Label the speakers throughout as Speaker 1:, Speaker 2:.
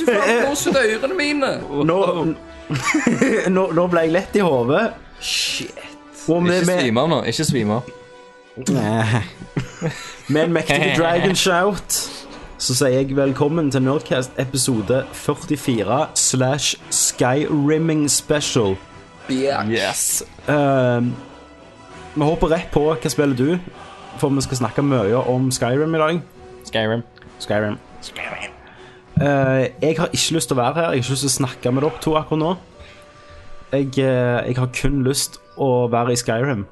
Speaker 1: Eh,
Speaker 2: blås ut av ørene mine!
Speaker 1: Nå, nå, nå ble jeg lett i hodet.
Speaker 2: Shit.
Speaker 1: og med-
Speaker 2: Ikke
Speaker 1: med-
Speaker 2: svim av nå. Ikke svim av.
Speaker 1: Nei. Med en mektig dragon shout så sier jeg velkommen til Nerdcast episode 44 slash Skyrimming special.
Speaker 2: Bjørk.
Speaker 3: Yes.
Speaker 1: Ehm, vi hopper rett på hva spiller du, for vi skal snakke mye om Skyrim i dag.
Speaker 3: Skyrim.
Speaker 1: Skyrim. Eh, jeg har ikke lyst til å være her. Jeg har ikke lyst til å snakke med dere to akkurat nå. Jeg, eh, jeg har kun lyst å være i Skyrim.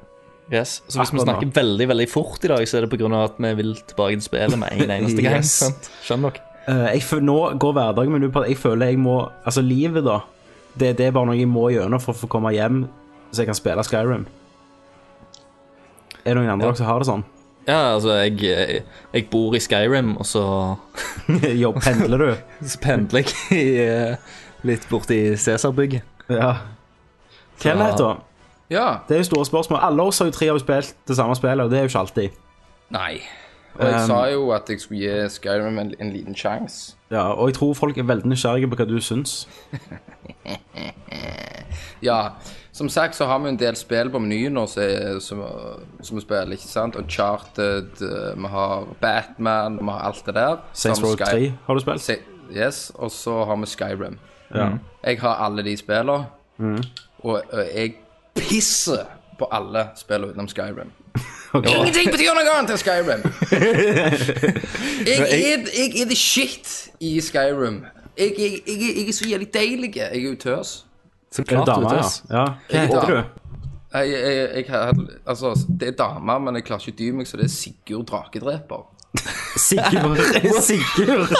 Speaker 3: Yes. Så hvis
Speaker 1: Akkurat
Speaker 3: vi
Speaker 1: nå.
Speaker 3: snakker veldig veldig fort i dag, så er det pga. at vi vil tilbake til spillet med en eneste gang.
Speaker 1: Yes.
Speaker 3: sant? Skjønner dere?
Speaker 1: Eh, jeg føl- nå går hverdagen min ut på at jeg føler jeg må Altså, livet, da. Det, det er bare noe jeg må gjennom for å få komme hjem, så jeg kan spille Skyrim. Er det noen andre dere som har det sånn?
Speaker 3: Ja, altså, jeg, jeg, jeg bor i Skyrim, og så,
Speaker 1: Jobb, pendler du?
Speaker 3: så pendler jeg i, eh, litt borti Cæsarbygget.
Speaker 1: Ja. Kenneth, da?
Speaker 2: Ja.
Speaker 1: Det er jo store spørsmål. Alle oss har jo tre har jo spilt det samme spillet, og det er jo ikke alltid.
Speaker 2: Nei. Og jeg
Speaker 1: Um,
Speaker 2: sa jo at jeg skulle gi Skyrim en, en liten sjanse.
Speaker 1: Ja, og jeg tror folk er veldig nysgjerrige på hva du syns.
Speaker 2: Ja. Som sagt så har vi en del spill på menyen nå som er- som som vi spiller, ikke sant? Uncharted, eh, vi har Batman, vi har alt det der.
Speaker 1: Saints
Speaker 2: Så har
Speaker 1: Row
Speaker 2: vi Sky-
Speaker 1: 3 har du spilt?
Speaker 2: Se- Yes, og så har vi Skyrim.
Speaker 1: Ja.
Speaker 2: Jeg har alle de spillene, og, og jeg pisser på alle spill utenom Skyrim. Ingenting betyr noe annet enn Skyrim! jeg, er, jeg er the shit i Skyrim. Jeg, jeg, jeg, er- jeg er så jævlig deilig. Jeg er jo tøs.
Speaker 3: Så
Speaker 1: Er du
Speaker 3: klart, altså.
Speaker 1: dame,
Speaker 3: vet du,
Speaker 1: ja?
Speaker 3: ass.
Speaker 1: ja? Hva heter
Speaker 2: Ja.
Speaker 1: du?
Speaker 2: Jeg, jeg, jeg, har- altså, det er damer, men jeg klarer ikke å dy meg, så det er Sigurd Drakedreper.
Speaker 1: Sigurd. Sigurd.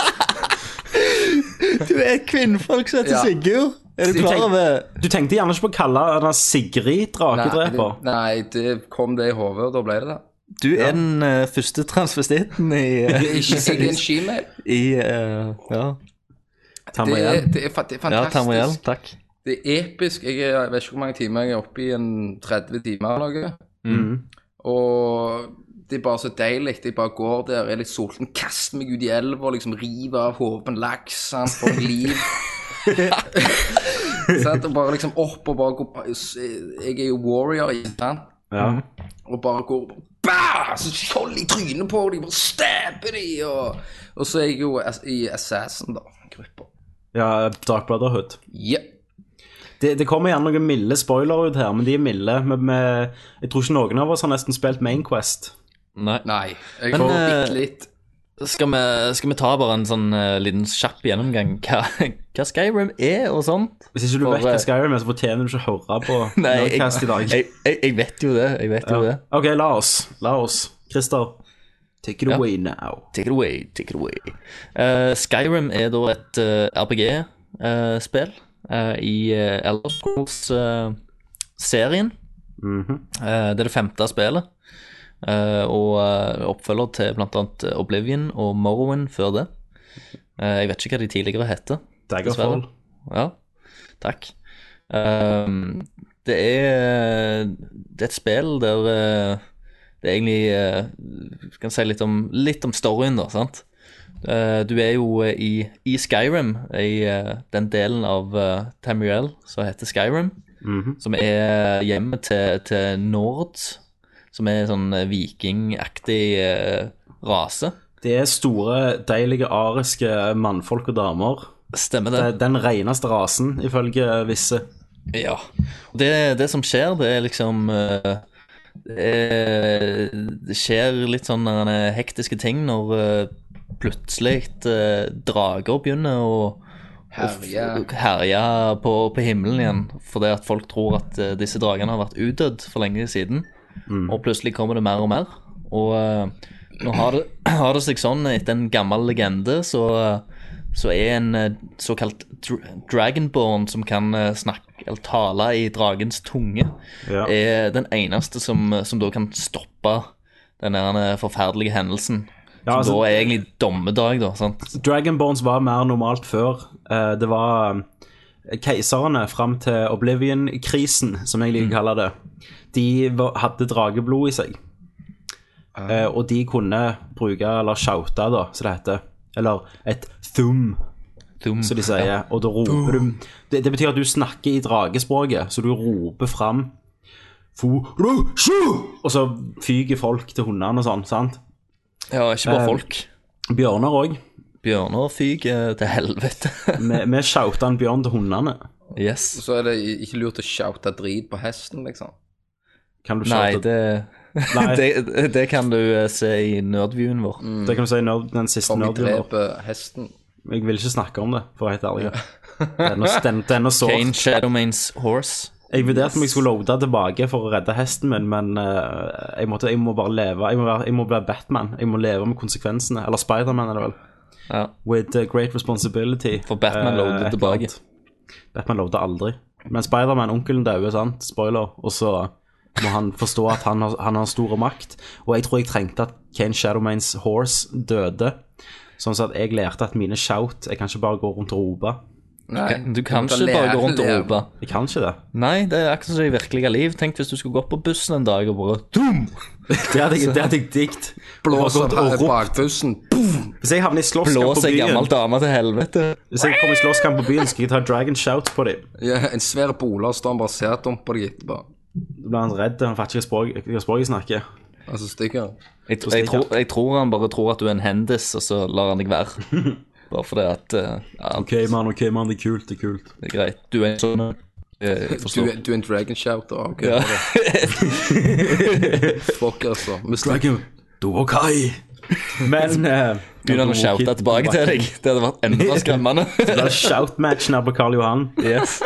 Speaker 3: Du er et kvinnfolk som heter
Speaker 2: Ja.
Speaker 3: Sigurd. Er du
Speaker 1: Tenk-
Speaker 3: klar over
Speaker 1: Du tenkte gjerne ikke på å kalle henne Sigrid Drakedreper?
Speaker 2: Nei, nei, det kom det i hodet, og da ble det det.
Speaker 3: Du er den eh, første transvestitten i, eh,
Speaker 2: Jeg, jeg er en shemale.
Speaker 3: i eh, Ja,
Speaker 2: Det, er-
Speaker 1: Tamriel.
Speaker 2: det, er fa- det er
Speaker 3: ja
Speaker 2: fantastisk.
Speaker 3: Tamriel. Takk.
Speaker 2: Det er episk. Jeg, er, jeg vet ikke hvor mange timer jeg er oppe i, en 30 timer eller noe.
Speaker 1: Mm.
Speaker 2: Og det er bare så deilig. Jeg bare går der, er litt sulten, kaster meg ut i elva, liksom river av hodet på en laks, sant, får meg liv. sant, og bare liksom opp og bare går Jeg er jo warrior, ikke sant?
Speaker 1: Ja.
Speaker 2: og bare går og bah! Så skjold i trynet på dem, bare stabber dem, og, og så er jeg jo ass- i Assassin, da, gruppa.
Speaker 1: ja, Dark Brotherhood.
Speaker 2: Ja.
Speaker 1: Det, det kommer gjerne noen milde spoilere ut her, men de er milde. Men vi- jeg tror ikke noen av oss har nesten spilt Main Quest.
Speaker 3: Nei.
Speaker 2: Nei, jeg
Speaker 3: Men,
Speaker 2: får
Speaker 3: eh,
Speaker 2: bitte litt.
Speaker 3: Skal vi, skal vi ta bare en sånn eh, liten kjapp gjennomgang hva, hva Skyrim er og sånt?
Speaker 1: Hvis ikke du
Speaker 3: For,
Speaker 1: vet hva
Speaker 3: eh,
Speaker 1: Skyrim er, så fortjener du ikke å høre på
Speaker 3: jeg,
Speaker 1: Nerdcast i dag.
Speaker 3: jeg, jeg, jeg vet jo det. Jeg vet jo det.
Speaker 1: Ok, la oss. La oss. Christer, take it
Speaker 3: Ja.
Speaker 1: away now.
Speaker 3: Take it away, take it away. Eh, Skyrim er da et eh, RPG-spill eh, i uh, Elder Scrolls-serien.
Speaker 1: Mhm.
Speaker 3: det er det femte spillet. eh, og eh, oppfølger til bl.a. Oblivion og Morrowind før det. Eh, jeg vet ikke hva de tidligere heter.
Speaker 1: Daggerfall.
Speaker 3: Dessverre. Ja, takk. Ehm, det er Det er et spill der eh, det er egentlig eh, Vi kan si litt om, litt om storyen, da, sant? Eh, Du er jo eh, i, i Skyrim, i eh, den delen av eh, Tamriel som heter Skyrim,
Speaker 1: Mhm.
Speaker 3: som er hjemmet til, til Nords, som er en sånn eh, vikingaktig eh, rase.
Speaker 1: Det er store, deilige ariske mannfolk og damer.
Speaker 3: Stemmer det?
Speaker 1: Det er Den reneste rasen, ifølge visse.
Speaker 3: Ja. Og det, det som skjer, det er liksom eh, Det, er, Eh, det skjer litt sånn eh, hektiske ting når eh, plutselig eh, drager begynner å å f-
Speaker 2: Herje.
Speaker 3: herje på, på himmelen igjen. Fordi at folk tror at eh, disse dragene har vært utdødd for lenge siden. Og plutselig kommer det mer og mer. Og eh, nå har det, har det seg sånn etter en gammel legende, så, eh, så er en eh, såkalt dr dragonborn som kan eh, snakke eller tale i dragens tunge,
Speaker 1: Ja.
Speaker 3: er den eneste som, som da kan stoppe den der eh, forferdelige hendelsen.
Speaker 1: Ja, altså-
Speaker 3: som da er egentlig dommedag, da. sant?
Speaker 1: Dragonborns var mer normalt før. Eh, Det var eh, keiserne fram til Oblivion-krisen, som jeg liker å kalle det. De var, hadde drageblod i seg. Eh, Og de kunne bruke, eller shoute, da, som det heter. Eller et thum.
Speaker 3: Thum.
Speaker 1: som de sier. Og da roper du det, det betyr at du snakker i dragespråket, så du roper fram Fu, ru, shu! Og så fyker folk til hundene og sånn, sant?
Speaker 3: Ja, ikke bare
Speaker 1: Eh,
Speaker 3: folk.
Speaker 1: Bjørner òg.
Speaker 3: Bjørner fyker til helvete.
Speaker 1: Vi vi shouta en bjørn til hundene.
Speaker 3: yes.
Speaker 2: Så er det i- ikke lurt å shoute drit på hesten, liksom.
Speaker 1: Kan du
Speaker 3: Nei,
Speaker 1: shoute-
Speaker 3: det,
Speaker 1: Nei. Mm.
Speaker 3: det, det kan du eh, se i nerdviewen vår.
Speaker 1: Det kan du si nerd, den siste
Speaker 2: Om vi
Speaker 1: nerden vår.
Speaker 2: dreper hesten.
Speaker 1: Jeg vil ikke snakke om det, for å være helt ærlig. Det er noe- Den den er noe sårt.
Speaker 3: Kane Shadowmanes Horse.
Speaker 1: Jeg vurderte om jeg skulle loade tilbake for å redde hesten min, men eh, jeg, måtte, jeg må bare leve. Jeg må, være, jeg må bli Batman. Jeg må leve med konsekvensene. Eller Spiderman, er det vel.
Speaker 3: Ja.
Speaker 1: With eh, great responsibility.
Speaker 3: For Batman
Speaker 1: Eh,
Speaker 3: loadet
Speaker 1: et
Speaker 3: tilbake.
Speaker 1: eller annet. Batman loadet aldri. Men Spiderman, onkelen døde, sant? Spoiler. Og så må han forstå at han har, han har store makt. Og jeg tror jeg trengte at Kane Shadowmanes horse døde. Sånn at jeg lærte at mine shout Jeg kan ikke bare gå rundt og rope.
Speaker 2: Nei,
Speaker 3: Du kan
Speaker 2: må ta
Speaker 3: ikke bare
Speaker 2: lære-
Speaker 3: gå rundt og
Speaker 2: lære-
Speaker 3: rope.
Speaker 1: Jeg kan ikke det.
Speaker 3: Nei, det er akkurat som det i virkelige liv. Tenk hvis du skulle gått på bussen en dag og bare Dum!
Speaker 1: Det hadde jeg, det hadde jeg dikt.
Speaker 2: Blåser
Speaker 1: Jeg har gått og ropt.
Speaker 2: bakbussen. Boom!
Speaker 1: Hvis jeg havner i slåsskamp på
Speaker 3: Blås ei gammel
Speaker 1: byen,
Speaker 3: dame til helvete.
Speaker 1: Hvis jeg kommer i slåsskamp på byen skal jeg ta dragon shout på dem.
Speaker 2: Ja, en svær bolerstang bare ser dumt på deg etterpå.
Speaker 1: Da blir han redd, han fatter ikke hva språk- hva språk jeg snakker.
Speaker 2: Altså, stikker.
Speaker 3: Jeg, tr- jeg, tror, jeg tror han bare tror at du er en hendis, og så lar han deg være. Bare fordi at eh, ja,
Speaker 1: OK, mann, ok, mann, det er kult, det er kult.
Speaker 3: det er greit. Du er en sånn eh, Jeg
Speaker 2: Du,
Speaker 3: forstår.
Speaker 2: er- du er en dragon shouter. Ah, Ok,
Speaker 3: Ja.
Speaker 2: fuck, altså. Vi snakker
Speaker 1: Dragon, Dovokai. Men eh,
Speaker 3: Begynner han å
Speaker 1: Dovokai-
Speaker 3: shoute tilbake til deg. Det hadde vært enda skremmende.
Speaker 1: Det er shout-matchen her på Karl Johan.
Speaker 3: Yes.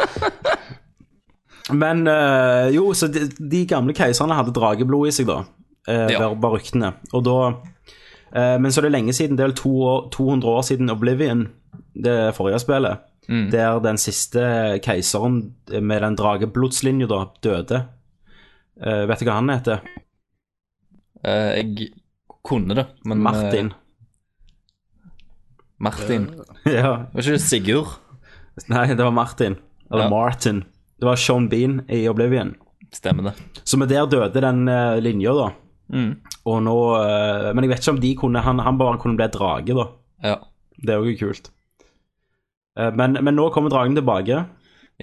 Speaker 1: Men eh, jo, så de, de gamle keiserne hadde drageblod i seg, da. Uh,
Speaker 3: Ja.
Speaker 1: Var var ryktene. Og da eh, Men så er det lenge siden, det er vel to år, 200 år siden Oblivion, det forrige spillet,
Speaker 3: Mm.
Speaker 1: der den siste keiseren eh, med den drageblodslinja da døde. Eh, vet du hva han heter?
Speaker 3: Eh, jeg kunne det, men eh,
Speaker 1: Martin.
Speaker 3: Martin.
Speaker 1: ja.
Speaker 3: Var ikke det Sigurd?
Speaker 1: Nei, det var Martin. Eller
Speaker 3: Ja.
Speaker 1: Martin. Det var Sean Bean i Oblivion.
Speaker 3: Stemmer det.
Speaker 1: Så med der døde den eh, linja, da.
Speaker 3: Mm.
Speaker 1: Og nå eh, Men jeg vet ikke om de kunne Han, han bare kunne bli drage, da.
Speaker 3: Ja.
Speaker 1: Det er jo kult. Eh, Men, men nå kommer dragen tilbake.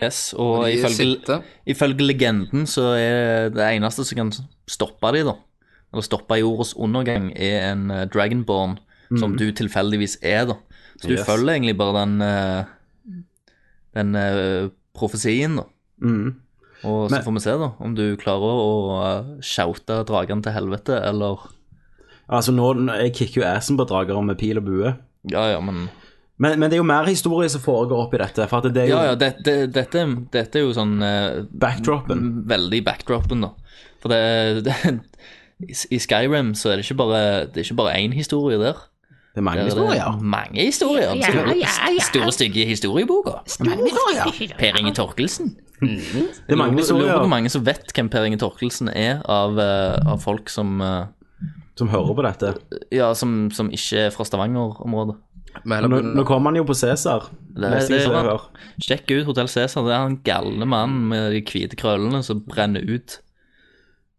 Speaker 3: Yes, og
Speaker 2: i
Speaker 3: ifølge
Speaker 2: sitte.
Speaker 3: Ifølge legenden så er det eneste som kan stoppe de da, eller stoppe jordas undergang, er en eh, dragonborn, som du tilfeldigvis er da. Så du
Speaker 1: Mm. Yes.
Speaker 3: følger egentlig bare den, eh, den eh, profesien da.
Speaker 1: Mm.
Speaker 3: Og så
Speaker 1: Men-
Speaker 3: får vi se da, om du klarer å eh, shoute dragen til helvete, eller...
Speaker 1: Altså nå, nå- Jeg kicker jo assen på dragere med pil og bue.
Speaker 3: Ja, ja, men...
Speaker 1: Men, men det er jo mer historie som foregår oppi dette. For at det er jo
Speaker 3: Ja, ja, det, det, dette, dette er jo sånn... eh,
Speaker 1: backdropen.
Speaker 3: Veldig backdropen, da. For det, det i- I Skyrim så er det ikke bare Det er ikke bare én historie der.
Speaker 1: Det er mange
Speaker 3: Der er
Speaker 1: historier.
Speaker 3: det mange historier. Den store, store stygge historieboka. Per Inge Torkelsen.
Speaker 1: Det er mange
Speaker 3: Jeg lurer- lurer på hvor
Speaker 1: historier
Speaker 3: mange som vet hvem Per Inge Torkelsen er, av, eh, av folk som eh,
Speaker 1: som hører på dette.
Speaker 3: Ja, som, som ikke er fra Stavanger-området.
Speaker 2: Vi heller
Speaker 1: Nå,
Speaker 2: begynner-
Speaker 1: nå kommer han jo på Cæsar. leste jeg
Speaker 3: det-
Speaker 1: så jeg hør.
Speaker 3: Sjekk ut Hotell Cæsar. Det er han galne mannen med de hvite krøllene som brenner ut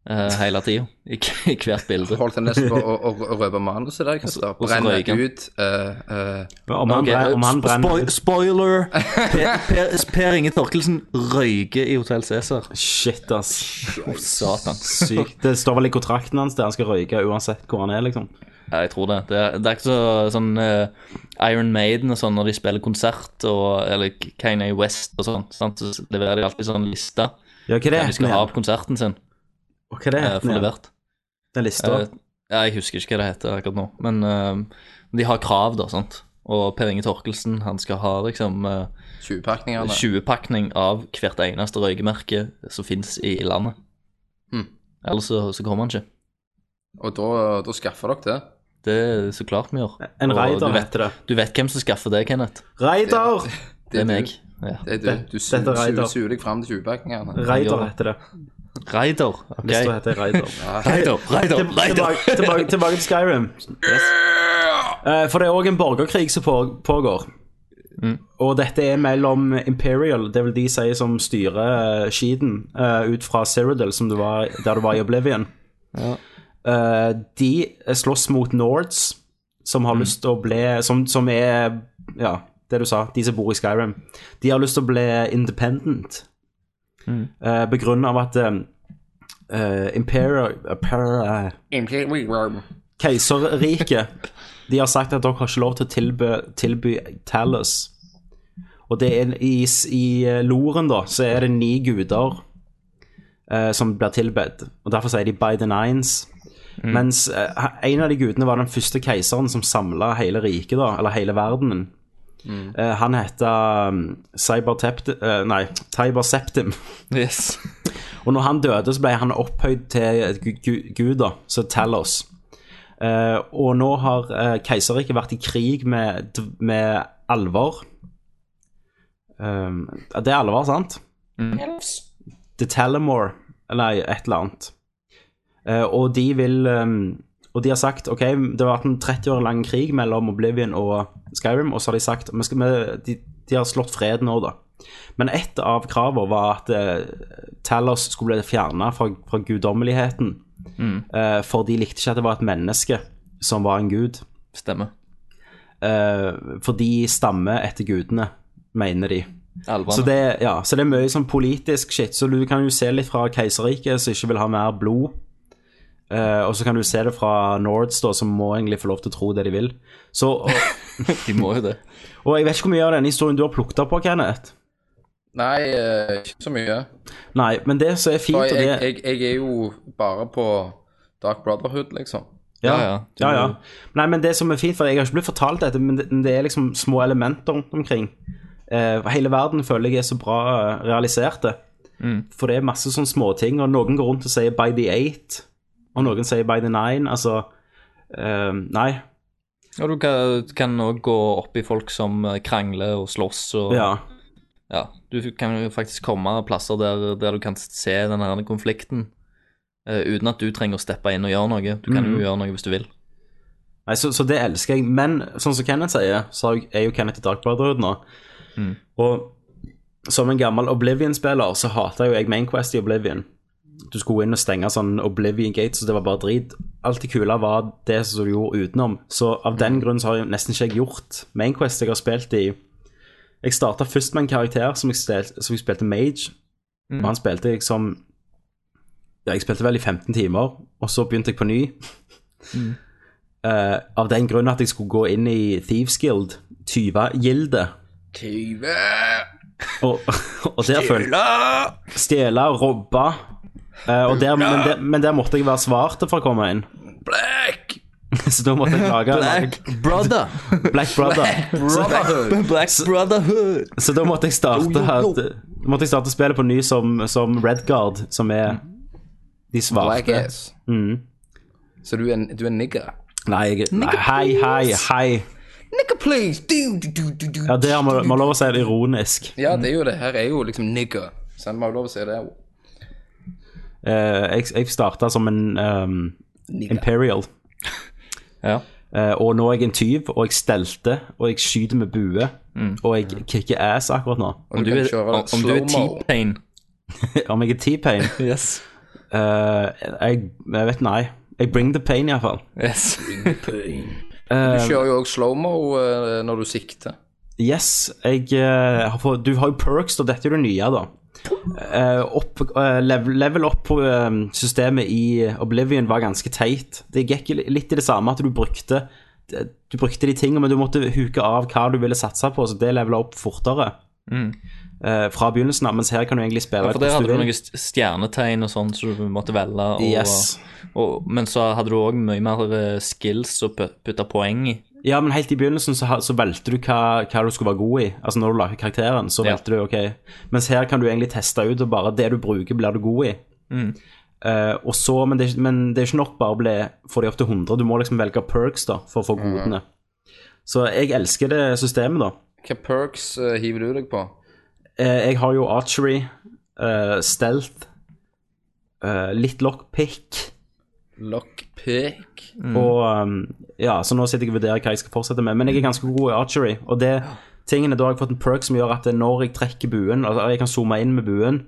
Speaker 3: eh, hele tida. I, I hvert bilde.
Speaker 2: holdt jeg nesten på å, å, å røpe manuset der, Kristian.
Speaker 3: og så
Speaker 2: Brenne
Speaker 3: røyker han.
Speaker 2: ut eh, eh,
Speaker 1: Om han,
Speaker 3: Ok,
Speaker 1: bre- om han
Speaker 3: sp-
Speaker 1: brenner
Speaker 3: spoil- Spoiler! Per, per, per Inge Torkelsen røyker i Hotell Cæsar.
Speaker 1: Shit, ass.
Speaker 3: Å, Satan.
Speaker 1: Sykt. Det står vel i kontrakten hans der han skal røyke uansett hvor han er, liksom.
Speaker 3: Ja, jeg tror det. Det er, det er ikke så, sånn eh, Iron Maiden og sånn når de spiller konsert, og, eller Kanye West og sånn, sant? så leverer de alltid sånn liste
Speaker 1: Ja, hva er det
Speaker 3: hva de
Speaker 1: heter
Speaker 3: skal ha
Speaker 1: igjen?
Speaker 3: på konserten sin.
Speaker 1: Og Hva er det
Speaker 3: eh,
Speaker 1: heter
Speaker 3: for
Speaker 1: igjen?
Speaker 3: levert.
Speaker 1: Den lista?
Speaker 3: Eh, ja, jeg husker ikke hva det heter akkurat nå, men eh, de har krav, da, sant. Og Per Inge Torkelsen, han skal ha liksom eh,
Speaker 2: 20-pakningene.
Speaker 3: 20-pakning av hvert eneste røykemerke som fins i landet.
Speaker 2: Mm.
Speaker 3: Ellers så, så kommer han ikke.
Speaker 2: Og da, da skaffer dere det.
Speaker 3: Det er så klart vi gjør.
Speaker 1: En
Speaker 3: Og
Speaker 1: raider
Speaker 3: du, vet,
Speaker 1: heter det.
Speaker 3: du vet hvem som skaffer det, Kenneth.
Speaker 1: Raider!
Speaker 3: Det er
Speaker 2: du.
Speaker 3: meg. Ja.
Speaker 2: Det er
Speaker 1: Det-
Speaker 2: du. Du
Speaker 1: dette
Speaker 2: suger
Speaker 1: er Reidar.
Speaker 2: suger- suger deg fram til 20-pakningene.
Speaker 1: Raider heter det.
Speaker 3: Raider. ok.
Speaker 1: Lista heter Raider.
Speaker 3: Raider, Raider,
Speaker 1: Til-
Speaker 3: Raider.
Speaker 1: Tilbake, tilbake, tilbake til Skyrim. Eh, For det er òg en borgerkrig som på- pågår. Og dette er mellom Imperial, det vil de si som styrer eh, Sheeden, eh, ut fra Cyrodiil, som du var, der du var i Oblivion. Eh, de slåss mot Nords, som har lyst til å bli Som, som er ja, det du sa, de som bor i Skyrim, de har lyst til å bli independent. Mm. på grunn av at eh, Imperial Imperial- Keiserriket De har sagt at dere har ikke lov til å tilby, tilby Talos. Og det er i, i eh, loren, da, så er det ni guder eh, som blir tilbedt. Og derfor sier de by the nines. Mens eh, en av de gudene var den første keiseren som samla hele riket, da, eller hele verdenen. Eh, han heter um, Cyber Tept... eh, nei, Tiber Septim.
Speaker 3: Yes.
Speaker 1: Og når han døde, så ble han opphøyd til et gu- gu- gud, da, så Talos. Eh, og nå har eh, keiserriket vært i krig med, med alver. Um, det er alver, sant? The Talamore, eller et eller annet. Eh, og de vil um, Og de har sagt OK, det har vært en 30 år lang krig mellom Oblivion og Skyrim, og så har de sagt vi skal, vi, de, de har slått fred nå, da. Men ett av kravene var at eh, Talos skulle bli fjerna fra, fra guddommeligheten. Eh, for de likte ikke at det var et menneske som var en gud.
Speaker 3: Stemmer.
Speaker 1: Eh, for de stammer etter gudene, mener de. Så
Speaker 3: Alvene.
Speaker 1: det, ja, så det er mye sånn politisk shit. Så du kan jo se litt fra keiserriket, som ikke vil ha mer blod. Eh, og så kan du se det fra Nords, da, som må egentlig få lov til å tro det de vil. Så, og,
Speaker 3: De må jo det.
Speaker 1: og jeg vet ikke hvor mye av denne historien du har plukket opp på, Kenneth.
Speaker 2: Nei, eh, ikke så mye.
Speaker 1: Nei, men det som er fint,
Speaker 2: Og
Speaker 1: og
Speaker 2: jeg,
Speaker 1: det
Speaker 2: jeg, jeg er jo bare på Dark Brotherhood, liksom.
Speaker 1: Ja,
Speaker 3: Ja, ja. Du-
Speaker 1: ja, ja. Nei, men det som er fint, for jeg har ikke blitt fortalt dette, men det, men det er liksom små elementer rundt omkring. Eh, hele verden føler jeg er så bra eh, realiserte.
Speaker 3: Mm.
Speaker 1: For det er masse sånne småting, og noen går rundt og sier 'by the eight', og noen sier 'by the nine'. Altså eh, Nei.
Speaker 3: Og du kan- kan òg gå opp i folk som eh, krangler og slåss og
Speaker 1: Ja.
Speaker 3: Ja, Du kan jo faktisk komme plasser der, der du kan se den her konflikten eh, uten at du trenger å steppe inn og gjøre noe. Du kan
Speaker 1: Mm.
Speaker 3: jo gjøre noe hvis du vil.
Speaker 1: Nei, så, så det elsker jeg. Men sånn som Kenneth sier, så har jeg- er jo Kenneth i Dark Brotherhood nå. Og som en gammel Oblivion-spiller, så hater jo jeg Mainquest i Oblivion. Du skulle inn og stenge sånn Oblivion Gate, så det var bare drit. Alt det kule var det som du gjorde utenom. Så av den grunn så har jeg nesten ikke jeg gjort Mainquest. Jeg har spilt i Jeg starta først med en karakter som jeg, stel, som jeg spilte Mage, og han spilte jeg som Ja, jeg spilte vel i 15 timer, og så begynte jeg på ny. Eh, av den grunn at jeg skulle gå inn i Thieves Guild, tyvegilde,
Speaker 2: Tyve!
Speaker 1: og, og der følte Stjele, robbe. Eh, og der, men, der, men der måtte jeg være svarte for å komme inn.
Speaker 2: Black!
Speaker 1: Så da måtte jeg lage
Speaker 3: Black brother!
Speaker 1: Black Brother.
Speaker 2: Brotherhood!
Speaker 3: Black brotherhood!
Speaker 1: Så da måtte jeg
Speaker 2: Oh,
Speaker 1: starte,
Speaker 3: Jo, jo, jo.
Speaker 1: da måtte jeg starte spillet på ny som, som Redguard, som er
Speaker 2: Black
Speaker 1: de svarte.
Speaker 2: ass.
Speaker 3: Mm.
Speaker 2: Så du er, en- du er nigger?
Speaker 1: Nei, jeg, nei, hei, hei, hei.
Speaker 2: Nigger, please! Du, du, du, du, du.
Speaker 1: Ja, det har vi vi har lov å si det ironisk.
Speaker 2: Ja, det er jo det. Her er jo liksom nigger. Så en må jo lov å si det.
Speaker 1: Eh, jeg jeg starta som en ehm,
Speaker 2: Nigger.
Speaker 1: Imperial.
Speaker 3: Ja.
Speaker 1: Eh, og nå er jeg en tyv, og jeg stelte, og jeg skyter med bue. Og jeg kicker ass akkurat nå.
Speaker 3: Om du
Speaker 2: kan
Speaker 3: er,
Speaker 2: kjøre
Speaker 3: om, om du er
Speaker 2: slow-mo.
Speaker 3: T-pain
Speaker 1: Om jeg er T-pain?
Speaker 3: Yes.
Speaker 1: Eh, jeg, jeg vet nei. Jeg bring the pain, iallfall.
Speaker 3: yes.
Speaker 2: Du kjører jo òg slow-mo eh, når du sikter.
Speaker 1: Yes, jeg eh, har fått Du har jo perks, og dette er det nye, da. Eh, opp, eh, level, level up på eh, systemet i Oblivion var ganske teit. Det gikk li- litt i det samme at du brukte Du brukte de tingene, men du måtte huke av hva du ville satse på, så det levela opp fortere. Eh, fra begynnelsen av, mens her kan du egentlig spille
Speaker 3: Mm. For der
Speaker 1: hvordan
Speaker 3: hadde
Speaker 1: du
Speaker 3: du
Speaker 1: vil.
Speaker 3: noen st- stjernetegn og sånn som du måtte velge. Og,
Speaker 1: Yes.
Speaker 3: og, men så hadde du òg mye mer eh, skills å pu- putte poeng i.
Speaker 1: Ja, men helt i begynnelsen så, ha- så valgte du hva, hva du skulle være god i. Altså når du lager karakteren, så
Speaker 3: Ja.
Speaker 1: valgte du, ok. Mens her kan du egentlig teste ut, og bare det du bruker blir du god i. Eh, og så, men det, er ikke- men det er ikke nok bare å bli, få de opp til 100, du må liksom velge perks da, for å få godene. Så jeg elsker det systemet da.
Speaker 2: Hvilke perks eh, hiver du deg på?
Speaker 1: Eh, jeg har jo archery, eh, stealth, eh, litt lockpick,
Speaker 2: Lockpick?
Speaker 3: Mm.
Speaker 1: og um, ja, så nå sitter jeg og vurderer hva jeg skal fortsette med. Men jeg er ganske god i archery, og det Tingen er Da har jeg fått en perk som gjør at når jeg trekker buen Altså jeg kan zoome inn med buen,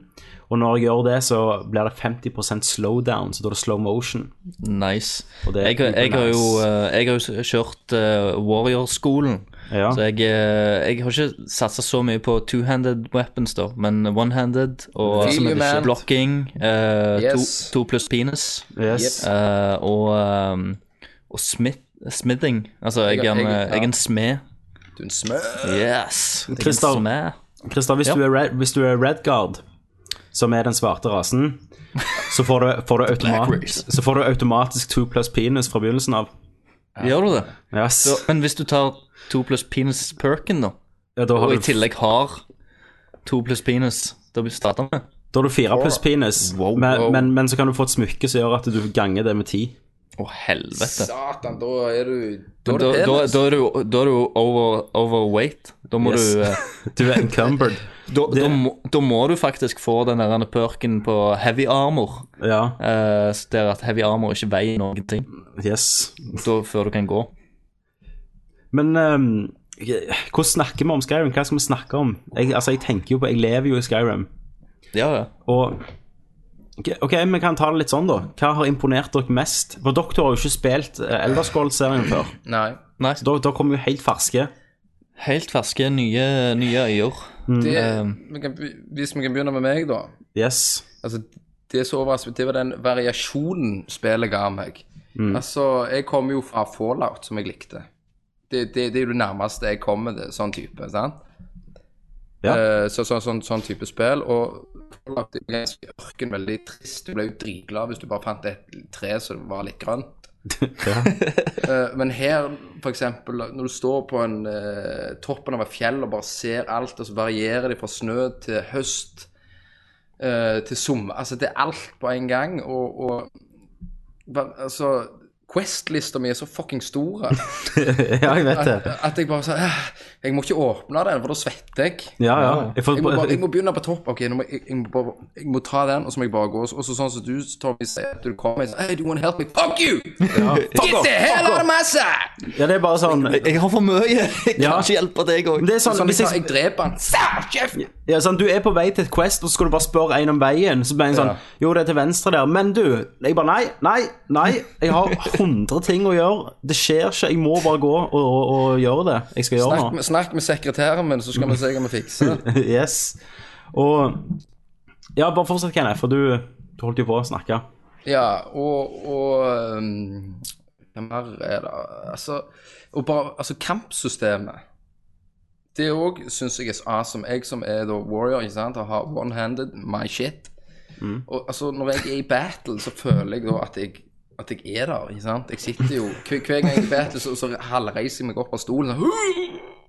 Speaker 1: og når jeg gjør det, så blir det 50 slowdown, så da er det slow motion.
Speaker 3: Nice.
Speaker 1: Og det er
Speaker 3: Jeg, har- jeg, har, jo,
Speaker 1: nice.
Speaker 3: eh, jeg har jo s- kjørt eh, Warrior-skolen.
Speaker 1: Ja.
Speaker 3: uh, Så jeg, eh, jeg har ikke satsa så mye på two-handed weapons, da, men one-handed og eh,
Speaker 2: Feel you, man.
Speaker 3: blocking. eh,
Speaker 2: Yes.
Speaker 3: to, to pluss penis.
Speaker 1: Yes.
Speaker 2: Yep.
Speaker 3: eh, og ehm, og smith, smithing. Altså, jeg,
Speaker 2: Jeg-
Speaker 3: er en,
Speaker 2: jeg-
Speaker 3: eh, jeg er
Speaker 2: ja.
Speaker 3: en smed.
Speaker 2: Du er en smør.
Speaker 3: Yes! Jeg er en
Speaker 1: Christer.
Speaker 3: smed.
Speaker 1: Kristian, hvis,
Speaker 3: Ja.
Speaker 1: du er red, hvis du er Redguard, som er den svarte rasen, så får du, får du, automat,
Speaker 3: race.
Speaker 1: så får du automatisk to pluss penis fra begynnelsen av.
Speaker 3: Gjør du det?
Speaker 1: Yes.
Speaker 3: Så, men hvis du tar to pluss penis-perken, da,
Speaker 1: Ja, da, har
Speaker 3: og i
Speaker 1: du,
Speaker 3: tillegg har to pluss penis, da blir starta med
Speaker 1: da har du fire pluss penis,
Speaker 3: Wow,
Speaker 1: men,
Speaker 2: wow.
Speaker 1: Men, men så kan du få et smykke som gjør at du ganger det med ti.
Speaker 3: Å, helvete.
Speaker 2: Satan, da er du Da
Speaker 3: Da,
Speaker 2: er det
Speaker 3: da, da,
Speaker 2: penis.
Speaker 3: er du, da er du over, overweight. Da må
Speaker 1: Yes.
Speaker 3: du eh,
Speaker 1: Du er encumbered.
Speaker 3: da, da, må, da må du faktisk få den der perken på heavy armor.
Speaker 1: Ja.
Speaker 3: eh, så det er at heavy armor ikke veier noen ting
Speaker 1: Yes.
Speaker 3: da, før du kan gå.
Speaker 1: Men ehm, hvordan snakker vi om Skyrim? Hva skal vi snakke om? Jeg, altså, jeg tenker jo på Jeg lever jo i Skyrim.
Speaker 3: Ja, ja.
Speaker 1: Og Ok, ok, vi kan ta det litt sånn, da. Hva har imponert dere mest? For dere har jo ikke spilt Elderscroll-serien før.
Speaker 2: Nei.
Speaker 3: Nei,
Speaker 1: Så dere, dere kommer jo helt ferske.
Speaker 3: helt ferske, nye, nye øyer.
Speaker 2: Det,
Speaker 3: Mm.
Speaker 2: vi kan, be- hvis vi kan begynne med meg, da.
Speaker 1: Yes.
Speaker 2: Altså, det som overrasket meg, det var den variasjonen spillet ga meg.
Speaker 1: Mm.
Speaker 2: Altså, jeg kommer jo fra Fallout, som jeg likte. Det, det, det er jo det nærmeste jeg kommer det, sånn type, sant?
Speaker 1: Ja.
Speaker 2: Eh, så, så, sånn, sånn type spill, og Fallout er ganske ørken, veldig trist. Du ble jo dritglad hvis du bare fant et tre som var litt grønt. Eh, men her, for eksempel, når du står på en, eh, toppen av et fjell og bare ser alt, og så varierer det fra snø til høst eh, til sommer. Altså, det er alt på en gang, og, og hva- altså, Quest-lista mi er så fucking stor at,
Speaker 1: ja, jeg vet det.
Speaker 2: at jeg bare sa "Åh, Jeg må ikke åpne den, for da svetter jeg.
Speaker 1: Ja, ja. Jeg får,
Speaker 2: Jeg må, bare, jeg må begynne på topp. Ok, nå må, jeg, jeg, må bare, jeg må ta den, og så må jeg bare gå. Og så sånn som du, Tommy, sier at du kommer og sier Hey, do you want help me? Fuck you! Get the hell out of my side!
Speaker 1: ja, det er bare sånn
Speaker 3: Jeg, jeg har for mye! Jeg kan
Speaker 1: Ja.
Speaker 3: ikke hjelpe deg òg.
Speaker 1: Men det er sånn,
Speaker 2: Sånn,
Speaker 1: hvis
Speaker 2: jeg,
Speaker 1: jeg,
Speaker 2: jeg dreper han. Sa, kjeft!
Speaker 1: ja, sånn, Du er på vei til et Quest, og så skal du bare spørre en om veien. Så blir jeg sånn
Speaker 2: Ja.
Speaker 1: Jo, det er til venstre der. Men du Jeg bare Nei, nei, nei. Jeg har 100 ting å gjøre. Det skjer ikke. Jeg må bare gå og, og, og gjøre det jeg skal gjøre nå.
Speaker 2: Snakk med, snakk med sekretæren min, så skal vi se hva vi fikser.
Speaker 1: Yes. Og Ja, bare fortsett, Kenneth, for du, du holdt jo på å snakke.
Speaker 2: Ja, og, og um, Hva mer er det Altså, og bare, altså kampsystemet. Det òg syns jeg er så awesome. Jeg som er da warrior, ikke sant, og har one-handed my shit. Og altså, når jeg er i battle, så føler jeg da at jeg at jeg er der, ikke sant? Jeg sitter jo Hver hver gang jeg er i battle, så, så halvreiser jeg meg opp av stolen sånn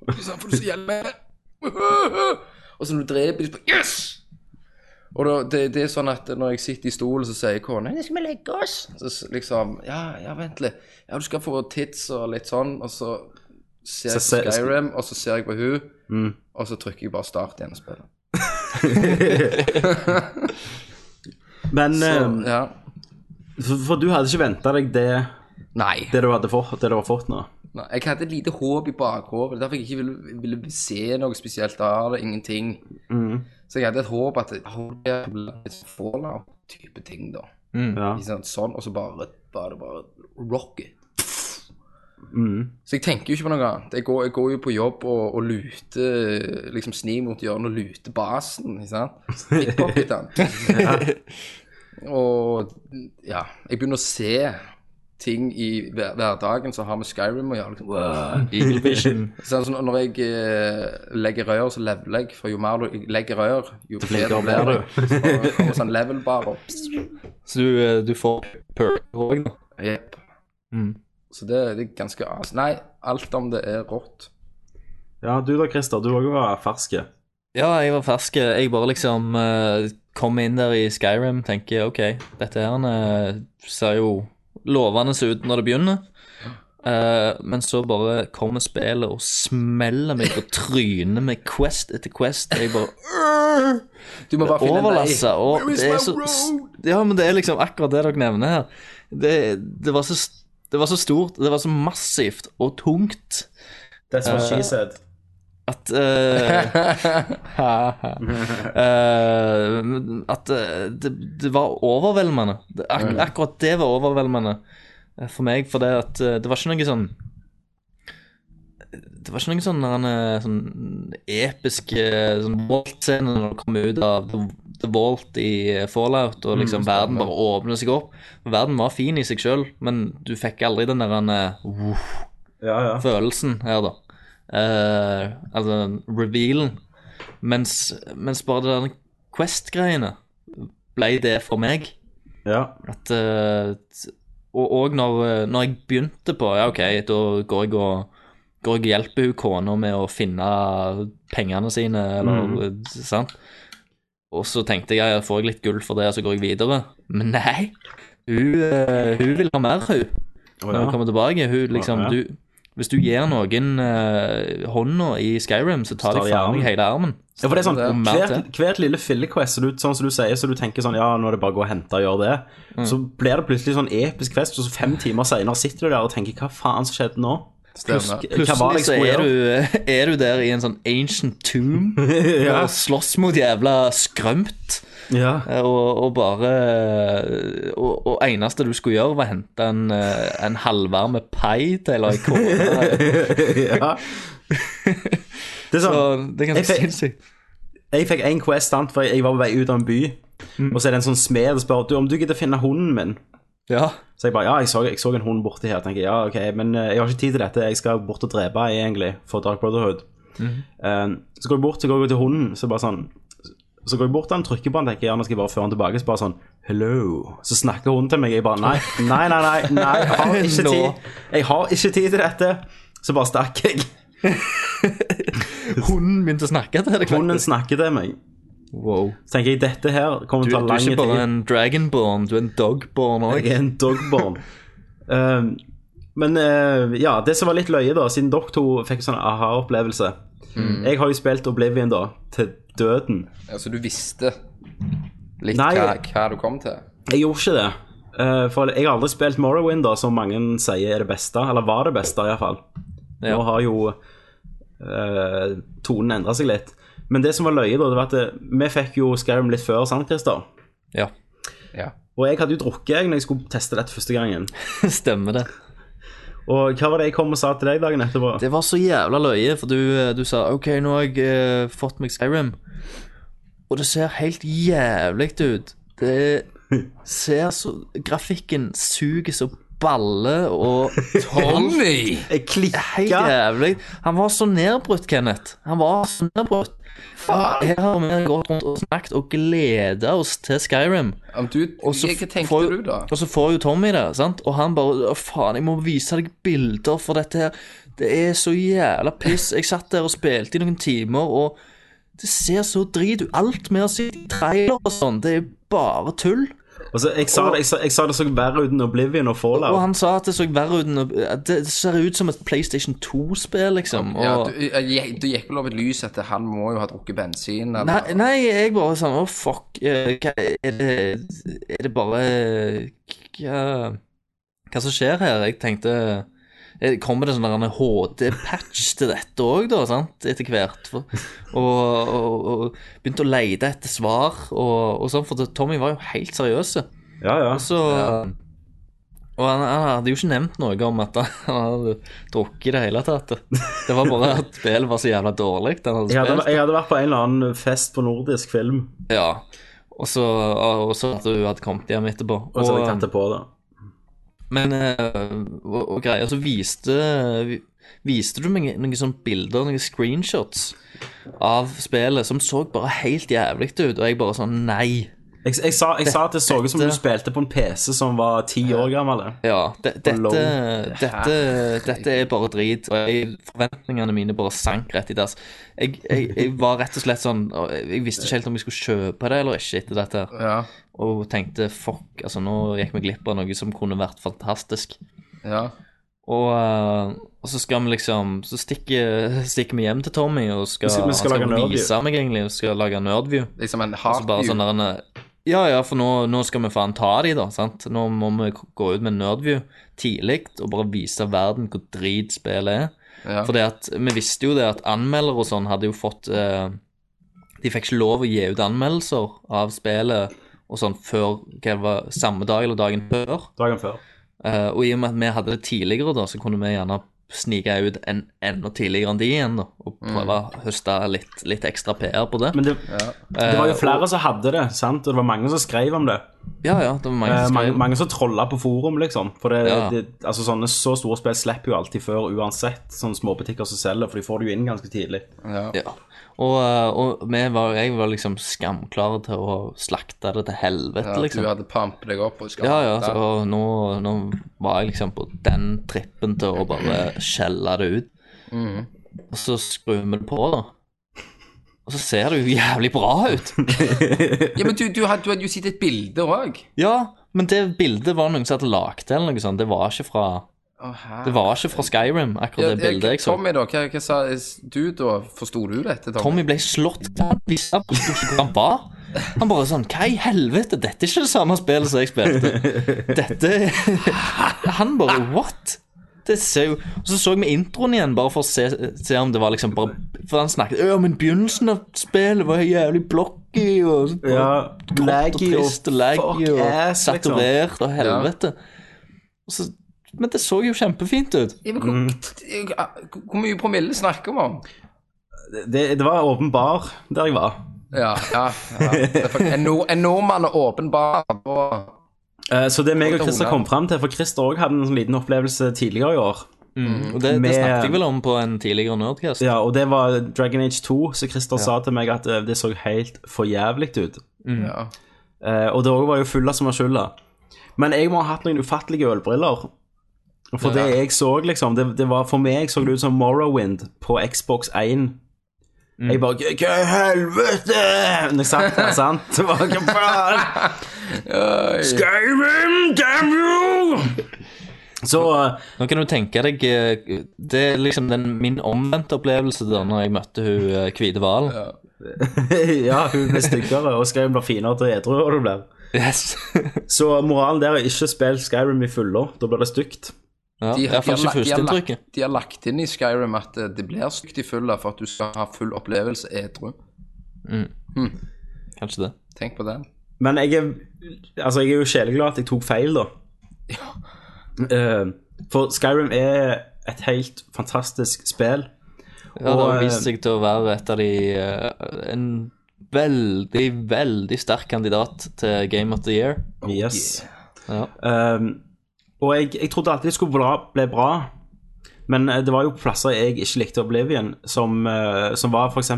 Speaker 2: Ikke sant, for du så hjelper Og så når du dreper de, så bare Yes! Og da, det, det er sånn at når jeg sitter i stolen, så sier kona Nå skal vi legge oss. Så s- liksom Ja, ja, vent litt. Ja, du skal få tits og litt sånn. Og så ser jeg
Speaker 1: Så
Speaker 2: på
Speaker 1: se- Mm.
Speaker 2: Skyrim, og så ser jeg på hun og så trykker jeg bare start igjen og spiller.
Speaker 1: Men
Speaker 2: Så,
Speaker 1: eh,
Speaker 2: ja.
Speaker 1: for, for du hadde ikke venta deg det,
Speaker 2: Nei.
Speaker 1: det du hadde fått, det du har fått nå?
Speaker 2: Nei. Jeg hadde et lite håp i bakhodet. Derfor jeg ikke ville, ville se noe spesielt av det. Ingenting. Så jeg hadde et håp at «Åh, det blir litt Fallout-type ting, da.
Speaker 3: Mm.
Speaker 1: Ja.
Speaker 2: Ikke sant? Sånn, og så bare var det bare rocket.
Speaker 1: Mm.
Speaker 2: Så jeg tenker jo ikke på noe annet. Jeg går, jeg går jo på jobb og, og luter liksom sni mot hjørnet og luter basen, ikke sant. Pickpocket den. Og ja, jeg begynner å se ting i hver, hverdagen som har med Skyrim å gjøre. Liksom.
Speaker 3: Eagle Vision.
Speaker 2: Så altså, når jeg eh, legger rør, så leveler jeg. For jo mer du jeg legger rør, jo bedre blir
Speaker 1: blir
Speaker 2: du. Så bare kommer sånn level bar opp.
Speaker 3: Så du, eh, du får perk òg, da.
Speaker 2: Jep.
Speaker 3: Mm.
Speaker 2: Så det, det er ganske as. Nei, alt om det er rått.
Speaker 1: Ja, du da, Christer. Du òg var fersk.
Speaker 3: Ja, jeg var fersk. Jeg bare liksom eh, kom inn der i Skyrim, tenker OK, dette her eh, ser jo lovende ut når det begynner. Eh, men så bare kommer spillet og smeller meg på trynet med quest etter quest. Jeg bare «Åh!»
Speaker 2: Du må bare finne en
Speaker 3: overlassa.
Speaker 2: vei.
Speaker 3: Og
Speaker 2: Where is
Speaker 3: det er
Speaker 2: my
Speaker 3: så,
Speaker 2: road?
Speaker 3: ja, men det er liksom akkurat det dere nevner her. Det, det, var så, det var så stort, det var så massivt og tungt.
Speaker 1: Eh, That's what she said.
Speaker 3: At eh, Eh, At eh, det, det var overveldende. Det, ak akkurat det var overveldende eh, for meg, for det at eh, det var ikke noe sånn det var ikke noen sånn, eh, sånn episk eh, sånn Walt-scene når det kom ut av The The Vault i eh, Fallout, og liksom verden bare åpner seg opp. Verden var fin i seg sjøl, men du fikk aldri den der eh,
Speaker 1: Ja, ja.
Speaker 3: følelsen her, da. Eh, altså revealen. Mens, mens bare det der Quest-greiene ble det for meg.
Speaker 1: ja.
Speaker 3: At eh, t- Og og når, eh, når jeg begynte på Ja, OK, da går jeg og Går jeg og hjelper hun kona med å finne pengene sine, eller eh, sant? Og så tenkte jeg ja, får jeg litt gull for det, og så går jeg videre. Men nei! Hun, eh, hun vil ha mer,
Speaker 1: Å,
Speaker 3: hun når hun
Speaker 1: ja.
Speaker 3: kommer tilbake. Hun, liksom,
Speaker 1: Ja, ja.
Speaker 3: Du, hvis du gir noen eh, hånda i Skyrim, så tar
Speaker 1: Så tar de
Speaker 3: de faen meg
Speaker 1: armen.
Speaker 3: hele armen.
Speaker 1: Ja, for det er sånn,
Speaker 2: Stemmer
Speaker 3: det.
Speaker 1: hvert, hvert lille fillequest, så du, sånn som du sier, så du tenker sånn, ja, nå er det bare å gå og hente og gjøre det,
Speaker 3: Mm.
Speaker 1: så blir det plutselig sånn episk fest, og så fem timer senere sitter du der og tenker, hva faen som skjedde nå?
Speaker 2: Stemmer.
Speaker 1: Hva var liksom det
Speaker 3: Plutselig
Speaker 1: jeg
Speaker 3: så
Speaker 1: skulle
Speaker 3: er
Speaker 1: gjøre?
Speaker 3: du, er du der i en sånn ancient tomb og slåss mot jævla skrømt.
Speaker 1: Ja,
Speaker 3: eh, Og, og bare eh, og, og eneste du skulle gjøre, var å hente en, eh, en halvvarme pai til ei kone.
Speaker 1: ja. Det er sånn,
Speaker 3: Så Det er ganske
Speaker 1: Jeg-
Speaker 3: sinnssykt.
Speaker 1: Jeg fikk en quest, sant, for jeg var på vei ut av en by.
Speaker 3: Mm.
Speaker 1: Og så er det en sånn smed og spør du om du gidder finne hunden min.
Speaker 3: Ja.
Speaker 1: Så jeg bare ja, jeg så, jeg så en hund borti her. tenker jeg, ja, ok, Men eh, jeg har ikke tid til dette. Jeg skal bort og drepe ei, egentlig, for Dark Brotherhood.
Speaker 3: Mhm.
Speaker 1: Eh, så går jeg bort så går jeg til hunden, så bare sånn Så går jeg bort til han, trykker på han, tenker jeg, ja, nå skal jeg bare føre han tilbake. Så bare sånn hello. Så snakker hunden til meg. Jeg bare nei, nei, nei, nei, nei jeg har ikke
Speaker 3: Nå.
Speaker 1: tid. Jeg har ikke tid til dette. Så bare stakk jeg.
Speaker 3: Hunden begynte å snakke til deg.
Speaker 1: Hunden
Speaker 3: faktisk.
Speaker 1: snakker til meg.
Speaker 3: Wow.
Speaker 1: Så tenker jeg dette her kommer
Speaker 3: Du, du
Speaker 1: til å ta
Speaker 3: er
Speaker 1: lang tid.
Speaker 3: ikke bare en dragonborn, du er en dogborn òg.
Speaker 1: Jeg er en dogborn. Um, men eh, ja, det som var litt løye, da, siden dere to fikk sånn aha-opplevelse
Speaker 3: Mm.
Speaker 1: Jeg har jo spilt Oblivion, da, til døden.
Speaker 2: Altså, du visste litt
Speaker 1: Nei.
Speaker 2: hva, hva du kom til.
Speaker 1: Jeg gjorde ikke det. eh, for jeg har aldri spilt Morrowind, da, som mange sier er det beste. Eller var det beste, iallfall.
Speaker 3: Ja.
Speaker 1: Nå har jo eh, tonen endra seg litt. Men det som var løye, da, det var at eh, vi fikk jo Skyrim litt før sant, Christer?
Speaker 3: Ja,
Speaker 2: Ja.
Speaker 1: Og jeg hadde jo drukket jeg, når jeg skulle teste dette første gangen.
Speaker 3: stemmer det.
Speaker 1: Og hva var det jeg kom og sa til deg dagen etterpå?
Speaker 3: Det var så jævla løye, for du, eh, du sa OK, nå har jeg eh, fått meg Skyrim. Og det ser helt jævlig ut. Det ser så Grafikken suger så balle og
Speaker 2: Tommy!
Speaker 1: Jeg
Speaker 3: Helt
Speaker 1: klikka.
Speaker 3: jævlig. Han var så nedbrutt, Kenneth. Han var så nedbrutt. Her har vi gått rundt og snakket og gleda oss til Skyrim.
Speaker 2: Om du,
Speaker 3: Og så
Speaker 2: hva tenkte
Speaker 3: får-
Speaker 2: du da?
Speaker 3: Og så får jo Tommy det, sant? og han bare Å, faen, jeg må vise deg bilder for dette her. Det er så jævla piss. Jeg satt der og spilte i noen timer, og det ser så drit ut. Alt med å si trailer og sånn, det er bare tull.
Speaker 1: Og så, Altså, jeg, sa det, jeg, sa, jeg sa det så verre uten Oblivion og
Speaker 3: Og
Speaker 1: Fallout.
Speaker 3: han sa at det så verre ut enn å- at Det ser ut som et PlayStation 2-spill, liksom.
Speaker 2: Ja,
Speaker 3: Og...
Speaker 2: du, jeg- du gikk vel over et lys at han må jo ha drukket bensin, eller?
Speaker 3: Nei, nei, jeg bare sånn Å, fuck. eh, Hva, er, det, er det bare Hva Hva som skjer her? Jeg tenkte eh, Kommer det sånn HD-patch til dette òg, da? sant, Etter hvert. For, og, og, og begynte å lete etter svar og, og sånn, for Tommy var jo helt seriøs.
Speaker 1: Ja, ja.
Speaker 3: Og så Og han, han hadde jo ikke nevnt noe om at han hadde drukket i det hele tatt. Det var bare at spillet var så jævla dårlig. Han hadde
Speaker 1: Jeg
Speaker 3: spilt.
Speaker 1: hadde, jeg hadde vært på en eller annen fest på nordisk film,
Speaker 3: Ja. Og så, og så at hun hadde kommet hjem etterpå.
Speaker 1: og så hadde jeg tatt det på det.
Speaker 3: men eh, og, og greia, så viste, vi- viste du meg noen sånne bilder, noen screenshots av spillet som så bare helt jævlig ut, og jeg bare sånn nei.
Speaker 1: Jeg, jeg, sa, jeg sa at det så ut som du
Speaker 3: Dette-
Speaker 1: spilte på en PC som var ti år gammel. eh,
Speaker 3: Ja, de,
Speaker 1: Lol.
Speaker 3: dette, dette, dette er bare drit, og jeg, forventningene mine bare sank rett i dass. Jeg, jeg, jeg var rett og slett sånn og Jeg jeg visste ikke helt om jeg skulle kjøpe det eller ikke etter dette. her.
Speaker 2: Ja,
Speaker 3: og tenkte fuck, altså nå gikk vi glipp av noe som kunne vært fantastisk.
Speaker 2: ja.
Speaker 3: Og, eh, og så skal vi liksom Så stikker, stikker vi hjem til Tommy og skal,
Speaker 1: Vi skal- vi skal
Speaker 3: han
Speaker 1: lage Nerdview.
Speaker 3: vise meg egentlig og skal lage Nerdview.
Speaker 2: Liksom en
Speaker 3: Og så
Speaker 2: hard
Speaker 3: bare
Speaker 2: view.
Speaker 3: sånn der en, eh, Ja, ja, for nå, nå skal vi faen ta de, da. sant? Nå må vi k- gå ut med Nerdview tidlig og bare vise verden hvor drit spillet er.
Speaker 2: Ja.
Speaker 3: Fordi at vi visste jo det at anmeldere og sånn hadde jo fått eh, De fikk ikke lov å gi ut anmeldelser av spillet og sånn før hva det var, samme dag eller dagen før.
Speaker 1: Dagen før.
Speaker 3: Eh, og i og med at vi hadde det tidligere, da, så kunne vi gjerne snike ut en, enda tidligere enn de igjen, da, og
Speaker 2: Mm.
Speaker 3: prøve å høste litt, litt ekstra PR på det.
Speaker 1: Men det, det var
Speaker 3: Eh,
Speaker 1: jo flere som hadde det, sant? og det var mange som skrev om det.
Speaker 3: Ja, ja, det var mange
Speaker 1: Eh,
Speaker 3: som
Speaker 1: mange,
Speaker 3: skrev.
Speaker 1: mange som trolla på forum, liksom. For det,
Speaker 3: Ja.
Speaker 1: det, altså, sånne så store spill slipper jo alltid før uansett. Sånne småbutikker som selger, for de får det jo inn ganske tidlig.
Speaker 2: Ja.
Speaker 3: Ja. Og, eh, og vi var, jeg var liksom skamklare til å slakte det til helvete,
Speaker 2: Ja,
Speaker 3: liksom.
Speaker 2: Du hadde pampet deg opp og skal
Speaker 3: Ja, ja,
Speaker 2: da.
Speaker 3: så nå, nå var jeg liksom på den trippen til å bare skjelle det ut. Og så skrur vi det på, da. Og så ser det jo jævlig bra ut.
Speaker 2: ja men du, du, hadde, du hadde jo sett et bilde òg.
Speaker 3: Ja, men det bildet var noen som hadde lagd det, eller noe sånt. Det var ikke fra, det var ikke fra Skyrim, akkurat det bildet jeg så.
Speaker 2: Tommy, da, hva, hva sa du da? Forsto du dette, Tommy?
Speaker 3: Tommy ble slått Han visste absolutt ikke hvor han var. Han bare sånn Hva i helvete, dette er ikke det samme spillet som jeg spilte. Dette Han bare What? Det ser jo Og så så vi introen igjen, bare for å se, se om det var liksom bare For han snakket Ja, men begynnelsen av spillet var jævlig blocky og så bare
Speaker 1: Ja,
Speaker 3: grått
Speaker 1: laggy og
Speaker 3: trist og laggy
Speaker 1: fuck
Speaker 3: og
Speaker 1: ass, liksom.
Speaker 3: saturert og helvete. Og så, men det så jo kjempefint ut.
Speaker 2: Ja, men hvor,
Speaker 3: Mm.
Speaker 2: hvor, hvor mye promille snakker vi om?
Speaker 1: Det, det var åpenbar der jeg var.
Speaker 2: Ja, ja, ja. Det er faktisk- En, nord, en nordmann er åpenbar på
Speaker 1: Eh, Så det meg og Christer
Speaker 2: Ole.
Speaker 1: kom fram til, for Christer òg hadde en sånn liten opplevelse tidligere i år.
Speaker 3: Og det, det
Speaker 1: Mm. Med-
Speaker 3: snakket jeg vel om på en tidligere Nerdcast.
Speaker 1: Ja, og det var Dragon Age 2, så Christer sa til meg at eh, det så helt for jævlig ut.
Speaker 3: Mm.
Speaker 2: ja.
Speaker 1: Eh, og det òg var jo fulla som var skylda. Men jeg må ha hatt noen ufattelige ølbriller. For det jeg så, liksom det, det var, For meg så det ut som Morrowind på Xbox 1. Jeg bare Hva i helvete? Når jeg satt der, sant? Det var hva faen? Skyrim, damn you! Så eh,
Speaker 3: Nå kan du tenke deg eh, Det er liksom den, min omvendte opplevelse da når jeg møtte hun eh, hvite hvalen.
Speaker 1: Ja, hun ble styggere, og Skyrim blir finere til edru. Og det blir.
Speaker 3: Yes.
Speaker 1: Så moralen der er ikke spill Skyrim i fylla. Da blir det stygt.
Speaker 3: ja, I hvert fall ikke
Speaker 2: la- de, har
Speaker 3: førsteinntrykket.
Speaker 2: lagt, de har lagt inn i Skyrim at eh, det blir stygt i fylla for at du skal ha full opplevelse edru.
Speaker 3: Mm.
Speaker 2: Hm.
Speaker 3: Kanskje det.
Speaker 2: Tenk på den.
Speaker 1: Men jeg er, altså jeg er jo sjeleglad at jeg tok feil, da. Eh, for Skyrim er et helt fantastisk spill.
Speaker 3: Ja, det
Speaker 2: eh,
Speaker 3: har
Speaker 1: Og,
Speaker 3: vist seg til å være et av de eh, En veldig, veldig sterk kandidat til Game of the Year.
Speaker 1: Yes.
Speaker 3: Ja.
Speaker 1: Eh, og jeg, jeg trodde alltid det skulle bla, bli bra, men eh, det var jo plasser jeg ikke likte Oblivion, som, eh, som var f.eks.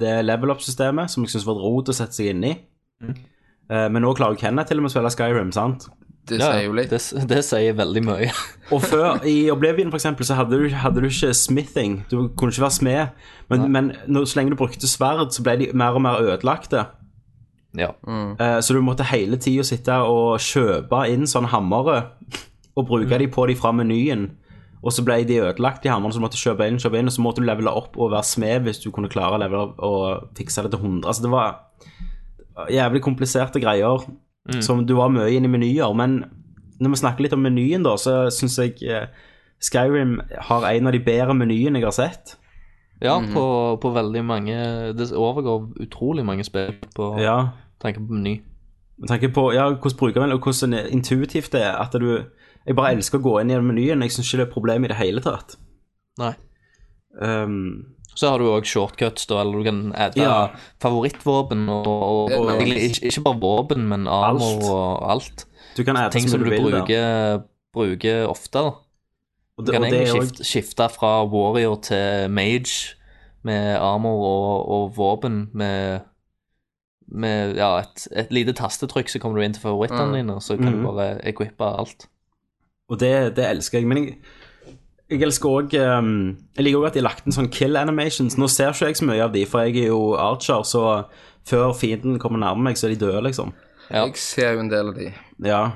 Speaker 1: det level up-systemet, som jeg syntes var et rot å sette seg inn i. Eh, men nå klarer jo Kenneth til og med å spille Skyrim, sant?
Speaker 2: Det
Speaker 3: Ja,
Speaker 2: sier jo litt.
Speaker 3: det, det sier veldig mye.
Speaker 1: Og før, i Oblivion for eksempel, så hadde du, hadde du ikke smithing. Du kunne ikke være smed. Men, men når, så lenge du brukte sverd, så ble de mer og mer ødelagte.
Speaker 3: ja.
Speaker 1: Eh, så du måtte hele tida sitte og kjøpe inn sånne hammere og bruke de på de fra menyen. Og så ble de ødelagt, de hammerne, så du måtte kjøpe inn, kjøpe inn, og så måtte du levele opp og være smed hvis du kunne klare å levele opp og fikse det til 100. Altså, det var jævlig kompliserte greier
Speaker 3: Mm.
Speaker 1: som du var mye inne i menyer, men når vi snakker litt om menyen, da, så syns jeg eh, Skyrim har en av de bedre menyene jeg har sett.
Speaker 3: ja på,
Speaker 2: Mhm.
Speaker 3: på veldig mange Det overgår utrolig mange spill på
Speaker 1: Ja.
Speaker 3: tanke på meny.
Speaker 1: Med tanke på ja, hvordan bruker man og hvordan intuitivt det er at du Jeg bare elsker å gå inn i den menyen. Jeg syns ikke det er et problem i det hele tatt.
Speaker 3: Nei.
Speaker 1: Um,
Speaker 3: Så har du òg shortcuts, da, eller du kan adde
Speaker 1: Ja.
Speaker 3: favorittvåpen og, og, og
Speaker 2: Nice.
Speaker 3: egentlig ikke, ikke bare våpen, men armor
Speaker 1: Alt.
Speaker 3: og alt.
Speaker 1: du kan adde
Speaker 3: Ting som du
Speaker 1: vil der.
Speaker 3: bruker, bruker ofte. da.
Speaker 1: Og det,
Speaker 3: Du kan
Speaker 1: og det
Speaker 3: egentlig
Speaker 1: er
Speaker 3: skifte, skifte fra warrior til mage med armor og, og våpen med med ja, et, et lite tastetrykk, så kommer du inn til
Speaker 1: Mm.
Speaker 3: favorittene dine, og så kan du bare equippe alt.
Speaker 1: jo- og det, det elsker jeg. Men jeg, jeg elsker òg Jeg liker òg at de har lagt inn sånn kill animations. Nå ser ikke jeg så mye av de, for jeg er jo archer, så før fienden kommer nærme meg, så er de døde, liksom.
Speaker 3: Ja.
Speaker 2: Jeg ser jo en del av de.
Speaker 1: Ja.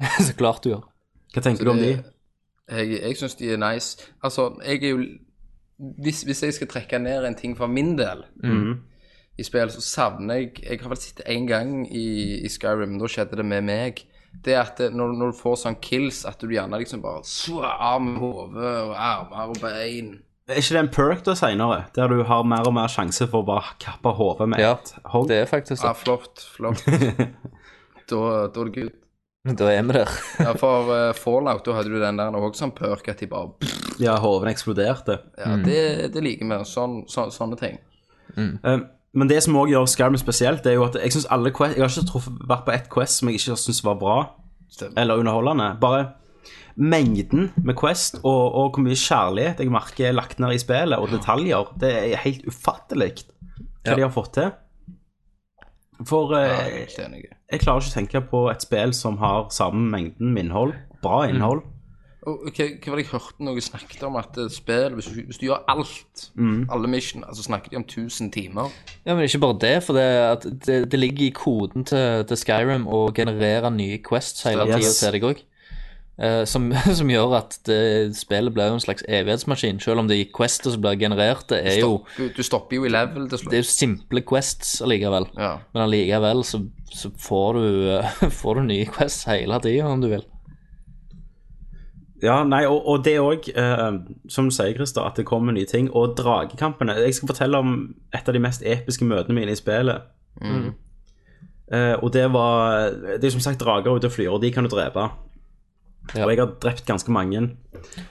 Speaker 3: så klart du gjør.
Speaker 1: Hva tenker du om de?
Speaker 2: det- Eh, Jeg, jeg syns de er nice. Altså, jeg er jo hvis, hvis jeg skal trekke ned en ting for min del
Speaker 3: mm.
Speaker 1: Mhm.
Speaker 2: i spill, så savner jeg Jeg har vel sett det én gang i, i Skyrim, men da skjedde det med meg. Det er at det, når, når du får sånn kills, at du gjerne liksom bare svær med hodet og armer og bein
Speaker 1: Er ikke det en perk da seinere, der du har mer og mer sjanse for å bare kappe hodet med
Speaker 3: Ja,
Speaker 1: et hogg?
Speaker 3: det er faktisk
Speaker 2: Ja,
Speaker 3: det.
Speaker 2: flott. Flott. Da, da er det good.
Speaker 3: Da er vi der.
Speaker 2: Ja, for eh, Fallout, da hadde du den der også sånn perk at de bare
Speaker 1: Ja, hoven eksploderte.
Speaker 2: Ja, det, det liker vi. Sånn, så, sånne ting.
Speaker 1: Um, men det som òg gjør Skyrim spesielt, det er jo at jeg synes alle quest, Jeg har ikke truffet, vært på ett quest som jeg ikke syns var bra
Speaker 2: Stemmer.
Speaker 1: eller underholdende. Bare mengden med quest og, og hvor mye kjærlighet jeg merker er lagt ned i spillet, og detaljer, det er helt ufattelig hva
Speaker 3: Ja.
Speaker 1: de har fått til. For
Speaker 2: Ja,
Speaker 1: eh,
Speaker 2: jeg er helt enig.
Speaker 1: jeg klarer ikke å tenke på et spill som har samme mengden med innhold. Bra innhold.
Speaker 2: Og, ok, hva var det jeg hørte noe snakket om? At eh, spill, hvis du, hvis du gjør alt,
Speaker 3: Mm.
Speaker 2: alle mission, altså snakket de om 1000 timer.
Speaker 3: Ja, men ikke bare det, for det, er at det, det ligger i koden til, til Skyrim å generere nye quests hele tiden
Speaker 1: Yes.
Speaker 3: til deg òg. som, som gjør at det, spillet blir jo en slags evighetsmaskin. Selv om de questene som blir generert, det er jo,
Speaker 2: Du, du stopper jo i level til
Speaker 3: det
Speaker 2: slutt.
Speaker 3: er jo simple quests allikevel.
Speaker 2: Ja.
Speaker 3: Men allikevel så, så får, du, eh, får du nye quests hele tida, om du vil.
Speaker 1: Ja, nei, og, og det òg, som du sier, Christer, at det kommer nye ting. Og dragekampene. Jeg skal fortelle om et av de mest episke møtene mine i spillet.
Speaker 3: Mm.
Speaker 1: Eh, og det var Det er som sagt drager ute og flyr, og de kan du drepe.
Speaker 3: Ja.
Speaker 1: Og jeg har drept ganske mange.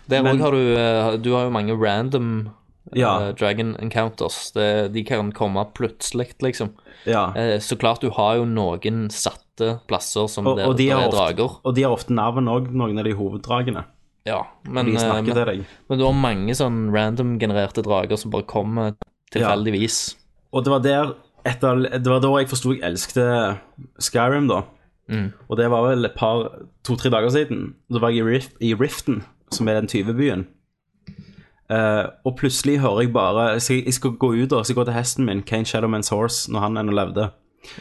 Speaker 3: Der
Speaker 1: Men-
Speaker 3: òg har du eh, Du har jo mange random eh,
Speaker 1: Ja.
Speaker 3: dragon encounters. Det, de kan komme plutselig, liksom.
Speaker 1: Ja.
Speaker 3: Eh, Så klart du har jo noen satte plasser som
Speaker 1: Og,
Speaker 3: der,
Speaker 1: og, de
Speaker 3: der
Speaker 1: har
Speaker 3: er
Speaker 1: ofte,
Speaker 3: drager.
Speaker 1: og de har ofte navn òg, noen av de hoveddragene.
Speaker 3: Ja, men,
Speaker 1: De
Speaker 3: eh,
Speaker 1: snakker
Speaker 3: men,
Speaker 1: til deg.
Speaker 3: men du har mange sånn random-genererte drager som bare kommer tilfeldigvis.
Speaker 1: Og det var der etter, Det var da jeg forsto jeg elsket Skyrim, da.
Speaker 3: Mm.
Speaker 1: Og det var vel et par to-tre dager siden. Da var jeg i, Rif i Riften, som er den tyvebyen. Eh, og plutselig hører jeg bare Jeg skal, jeg skal gå ut og skal gå til hesten min, Kane Shadowman's Horse, når han ennå levde.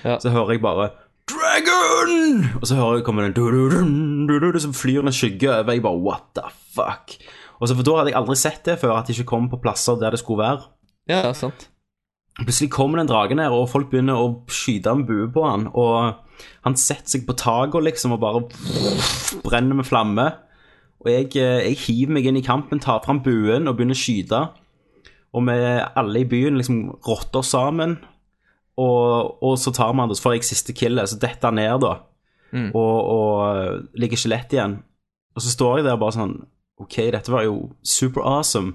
Speaker 3: Ja.
Speaker 1: Så hører jeg bare Dragon! Og så hører jeg kommer den du-du-dun, du-du-du, Så flyr det en skygge over. Jeg bare What the fuck? Og så For da hadde jeg aldri sett det før, at det ikke kom på plasser der det skulle være.
Speaker 3: Ja, ja, sant.
Speaker 1: Plutselig kommer den dragen her, og folk begynner å skyte en bue på han, og han setter seg på taket liksom, og bare brenner med flamme. Og jeg, eh, jeg hiver meg inn i kampen, tar fram buen og begynner å skyte. Og vi alle i byen liksom rotter oss sammen, og, og så tar man det, så får jeg siste killet, så detter han ned da,
Speaker 3: Mm.
Speaker 1: og, og ligger skjelett igjen. Og så står jeg der bare sånn, ok, dette var jo super awesome.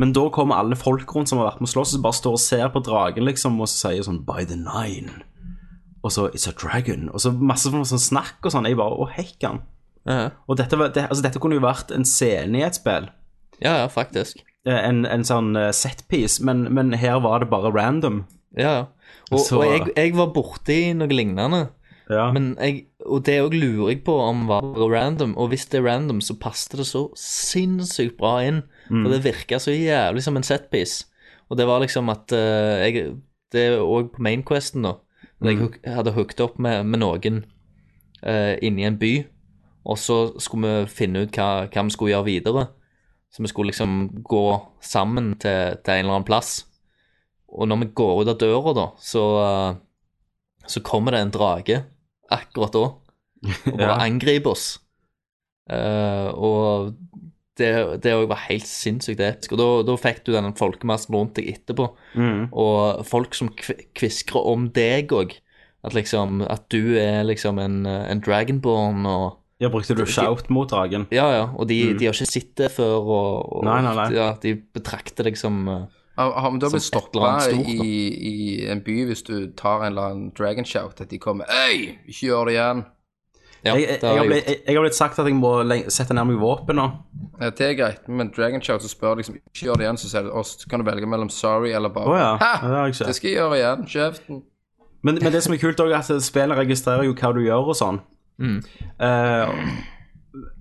Speaker 1: Men da kommer alle folk rundt som har vært med å slåss, og bare står og ser på dragen, liksom, og så sier sånn By the nine. Og så It's a dragon. Og så masse sånn sånn snakk og sånn. Jeg bare Å, hekkan.
Speaker 3: Ja,
Speaker 1: Og dette, var, det, altså, dette kunne jo vært en scene i et spill.
Speaker 3: ja, ja, faktisk.
Speaker 1: Eh, En, en sånn eh, setpiece, men, men her var det bare random.
Speaker 3: Ja, ja. Og,
Speaker 1: Så-
Speaker 3: og jeg, jeg var borti noe lignende.
Speaker 1: Ja.
Speaker 3: Men jeg, og det òg lurer jeg på om var random, og hvis det er random, så passet det så sinnssykt bra inn. For det virka så jævlig som en setpiece. Og det var liksom at eh, jeg, Det er òg på Mainquesten, da. når Jeg hook- hadde hooket opp med, med noen uh, inni en by, og så skulle vi finne ut hva, hva vi skulle gjøre videre. Så vi skulle liksom gå sammen til, til en eller annen plass. Og når vi går ut av døra, da, så, eh, så kommer det en drage akkurat da, og bare
Speaker 1: Ja.
Speaker 3: angriper oss. Eh, og det det òg var helt sinnssykt episk. Og da, da fikk du den folkemassen rundt deg etterpå,
Speaker 1: Mm.
Speaker 3: og folk som kv- kviskrer om deg òg. At liksom, at du er liksom en, eh, en dragonborn og
Speaker 1: ja, brukte du shout mot dragen?
Speaker 3: Ja, ja, og de, de har ikke sett det før, og, og
Speaker 1: Mm. Nei, nei, nei.
Speaker 3: Ja, de betrakter deg som eh,
Speaker 2: Har, har vi da
Speaker 3: Som
Speaker 2: blitt
Speaker 3: et eller
Speaker 2: stoppa
Speaker 3: annet stort,
Speaker 2: i,
Speaker 3: da.
Speaker 2: i en by hvis du tar en eller annen dragon shout, at de kommer Øy, ikke gjør det igjen.
Speaker 3: Ja,
Speaker 1: jeg, jeg,
Speaker 3: det
Speaker 1: jeg,
Speaker 3: har
Speaker 1: har
Speaker 3: jeg
Speaker 1: blitt,
Speaker 3: gjort.
Speaker 1: jeg, jeg har blitt sagt at jeg må leng- sette ned meg våpen nå.
Speaker 2: Ja, det er greit, men dragon shout så spør liksom Ikke gjør det igjen, så sier du oss. Kan du velge mellom sorry eller
Speaker 1: Å
Speaker 2: bare
Speaker 1: ja.
Speaker 2: Hæ!
Speaker 1: ja. Det har jeg ikke.
Speaker 2: Det skal jeg gjøre igjen. Kjeften.
Speaker 1: Men, men det som er kult også er at spillet registrerer jo hva du gjør og sånn.
Speaker 3: Mm.
Speaker 1: Eh,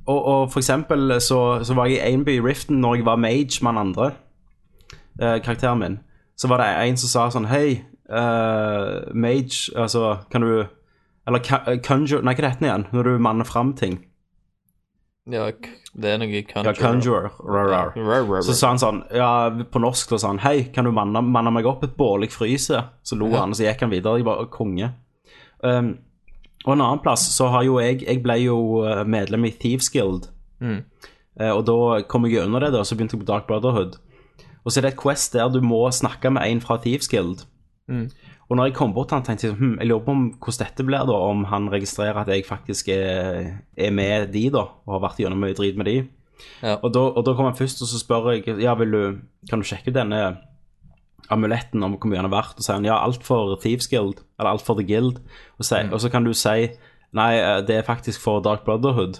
Speaker 1: og, og for eksempel så, så var jeg i en by i Riften når jeg var mage med han andre, eh, karakteren min. Så var det en som sa sånn, hei, eh, mage, altså, kan du, eller ca- eh, conjure, nei, hva er det heter igjen, når du manner frem ting?
Speaker 3: Ja, k- det er noe
Speaker 1: Ja,
Speaker 3: conjure.
Speaker 1: conjure, rar, rar.
Speaker 3: Rar, rar,
Speaker 1: Så
Speaker 3: rar.
Speaker 1: sa han sånn, ja, på norsk da sa han Hei, kan du manne, manne meg opp et bål, jeg fryser? Så lo
Speaker 3: Ja.
Speaker 1: han, og så gikk han videre. Jeg bare konge. Um, og en annen plass så har jo jeg Jeg ble jo eh, medlem i Thieves Guild.
Speaker 3: Mm.
Speaker 1: Eh, og da kom jeg gjennom det, da, så begynte jeg på Dark Brotherhood. Og så er det et quest der du må snakke med en fra Thieves Guild.
Speaker 3: Mm.
Speaker 1: Og når jeg kom bort til han, tenkte jeg sånn, hm, jeg lurer på om, hvordan dette blir, da, om han registrerer at jeg faktisk er, er med de, da, og har vært gjennom mye drit med de.
Speaker 3: Ja.
Speaker 1: Og, da, og da kom han først, og så spør jeg ja, vil du, kan du sjekke ut denne amuletten om hvor mye den er verdt, og sier han ja, alt for Thieves Guild, eller alt for The Guild, og, sier-
Speaker 3: Mm.
Speaker 1: og så kan du si nei, eh, det er faktisk for Dark Brotherhood.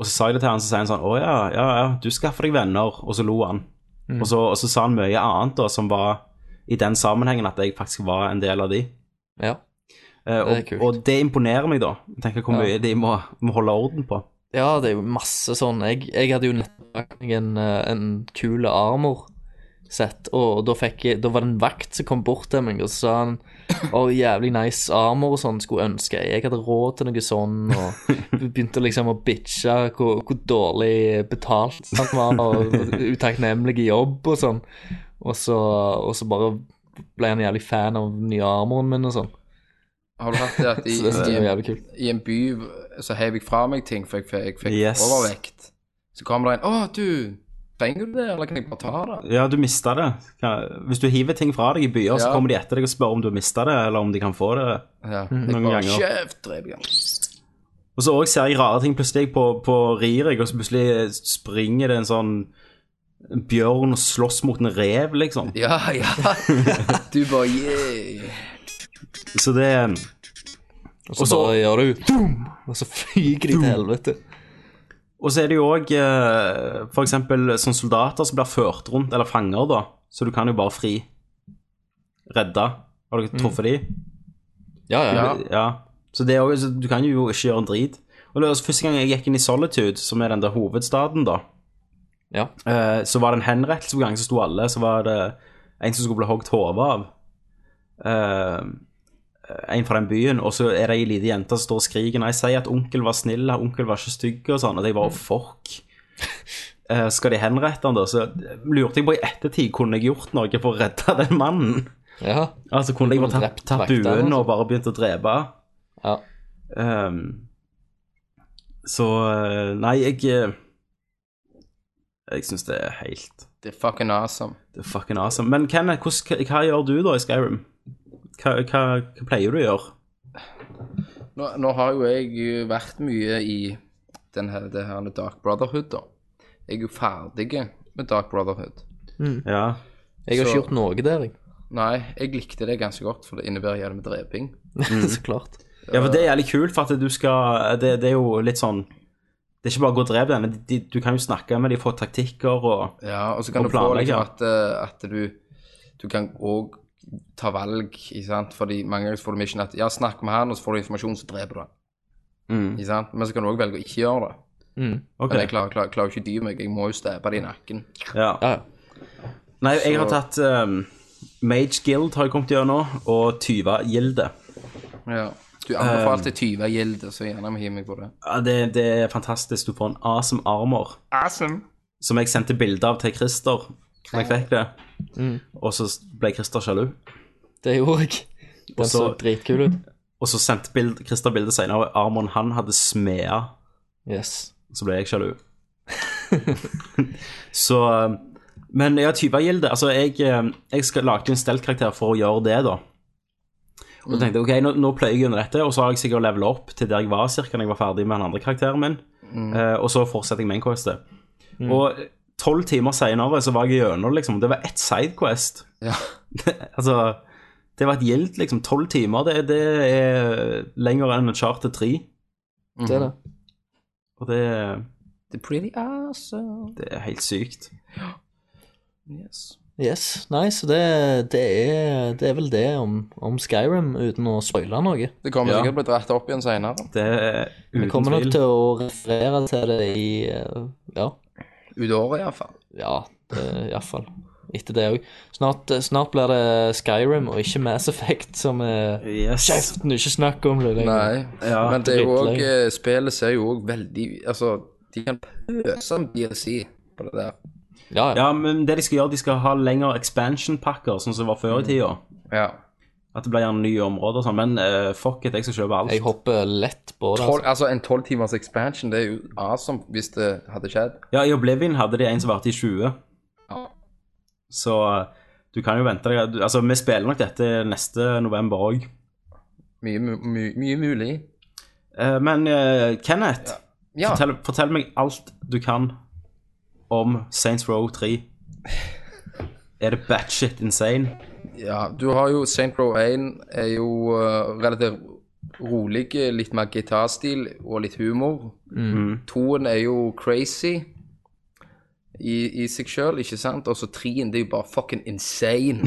Speaker 1: Og så sa jeg det til han, så sier han sånn, å ja, ja, ja, du skaffer deg venner, og så lo han.
Speaker 3: Mm.
Speaker 1: Og, så, og så sa han mye annet da, som var i den sammenhengen at jeg faktisk var en del av de.
Speaker 3: ja.
Speaker 1: Eh, og,
Speaker 3: Det er kult.
Speaker 1: og det imponerer meg da. Jeg tenker hvor
Speaker 3: Ja.
Speaker 1: mye de må, må holde orden på.
Speaker 3: ja, det er jo masse sånn. Jeg, jeg hadde jo nettopp lagt meg en, eh, en kule armor sett, og da, fikk jeg, da var det en vakt som kom bort til meg og så sa han å, jævlig nice armor og sånn, skulle ønske jeg hadde råd til noe sånn, og begynte liksom å bitche hvor, hvor dårlig betalt han var, og utakknemlig i jobb og sånn. Og så, og så bare ble han jævlig fan av den nye armoren min og sånn.
Speaker 2: Har du hatt det at i,
Speaker 3: Så det synes jeg
Speaker 2: i,
Speaker 3: var jævlig kult.
Speaker 2: i en by så heiv jeg fra meg ting, for jeg, fikk- jeg fikk
Speaker 1: Yes.
Speaker 2: overvekt. Så kommer det en 'Å, du, trenger du det, eller kan jeg bare ta det?'
Speaker 1: Ja, du mista det. Kan- Hvis du hiver ting fra deg i byer, så
Speaker 2: Ja.
Speaker 1: kommer de etter deg og spør om du har mista det, eller om de kan få det.
Speaker 2: Ja,
Speaker 1: noen
Speaker 2: jeg bare
Speaker 1: ganger.
Speaker 2: Kjeft, drev igjen.
Speaker 1: Og så også ser jeg rare ting plutselig på, på Ririk, og så plutselig springer det en sånn bjørn og slåss mot en rev, liksom.
Speaker 2: Ja, ja. Du bare yeah.
Speaker 1: Så det
Speaker 3: Og så
Speaker 1: Og så-
Speaker 3: bare gjør du doom, og så fyker de til helvete.
Speaker 1: Og så er det jo òg f.eks. sånn soldater som blir ført rundt, eller fanger, da. Så du kan jo bare fri. Redde. Har dere truffet de?
Speaker 3: Ja, ja.
Speaker 2: Ja.
Speaker 1: Ja. Så det er også, så du kan jo ikke gjøre en drit. Og det var Første gang jeg gikk inn i Solitude, som er den der hovedstaden, da,
Speaker 3: ja.
Speaker 1: eh, så var det en henrettelse på gang, så sto alle, så var det en som skulle bli hogd hodet av. Eh, en fra den byen, og så er det ei lita jente som står og skriker Nei, si at onkel var snill, onkel var ikke stygg, og sånn. Og jeg bare fuck. Eh, skal de henrette han da? Så lurte jeg på i ettertid, kunne jeg gjort noe for å redde den mannen?
Speaker 3: ja.
Speaker 1: Altså, kunne jeg
Speaker 3: Kunne
Speaker 1: bare tatt
Speaker 3: drept
Speaker 1: tatt
Speaker 3: vekten,
Speaker 1: buen
Speaker 3: altså.
Speaker 1: og bare begynt å drepe?
Speaker 3: ja.
Speaker 1: Ehm, så eh, Nei, jeg eh, Jeg syns det er helt
Speaker 2: Det er fucking awesome.
Speaker 1: Det er fucking awesome. Men Kenneth, hvordan, hva, hva gjør du da i Skyrim? Hva, hva, hva pleier du å gjøre?
Speaker 2: Nå, nå har jo jeg vært mye i den her, det her med Dark Brotherhood, da. Jeg er jo ferdig med Dark Brotherhood.
Speaker 1: Ja.
Speaker 3: Jeg har
Speaker 2: Så-
Speaker 3: ikke gjort noe der, jeg.
Speaker 2: Nei, jeg likte det ganske godt, for det innebærer jævlig med dreping.
Speaker 3: så klart.
Speaker 1: ja, for det er jævlig kult, for at du skal det, det er jo litt sånn Det er ikke bare å gå og drepe dem, men de, de, du kan jo snakke med dem, få taktikker og
Speaker 2: Ja, og så kan
Speaker 1: Og
Speaker 2: du få
Speaker 1: planlegge,
Speaker 2: liksom
Speaker 1: ja.
Speaker 2: at, eh, at du Du kan òg ta valg, ikke sant. Fordi mange ganger så får du mission at ja, snakk med han, og så får du informasjon, så dreper du han.
Speaker 1: Mm.
Speaker 2: Ikke sant? Men så kan du òg velge å ikke gjøre det.
Speaker 3: Mm.
Speaker 1: Ok.
Speaker 2: Men jeg klarer, klarer, klarer jo ikke dy meg, jeg må jo stabbe det i nakken.
Speaker 1: Ja.
Speaker 3: Ja, ja.
Speaker 1: Nei, jeg har tatt um, Mage Guild har jeg kommet gjennom, og Tyva-gilde.
Speaker 2: Ja. Du anbefalte
Speaker 1: Um.
Speaker 2: tyvegilde, så gjerne vi hiver meg på det.
Speaker 1: Ja, det, det er fantastisk. Du får en awesome armor.
Speaker 2: Awesome.
Speaker 1: som jeg sendte bilde av til Christer når jeg fikk det. Og så ble Christer sjalu.
Speaker 3: Det gjorde jeg. Den
Speaker 1: Og
Speaker 3: så,
Speaker 1: så-
Speaker 3: dritkul ut.
Speaker 1: Og så sendte bild, Christer bilde senere av armoren han hadde smeda.
Speaker 3: Yes.
Speaker 1: Så ble jeg sjalu. så eh, Men ja, tyvegilde. Altså, jeg, eh, jeg skal, lagde jo en stelt-karakter for å gjøre det, da. Og så tenkte jeg, ok, nå, nå pløyer jeg under dette, og så har jeg sikkert levela opp til der jeg var cirka når jeg var ferdig med den andre karakteren min. Eh, og så fortsetter jeg main questet. Og tolv timer senere så var jeg gjennom, liksom. Det var ett sidequest.
Speaker 2: Ja.
Speaker 1: altså, det var et gildt, liksom. Tolv timer, det, det er lenger enn en charter 3.
Speaker 2: Mm.
Speaker 3: Det er det.
Speaker 1: Og det,
Speaker 2: The pretty awesome.
Speaker 1: det er helt sykt.
Speaker 2: Yes.
Speaker 3: Yes. Nei, så det, det, er, det er vel det om, om Skyrim, uten å spoile noe.
Speaker 2: Det kommer
Speaker 1: Ja.
Speaker 2: sikkert til å bli dratt opp igjen seinere.
Speaker 1: Det er
Speaker 3: Vi
Speaker 1: uten
Speaker 3: kommer nok
Speaker 1: tvil.
Speaker 3: til å referere til det i eh, Ja.
Speaker 2: Ut året, iallfall.
Speaker 3: Ja, iallfall. Etter det òg. Snart, snart blir det Skyrim og ikke Mass Effect som er
Speaker 1: Yes.
Speaker 3: Kjeften, ikke snakk om det lenger.
Speaker 2: Nei.
Speaker 1: Ja.
Speaker 2: Men det er jo
Speaker 3: Dritlenge.
Speaker 2: òg Spillet ser jo òg veldig Altså, de kan pøse om DLC på det der.
Speaker 3: Ja, ja.
Speaker 1: Ja, men det de skal gjøre, de skal ha lengre expansion-pakker, sånn som det var før
Speaker 3: Mm.
Speaker 1: i tida.
Speaker 2: Ja.
Speaker 1: At det blir gjerne nye områder og sånn, men eh, fuck it, jeg skal kjøpe alt.
Speaker 3: Jeg hopper lett på det.
Speaker 2: Tolv- altså, en tolv timers expansion, det er jo awesome hvis det hadde skjedd.
Speaker 1: Ja, i Oblivion hadde de en som varte i 20.
Speaker 2: Ja.
Speaker 1: Så eh, du kan jo vente deg du- Altså, vi spiller nok dette neste november òg.
Speaker 2: Mye, mu- mu- mye mulig.
Speaker 1: Men eh, Kenneth,
Speaker 2: Ja.
Speaker 1: fortell, fortell meg alt du kan om Saints Row 3. Er det batshit insane?
Speaker 2: Ja, du har jo St. Row 1 er jo eh, relativt rolig, litt mer gitarstil og litt humor. Toen er jo crazy i, i seg sjøl, ikke sant? Og så treen, det er jo bare fucking insane.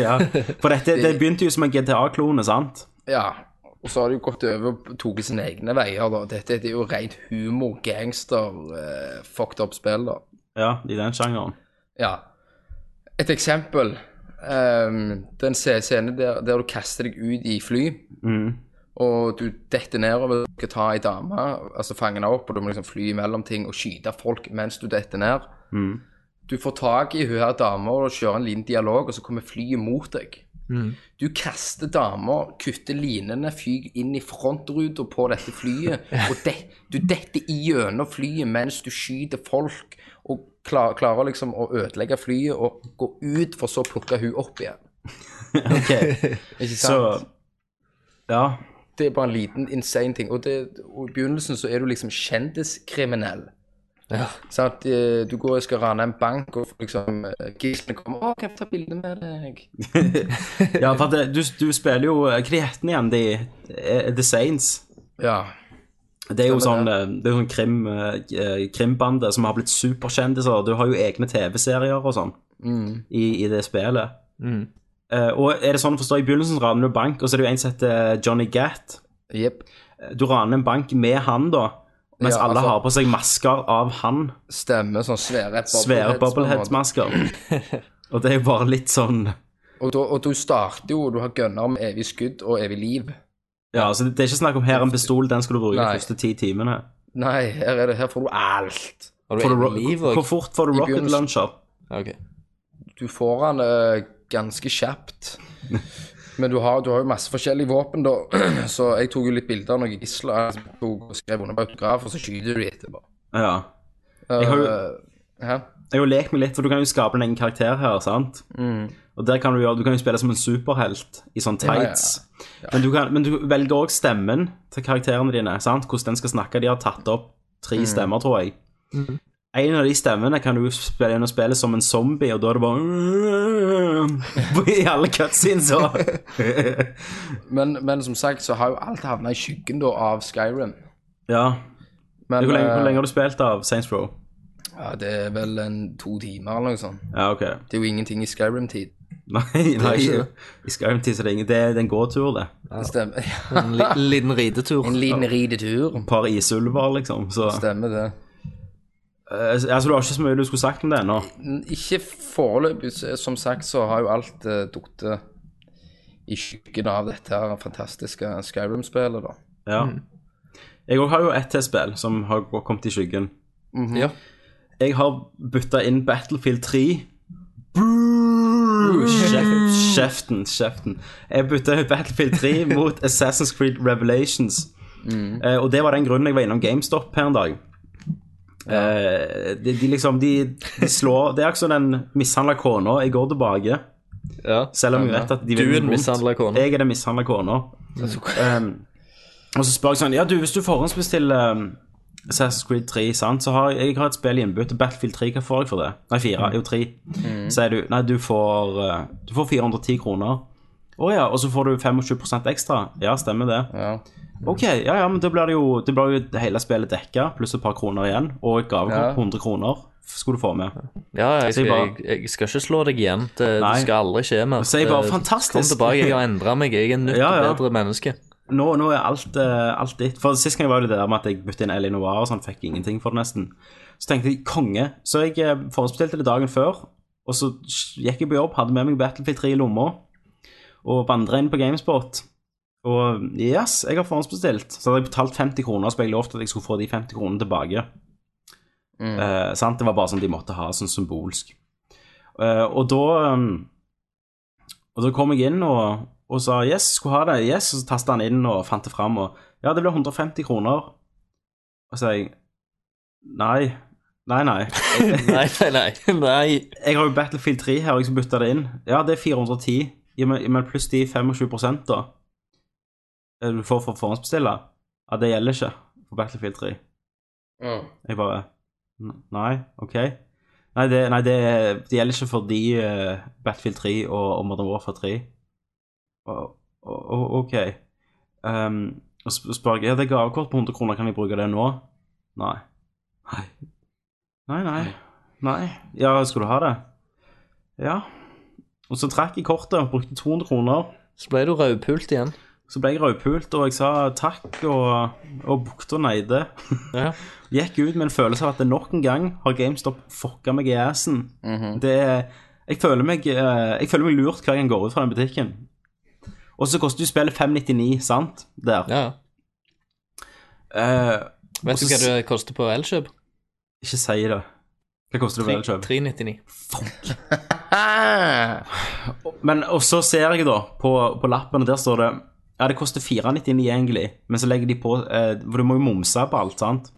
Speaker 1: Ja. For dette, det begynte jo som en GTA-klone, sant?
Speaker 2: ja. Og så har de jo gått over og tatt sine egne veier, da. Dette det er jo rent humor, gangster, eh, fucked up spill, da.
Speaker 1: Ja, i den sjangeren.
Speaker 2: Ja. Et eksempel. ehm, den se- scenen der, der du kaster deg ut i fly.
Speaker 1: Mm.
Speaker 2: Og du detter nedover, du skal ta ei dame, altså fange henne opp, og du må liksom fly mellom ting og skyte folk mens du detter ned.
Speaker 1: Mm.
Speaker 2: Du får tak i hun her dama og kjører en liten dialog, og så kommer flyet mot deg.
Speaker 3: Mm.
Speaker 2: Du kaster dama, kutter linene, fyker inn i frontruta på dette flyet. Og det, du detter igjennom flyet mens du skyter folk, og klar, klarer liksom å ødelegge flyet og gå ut, for så å plukke hun opp igjen.
Speaker 1: Ok,
Speaker 2: Ikke
Speaker 1: så Ja.
Speaker 2: Det er bare en liten insane ting. Og, det, og i begynnelsen så er du liksom kjendiskriminell. Sant? Eh, Du går og skal rane en bank, og liksom eh, gislene kommer 'Å, kan jeg få ta bilde med deg?'
Speaker 1: ja for at det, du, du spiller jo eh, Hva heter den igjen? De, eh, The Saints.
Speaker 2: Ja.
Speaker 1: Det er jo
Speaker 2: Stemmer
Speaker 1: sånn, eh, det er jo sånn krim, eh, krimbande som har blitt superkjendiser. Du har jo egne TV-serier og sånn
Speaker 2: Mm.
Speaker 1: i, i det spillet. Eh, og er det sånn å forstå, I begynnelsen raner du bank, og så er det jo en som heter eh, Johnny Gatt.
Speaker 2: Jepp.
Speaker 1: Du raner en bank med han, da, mens
Speaker 2: Ja,
Speaker 1: alle
Speaker 2: altså-
Speaker 1: har på seg masker av han.
Speaker 2: Stemmer sånn svære
Speaker 1: Svære
Speaker 2: bobbleheads på en måte.
Speaker 1: bobbleheads-masker. og det er jo bare litt sånn
Speaker 2: Og, da, og du starter jo, du har gønner om evig skudd og evig liv.
Speaker 1: Ja, så det, det er ikke snakk om her er en pistol, den skal du bruke
Speaker 2: Nei.
Speaker 1: de første ti timene.
Speaker 2: Nei, her er det, her får du alt.
Speaker 3: Har
Speaker 1: Får
Speaker 3: du
Speaker 1: du ro-
Speaker 3: eget liv og
Speaker 1: Hvor fort får du rocket
Speaker 2: begynnelsen.
Speaker 1: launcher?
Speaker 3: Ok.
Speaker 2: Du får han eh, ganske kjapt. Men du har, du har jo masse forskjellige våpen, da. Så jeg tok jo litt bilder av noen gisler. eh, Jeg tok og skrev under på autograf, og så skyter du de etterpå.
Speaker 1: Ja. Jeg har jo-
Speaker 2: Eh, hæ?
Speaker 1: Jeg har jo lekt meg litt, for du kan jo skape en egen karakter her, sant?
Speaker 2: Mm.
Speaker 1: Og der kan du, gjøre, du kan jo spille som en superhelt i sånn tights. Men, du kan, men du velger òg stemmen til karakterene dine, sant? hvordan den skal snakke. De har tatt opp
Speaker 2: Mm.
Speaker 1: tre stemmer, tror jeg. En av de stemmene kan du spille inn og spille som en zombie, og da er det bare I alle cutscenes så
Speaker 2: Men, men som sagt så har jo alt havna i skyggen da av Skyrim.
Speaker 1: Ja.
Speaker 2: Men
Speaker 1: Hvor lenge,
Speaker 2: eh,
Speaker 1: hvor lenge har du spilt av Saints Row?
Speaker 2: Ja, det er vel en to timer eller noe sånt.
Speaker 1: Ja, OK.
Speaker 2: Det er jo ingenting i Skyrim-tid.
Speaker 1: Nei, nei
Speaker 2: ikke det.
Speaker 1: i Skyrim tid så lenge. Det er det er en gåtur, det.
Speaker 2: Det Stemmer. Ja.
Speaker 3: En li liten ridetur.
Speaker 2: En liten ridetur.
Speaker 1: Et par isulver, liksom. Så
Speaker 2: Stemmer det.
Speaker 1: Eh, Altså, du har ikke så mye du skulle sagt om det ennå.
Speaker 2: N- Ikke foreløpig. så- Som sagt så har jo alt uh, falt i skyggen av dette her fantastiske Skyrim-spillet, da.
Speaker 1: Ja.
Speaker 3: Mm.
Speaker 1: Jeg òg har jo ett til spill som har gå- kommet i skyggen.
Speaker 3: Ja.
Speaker 1: Jeg har bytta inn Battlefield 3. Brrr, kjef- Kjeften, kjeften. Jeg bytta Battlefield 3 mot Assassin's Creed Revelations.
Speaker 3: Mm.
Speaker 1: Eh, og det var den grunnen jeg var innom GameStop her en dag. Eh, de, de liksom de, de slår Det er akkurat som den mishandla kona jeg går tilbake.
Speaker 3: ja.
Speaker 1: Selv om vi vet at de
Speaker 3: Du er
Speaker 1: vil
Speaker 3: den
Speaker 1: vondt.
Speaker 3: mishandlet kona.
Speaker 1: Jeg er den mishandla kona. Um, og så spør jeg sånn Ja, du, hvis du forhåndsbestiller um, Assassin's Creed 3, sant, så har jeg, jeg har et spill i innbytte. Battlefield 3, hva får jeg for det? Nei,
Speaker 2: Mm.
Speaker 1: 4. Jo, 3. Så Sier du Nei, du får, uh, du får 410 kroner. Å ja, og så får du 25 ekstra. Ja, stemmer det.
Speaker 2: Ja.
Speaker 1: Ok, ja, ja, men da blir det jo, det blir jo hele spillet dekka, pluss et par kroner igjen. Og et gavekort
Speaker 2: Ja.
Speaker 1: på 100 kroner skulle du få med.
Speaker 3: Ja, jeg
Speaker 1: Så jeg
Speaker 3: skal,
Speaker 1: bare-
Speaker 3: jeg, jeg skal ikke slå deg igjen. Det, det
Speaker 1: Nei.
Speaker 3: skal aldri skje mer.
Speaker 1: Så jeg bare,
Speaker 3: Eh,
Speaker 1: fantastisk.
Speaker 3: Kom tilbake, jeg har endra meg. Jeg er et nytt
Speaker 1: Ja, ja.
Speaker 3: og bedre menneske.
Speaker 1: nå, nå er alt, eh, alt ditt. For Sist gang var det det der med at jeg bytte inn Ellie Noir, og sånn, fikk ingenting for det nesten. Så tenkte jeg konge. Så jeg eh, forhåndsbestilte det dagen før, og så gikk jeg på jobb, hadde med meg Battlefield 3 i lomma, og vandra inn på Gamesport. Og yes, jeg har forhåndsbestilt. Så hadde jeg betalt 50 kroner, så ble jeg lovt at jeg skulle få de 50 kronene tilbake. Eh, sant? Det var bare sånn de måtte ha, sånn symbolsk. Eh, og da eh, og da kom jeg inn og, og sa yes, skulle ha det, yes, og så tastet han inn og fant det fram, og ja, det ble 150 kroner. Og så sa jeg nei, Nei, nei.
Speaker 3: Nei, nei, nei. nei.
Speaker 1: Jeg har jo Battlefield 3 her, og jeg skal bytte det inn. Ja, det er 410, ja, men men pluss de 25 da eh, du får for å forhåndsbestille. Ja, det gjelder ikke for Battlefield 3. Jeg bare "N- Nei, OK. Nei, det, nei, det, det gjelder ikke for de eh, Battlefield 3 og, og Modern Warfare 3. Og, og, og- OK. Ehm, og sp- spør jeg ja, det er gavekort på 100 kroner, kan jeg bruke det nå? Nei. Nei. Nei, nei. Nei. Ja, skal du ha det? Ja. Og så trakk jeg kortet og brukte 200 kroner.
Speaker 3: Så ble du rødpult igjen.
Speaker 1: Så ble jeg rødpult, og jeg sa takk og, og bukte og neide.
Speaker 3: Ja.
Speaker 1: Gikk ut med en følelse av at det nok en gang har GameStop fucka meg i assen.
Speaker 2: Mhm.
Speaker 1: Det er- jeg, føler meg, eh, jeg føler meg lurt hver gang jeg går ut fra den butikken. Og så koster jo spillet 599, sant? Der.
Speaker 3: ja.
Speaker 1: Eh,
Speaker 3: Vet
Speaker 1: Og
Speaker 3: du
Speaker 1: så
Speaker 3: hva det koster på Elkjøp?
Speaker 1: ikke si det. Hva koster det ved Elkjøp?
Speaker 3: 399.
Speaker 1: Men og så ser jeg da på, på lappen, og der står det Ja, det koster 499 egentlig, men så legger de på eh, For du må jo momse på alt, sant?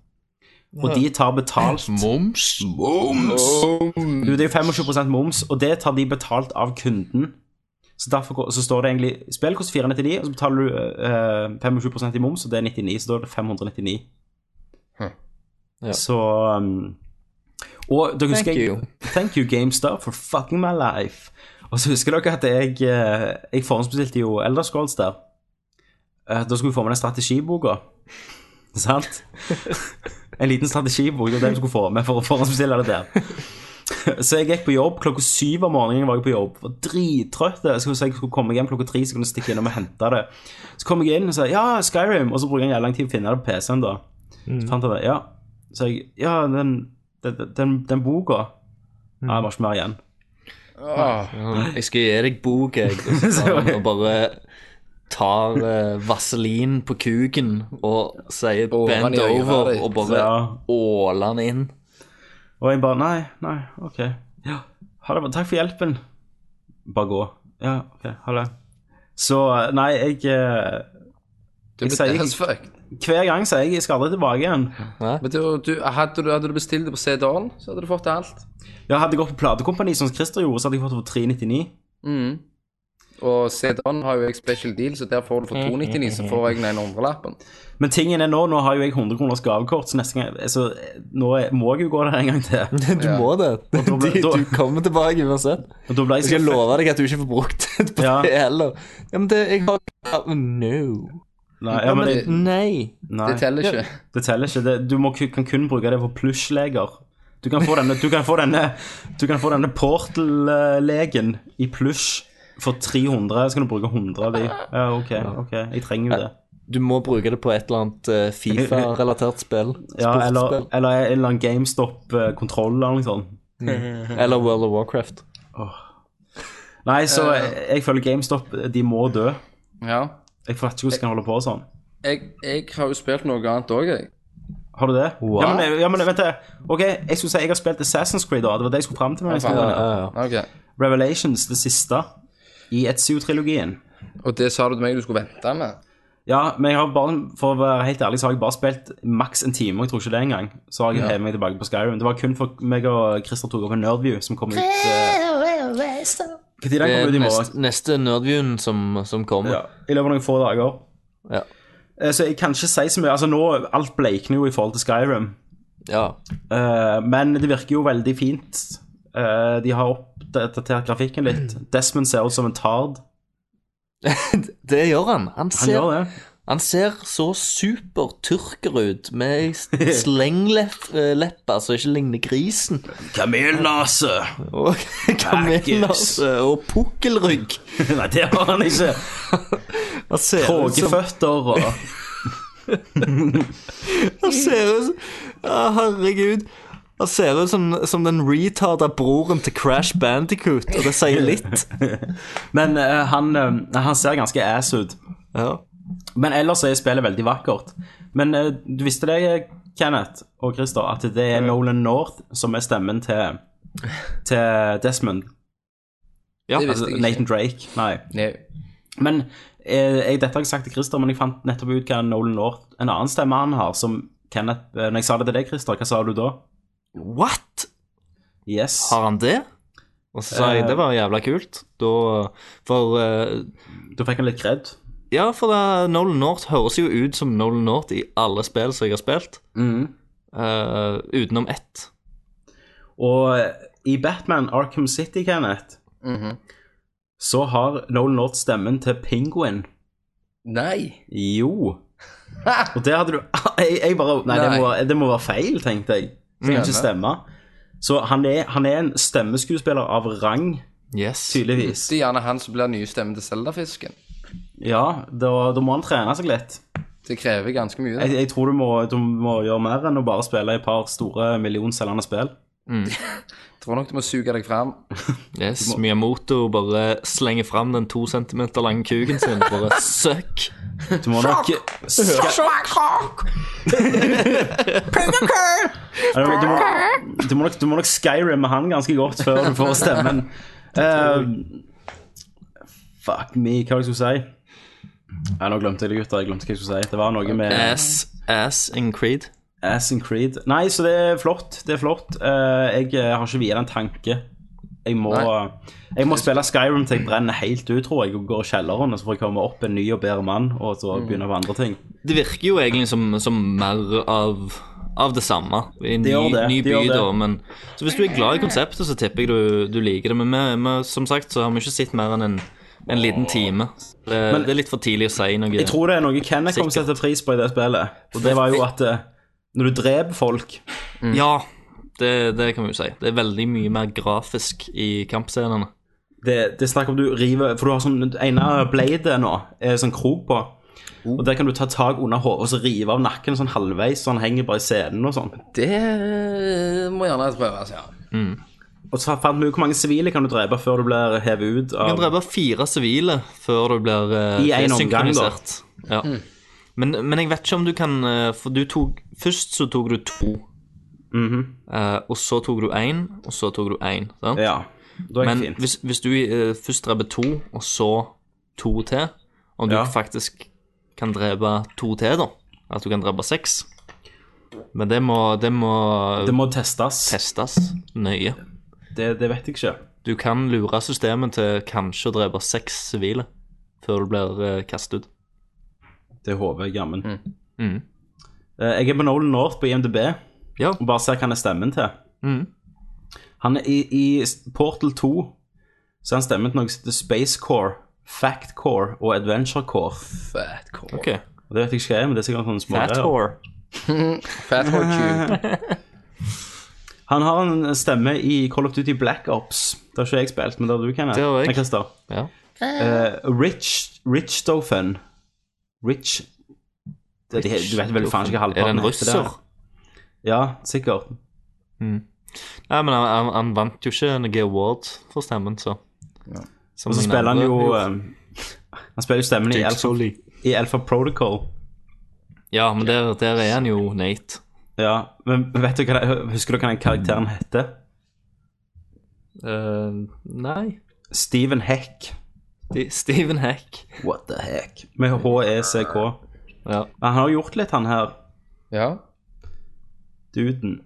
Speaker 1: Og de tar betalt
Speaker 3: Moms?
Speaker 1: Du, det er jo 25 moms, og det tar de betalt av kunden. Så derfor går- så står det egentlig Spill koster 499, og så betaler du eh, 25 i moms, og det er 99, så da er det 599.
Speaker 3: Ja.
Speaker 1: Så um, Og dere husker
Speaker 3: Thank
Speaker 1: jeg-
Speaker 3: you.
Speaker 1: Thank you, GameStar, for fucking my life. Og så husker dere at jeg eh, Jeg forhåndsbestilte jo Elder Scrolls der. Eh, Da skulle vi få med den strategiboka. Sant? En liten strategibok, det var det vi skulle få med for å forhåndsbestille det der. Så jeg gikk på jobb klokka syv om morgenen var jeg på jobb. Var drittrøtt. Så jeg skulle komme hjem klokka tre, så kunne jeg stikke innom og hente det. Så kom jeg inn og sa ja, Skyrim, og så bruker jeg jævlig lang tid på å finne det på PC-en. da Så fant jeg det. Ja. Så jeg ja, den, den, den, den boka Ja, jeg var ikke mer igjen.
Speaker 2: Ah.
Speaker 3: Jeg skal gi deg bok, jeg. Og så tar han og bare tar eh, vaselin på kuken og sier
Speaker 2: Åh, han
Speaker 3: bend
Speaker 2: gjør jo
Speaker 3: over
Speaker 2: ferdig.
Speaker 3: og bare
Speaker 1: Ja.
Speaker 3: åler han inn.
Speaker 1: Og jeg bare Nei, nei, OK. Ja, ha det bra. Takk for hjelpen. Bare gå. Ja, OK. Ha det. Så nei, jeg eh,
Speaker 2: Du
Speaker 1: Jeg sier
Speaker 2: ble
Speaker 1: ikke-
Speaker 2: dødsfucked.
Speaker 1: Hver gang sier jeg jeg skal aldri tilbake igjen.
Speaker 2: Men du, du, hadde, du, hadde du bestilt det på CD-en, så hadde du fått alt.
Speaker 1: Ja, Hadde jeg gått på platekompani, som Christer gjorde, så hadde jeg fått det for 399.
Speaker 2: Mhm. Og CD-en har jo jeg special deal, så der får du for
Speaker 1: Mm.
Speaker 2: 299, så får jeg den ene hundrelappen.
Speaker 1: Men tingen er nå, nå har jo jeg 100 kroners gavekort, så neste gang altså, Nå er, må jeg jo gå der en gang til.
Speaker 3: Du må det.
Speaker 1: da ble-
Speaker 3: Du,
Speaker 1: da-
Speaker 3: du kommer tilbake uansett.
Speaker 1: Og da ble jeg
Speaker 3: Jeg skal
Speaker 1: så-
Speaker 3: love deg at du ikke får brukt det på
Speaker 1: Ja.
Speaker 3: det heller. Ja, men det Jeg har oh, No.
Speaker 1: Nei, ja, men det,
Speaker 3: Nei.
Speaker 1: nei,
Speaker 2: Det teller ikke.
Speaker 1: det teller ikke. Det, du må, ku- kan kun bruke det for plushleger. Du kan få denne, du kan få denne, du kan få denne Portal-legen i plush for 300, så kan du bruke 100 av de. Ja, OK, ok, jeg trenger jo det.
Speaker 3: Du må bruke det på et eller annet eh, Fifa-relatert spill.
Speaker 1: Ja, eller,
Speaker 3: Sportsspill.
Speaker 1: eller en eller annen GameStop-kontroll eller noe sånt.
Speaker 3: eller World of Warcraft.
Speaker 1: Nei, så jeg, jeg føler GameStop, de må dø.
Speaker 2: Ja.
Speaker 1: Jeg fatter ikke hvordan de kan holde på sånn.
Speaker 2: Jeg, jeg har jo spilt noe annet òg, jeg.
Speaker 1: Har du det?
Speaker 3: What?
Speaker 1: Ja, men, ja, men vent da. Ok, jeg skulle si jeg har spilt Assassin's Creed da. Det var det jeg skulle frem til med.
Speaker 2: faen.
Speaker 1: Ja, ja.
Speaker 2: Ok.
Speaker 1: Revelations, det siste i Ezio-trilogien.
Speaker 2: Og det sa du til meg du skulle vente med.
Speaker 1: Ja, men jeg har bare, for å være helt ærlig, så har jeg bare spilt maks en time, og jeg tror ikke det engang. Så har jeg hevet meg tilbake på Skyrim. Det var kun for meg og Christer tok opp en Nerdview som kom ut eh, Hva tid den
Speaker 3: Det
Speaker 1: kom
Speaker 3: er
Speaker 1: ut i morgen?
Speaker 3: neste, neste Nerdviewen som, som
Speaker 1: Ja,
Speaker 3: kommer.
Speaker 1: I løpet av noen få dager.
Speaker 3: Ja.
Speaker 1: Eh, Så jeg kan ikke si så mye. Altså, nå alt bleikner jo i forhold til Skyrim.
Speaker 3: ja.
Speaker 1: Eh, men det virker jo veldig fint. Eh, de har oppdatert grafikken litt. Desmond ser ut som en tard.
Speaker 3: Det gjør han. Han
Speaker 1: Han
Speaker 3: ser,
Speaker 1: gjør det.
Speaker 3: han ser så supertyrker ut, med ei slenglepper som ikke ligner grisen.
Speaker 1: Kamelnase!
Speaker 3: Og kamelnase og pukkelrygg.
Speaker 1: Nei, det har han ikke.
Speaker 3: Han ser ut som
Speaker 1: Krogeføtter og
Speaker 3: Han ser ut som Å, Herregud. Han ser ut som, som den retarda broren til Crash Bandicoot, og det sier litt.
Speaker 1: Men eh, han, eh, han ser ganske ass ut.
Speaker 3: Ja.
Speaker 1: Men ellers er spillet veldig vakkert. Men eh, du visste det, Kenneth og Christer, at det er Nolan North som er stemmen til, til Desmond.
Speaker 2: det
Speaker 1: Altså,
Speaker 2: visste jeg ikke.
Speaker 1: Nathan Drake. Nei.
Speaker 2: Nei.
Speaker 1: Men eh, jeg, dette har jeg sagt til Christer, men jeg fant nettopp ut hva Nolan North En annen stemme han har, som Kenneth eh, Når jeg sa det til deg, Christer, hva sa du da?
Speaker 3: What?
Speaker 1: Yes.
Speaker 3: Har han det? Og så sa jeg
Speaker 1: Eh.
Speaker 3: det var jævla kult. Da For eh,
Speaker 1: Da fikk han litt kred.
Speaker 3: Ja, for da, Nolan North høres jo ut som Nolan North i alle spill som jeg har spilt,
Speaker 2: Mm.
Speaker 3: eh, utenom ett.
Speaker 1: Og i Batman Arkham City, Kenneth,
Speaker 2: Mhm.
Speaker 1: så har Nolan North stemmen til Penguin.
Speaker 2: Nei.
Speaker 1: Jo. Og det hadde du Jeg, jeg bare Nei, Det, må, det må være feil, tenkte jeg. Det kan ikke stemme. Så han er, han er en stemmeskuespiller av rang,
Speaker 3: Yes.
Speaker 1: tydeligvis.
Speaker 2: Det er gjerne han som blir nye stemmen til Zelda-fisken.
Speaker 1: Ja, da, da må han trene seg litt.
Speaker 2: Det krever ganske mye.
Speaker 1: Jeg,
Speaker 2: det.
Speaker 1: jeg tror du må, du må gjøre mer enn å bare spille et par store millionselgende spill.
Speaker 2: Jeg tror nok du må suge deg fram.
Speaker 3: yes. Miyamoto bare slenger fram den to centimeter lange kuken sin. Bare søkk.
Speaker 1: Du må nok ska, du, må, du, må nok, du må nok skyrimme han ganske godt før du får stemmen. Eh, fuck me, hva var det jeg skulle si? Nei, nå glemte jeg det, gutter. Jeg glemte hva jeg skulle si. Det var noe med
Speaker 3: Ass, ass in Creed.
Speaker 1: Ass and Creed. Nei, så det er flott. Det er flott. Eh, jeg eh, har ikke viet det en tanke. Jeg må, eh,
Speaker 2: Nei.
Speaker 1: jeg må spille Skyrim til jeg brenner helt ut, tror jeg, og går i kjelleren, og så får jeg komme opp en ny og bedre mann, og så begynne på andre ting.
Speaker 3: Det virker jo egentlig som, som mer av, av det samme. I en
Speaker 1: Det
Speaker 3: ny,
Speaker 1: gjør det,
Speaker 3: ny
Speaker 1: det
Speaker 3: by,
Speaker 1: gjør det.
Speaker 3: da. Men, så hvis du er glad i konseptet, så tipper jeg du, du liker det. Men vi, vi, som sagt så har vi ikke sett mer enn en, en liten time. Det, det er litt for tidlig å si noe.
Speaker 1: Jeg tror det er noe Kenneth kommer til å sette pris på i det spillet. Og det var jo at eh, når du dreper folk
Speaker 3: Mm. Ja, det, det kan vi jo si. Det er veldig mye mer grafisk i kampscenene.
Speaker 1: Det, det er snakk om du river For du har sånn ene blade nå, er sånn krok på.
Speaker 3: Oh.
Speaker 1: Og der kan du ta tak under hodet og så rive av nakken sånn halvveis, så han henger bare i scenen og sånn.
Speaker 2: Det eh, må gjerne altså. prøves, ja.
Speaker 1: Og så fant vi ut hvor mange sivile kan du drepe før du blir hevet ut
Speaker 3: Du
Speaker 1: av
Speaker 3: kan drepe fire sivile før du blir uh,
Speaker 1: I en omgang, da. Hmm.
Speaker 3: Ja. Men, men jeg vet ikke om du kan eh, For du tok Først så tok du to. Eh, og så tok du én, og så tok du én.
Speaker 1: Mhm.
Speaker 3: sant?
Speaker 1: Ja. Da er det
Speaker 3: men
Speaker 1: fint.
Speaker 3: hvis, hvis du eh, først dreper to, og så to til Om du
Speaker 1: Ja.
Speaker 3: faktisk kan drepe to til, da. At du kan drepe seks. Men det må, det må
Speaker 1: Det må testes.
Speaker 3: testes nøye.
Speaker 1: Det, det vet jeg ikke.
Speaker 3: Du kan lure systemet til kanskje å drepe seks sivile før du blir eh, kastet ut.
Speaker 1: Det håper jeg jammen.
Speaker 3: Mm.
Speaker 1: Eh, Jeg er på Nolan North på IMDb
Speaker 3: Ja.
Speaker 1: og bare ser hva han er stemmen til.
Speaker 3: Mm.
Speaker 1: Han er i, i Portal 2 så er han stemmen til noe som heter Space Core, Fact Core og Adventure Core.
Speaker 2: Fat core.
Speaker 3: Ok.
Speaker 1: Og det vet jeg ikke hva er, men det er sikkert sånne små
Speaker 3: Fat
Speaker 1: greier.
Speaker 3: whore.
Speaker 2: Fat core tube.
Speaker 1: Han har en stemme i Call of Duty Black Ops. Det har ikke jeg spilt, men det har du, Kenneth.
Speaker 3: Det har jeg.
Speaker 1: Nei, Christer.
Speaker 3: Ja.
Speaker 1: Eh, Rich Rich Dofen. Rich det, de, Du vet vel faen ikke hva
Speaker 3: Er det
Speaker 1: halvparten
Speaker 3: en russer?
Speaker 1: Ja, sikkert.
Speaker 3: Nei, men han, han, han vant jo ikke noen award for stemmen, så. Som
Speaker 1: Og så
Speaker 3: ingen
Speaker 1: spiller han
Speaker 3: andre
Speaker 1: jo
Speaker 3: gjorde.
Speaker 1: eh, Han spiller jo stemmen i
Speaker 3: Jake
Speaker 1: Alpha,
Speaker 3: Sully.
Speaker 1: i Alpha Protocol.
Speaker 3: Ja, men der, der er han jo Nate.
Speaker 1: Ja, men vet du hva det, Husker du hva den karakteren heter?
Speaker 3: Eh, nei.
Speaker 1: Steven Heck.
Speaker 3: De, Steven Heck.
Speaker 1: What the heck? Med H-E-C-K.
Speaker 3: Ja.
Speaker 1: Men Han har gjort litt, han her
Speaker 2: Ja.
Speaker 1: duden.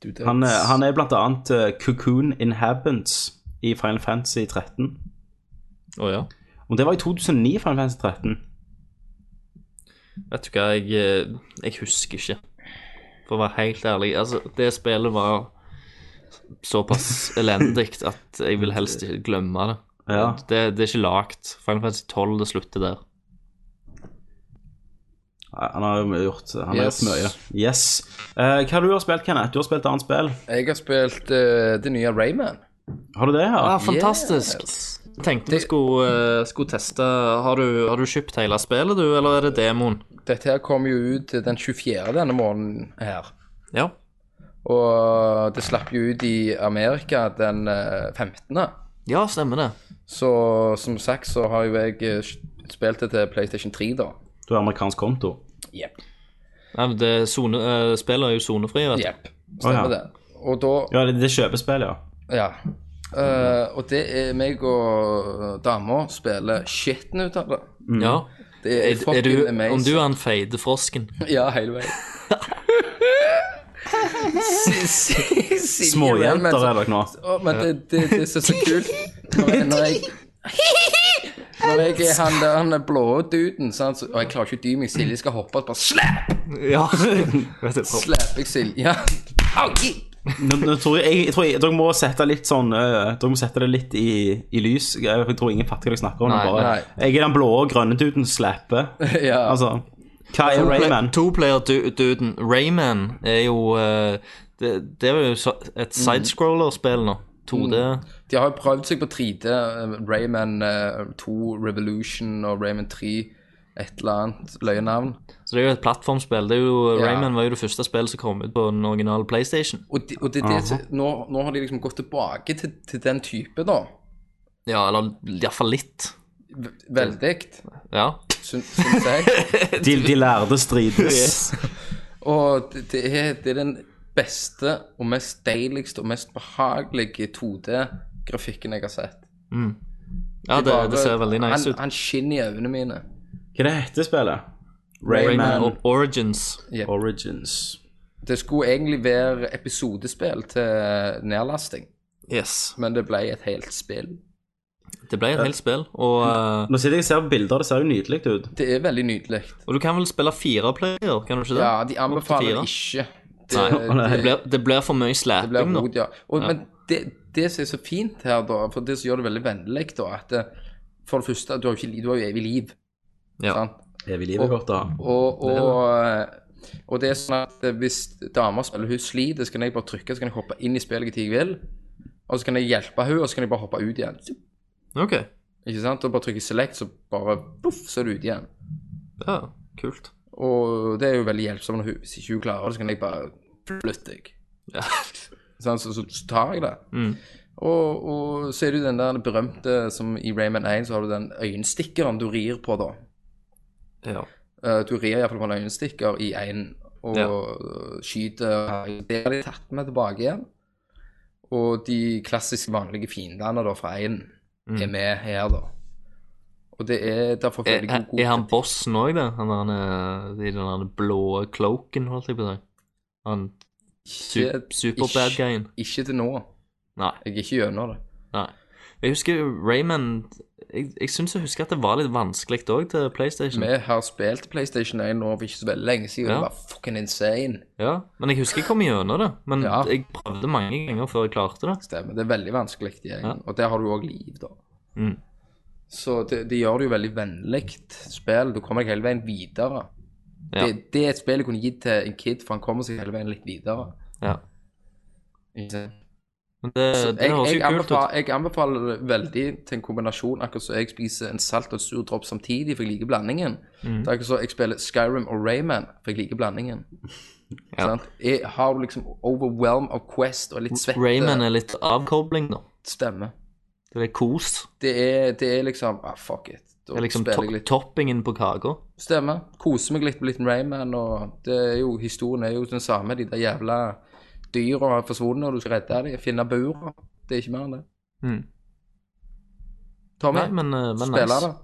Speaker 2: Du, det-
Speaker 1: Han, er- han er blant annet eh, Cocoon Inhabitants i Final Fantasy 13.
Speaker 3: Å ja.
Speaker 1: Om det var i 2009 Final Fantasy 13?
Speaker 3: Vet du hva, jeg, eh, jeg husker ikke. For å være helt ærlig. Altså, det spillet var såpass elendig at jeg vil helst ikke glemme det.
Speaker 1: Ja.
Speaker 3: Det, det er ikke lagt. Final Fantasy 12, det slutter der.
Speaker 1: Nei, Han har jo gjort, han har
Speaker 2: Yes.
Speaker 1: gjort mye. Yes. Eh, hva har du har spilt, Kenneth? Du har spilt annet spill.
Speaker 2: Jeg har spilt eh, det nye Rayman.
Speaker 1: Har du det? Ja.
Speaker 3: Ah, fantastisk.
Speaker 2: Yes.
Speaker 3: Jeg tenkte vi skulle, eh, skulle teste har du, har du kjøpt hele spillet, du, eller er det demoen?
Speaker 2: Dette her kom jo ut den 24. denne måneden her.
Speaker 3: Ja.
Speaker 2: Og det slapp jo ut i Amerika den eh, 15.
Speaker 3: Ja, stemmer det.
Speaker 2: Så som sagt så har jo jeg eh, spilt det til PlayStation 3, da.
Speaker 1: Du har amerikansk konto.
Speaker 2: Jepp.
Speaker 3: Nei, men det er sone, eh, spillet er jo sonefri, vet du.
Speaker 2: Jepp. Stemmer
Speaker 1: Å, ja.
Speaker 2: det. Og da
Speaker 1: Ja, det, det er kjøpespill, ja.
Speaker 2: Ja. Eh, og det er meg og eh, dama spiller skitten ut av det.
Speaker 3: Ja.
Speaker 2: Det
Speaker 3: Er,
Speaker 2: er,
Speaker 3: er du,
Speaker 2: fucking
Speaker 3: om du
Speaker 2: amazing.
Speaker 3: er en feide frosken?
Speaker 2: Ja, hele veien.
Speaker 1: Småjenter er dere nå.
Speaker 2: Å, men det, det, det som er så kult Når jeg, når jeg når jeg er han der han er blå duden, sant? så- og jeg klarer ikke å dy meg, Silje skal hoppe og bare slap!
Speaker 4: Ja. Vet du, hopp.
Speaker 2: Slapper jeg Silje. Ja. Au, gi!
Speaker 1: Nå, nå tror jeg, jeg, jeg tror jeg, Dere må sette litt sånn øh, Dere må sette det litt i, i lys. Jeg, jeg tror ingen fatter hva jeg snakker om.
Speaker 3: Nei,
Speaker 1: bare, Jeg er den blå og grønne duden som slapper.
Speaker 2: Ja.
Speaker 1: Altså, hva er Rayman?
Speaker 3: Toplayer-duden Rayman er jo eh, det, det er jo så- et sidescroller-spill nå. 2D.
Speaker 2: De har jo prøvd seg på 3D. eh, Rayman eh, 2 Revolution og Rayman 3 et eller annet løyenavn.
Speaker 3: Så det er jo et plattformspill. Det er jo, eh,
Speaker 2: Ja.
Speaker 3: Rayman var jo det første spillet som kom ut på den originale PlayStation.
Speaker 2: Og, de, og det, er det, som- nå, nå har de liksom gått tilbake til, til den type, da.
Speaker 3: Ja, eller iallfall litt.
Speaker 2: V- Veldig,
Speaker 3: Ja.
Speaker 2: syn- syns jeg.
Speaker 1: De, de lærde strides.
Speaker 2: Og det, det, er, det er den beste og mest deiligste og mest behagelige 2D-grafikken jeg har sett.
Speaker 3: Ja, det,
Speaker 2: Bare-
Speaker 3: det ser veldig nice
Speaker 2: han,
Speaker 3: ut.
Speaker 2: Han skinner i øynene mine.
Speaker 1: Hva er det heter spillet?
Speaker 3: Rayman,
Speaker 1: Rayman
Speaker 3: O- Origins.
Speaker 1: Origins.
Speaker 2: Det skulle egentlig være episodespill til nedlasting,
Speaker 3: Yes.
Speaker 2: men det ble et helt spill.
Speaker 3: Det ble et helt spill. Og, eh,
Speaker 1: Nå sitter jeg og ser på bilder, det ser jo nydelig ut.
Speaker 2: Det er veldig nydelig.
Speaker 3: og du kan vel spille fire player, kan du ikke det?
Speaker 2: Ja, de anbefaler
Speaker 3: Opp
Speaker 2: det
Speaker 3: til
Speaker 2: ikke. Det,
Speaker 3: Nei, det
Speaker 2: det,
Speaker 3: blir, det blir for mye
Speaker 2: det blir
Speaker 3: slapping nå.
Speaker 2: rot, ja. Og, Men det, det som er så fint her, da, for det som gjør det veldig vennlig, da, at det, for det første, du har jo, ikke, li- du har jo evig liv.
Speaker 3: Ja.
Speaker 2: Sant?
Speaker 1: Evig liv er godt å ha.
Speaker 2: Og, og, og det er sånn at hvis damer spiller, hun sliter, så kan jeg bare trykke, så kan jeg hoppe inn i spillet når jeg vil. Og så kan jeg hjelpe henne, og så kan jeg bare hoppe ut igjen.
Speaker 3: Ok,
Speaker 2: Ikke sant? Og bare trykker select, så bare poff, så er du ute igjen.
Speaker 3: ja, kult.
Speaker 2: Og det er jo veldig hjelpsomt når hun, hvis ikke hun klarer det, så kan jeg bare flytte deg.
Speaker 3: Ja.
Speaker 2: Sånn, så, så, så tar jeg det.
Speaker 3: Mm.
Speaker 2: Og, og så er det jo den der berømte som i Rayman 1, så har du den øyenstikkeren du rir på, da.
Speaker 3: Ja.
Speaker 2: Eh, du rir iallfall på en øyenstikker i einen og
Speaker 3: Ja.
Speaker 2: skyter Det har de tatt med tilbake igjen. Og de klassisk vanlige fiendene da fra einen
Speaker 3: Mm.
Speaker 2: er med her, da. Og det er derfor
Speaker 3: Er,
Speaker 2: veldig god, god
Speaker 3: er han bossen òg, det? Han eh, er han, i den der blå cloaken, holdt jeg på å si. Han su
Speaker 2: Ikke-
Speaker 3: super-bad-guyen.
Speaker 2: Ikke til nå.
Speaker 3: Nei.
Speaker 2: Jeg er ikke gjennom det.
Speaker 3: nei. Jeg husker Rayman Jeg, jeg syns jeg husker at det var litt vanskelig òg til PlayStation.
Speaker 2: Vi har spilt PlayStation 1 nå for ikke så veldig lenge siden, og
Speaker 3: Ja.
Speaker 2: det var fucking insane.
Speaker 3: Ja, Men jeg husker jeg kom gjennom det. Men
Speaker 2: Ja.
Speaker 3: jeg prøvde mange ganger før jeg klarte det.
Speaker 2: Stemmer. Det er veldig vanskelig, de
Speaker 3: Ja.
Speaker 2: Og der har du òg liv, da.
Speaker 3: Mm.
Speaker 2: Så det, det gjør det jo veldig vennlig spill. Du kommer deg hele veien videre.
Speaker 3: Ja.
Speaker 2: Det, det er et spill jeg kunne gitt til en kid, for han kommer seg hele veien litt videre.
Speaker 3: Ja.
Speaker 2: Ikke sant?
Speaker 3: Men det,
Speaker 2: Så
Speaker 3: det
Speaker 2: jeg,
Speaker 3: høres
Speaker 2: jeg,
Speaker 3: jo kult ut.
Speaker 2: anbefaler, jeg anbefaler det veldig til en kombinasjon, akkurat som jeg spiser en salt og en sur dropp samtidig, for jeg liker blandingen.
Speaker 3: Mm.
Speaker 2: Det er akkurat som jeg spiller Skyrim og Rayman, for jeg liker blandingen.
Speaker 3: Ja.
Speaker 2: Sant? Jeg har du liksom overwhelm av Quest og litt svette
Speaker 3: Rayman er litt avkobling, da.
Speaker 2: stemme.
Speaker 3: Det er kos.
Speaker 2: Det er, det er liksom ah, fuck it. Da
Speaker 3: Det er liksom
Speaker 2: spiller jeg
Speaker 3: to
Speaker 2: litt
Speaker 3: toppingen på kaka.
Speaker 2: Stemme. Koser meg litt med litt Rayman, og det er jo, historien er jo den samme. De der jævla dyra har forsvunnet, og du skal redde dem, finne buret. Det er ikke mer enn det.
Speaker 3: Mm.
Speaker 2: Tommy,
Speaker 3: Nei, men, eh, men
Speaker 2: spiller
Speaker 3: nice.
Speaker 2: det.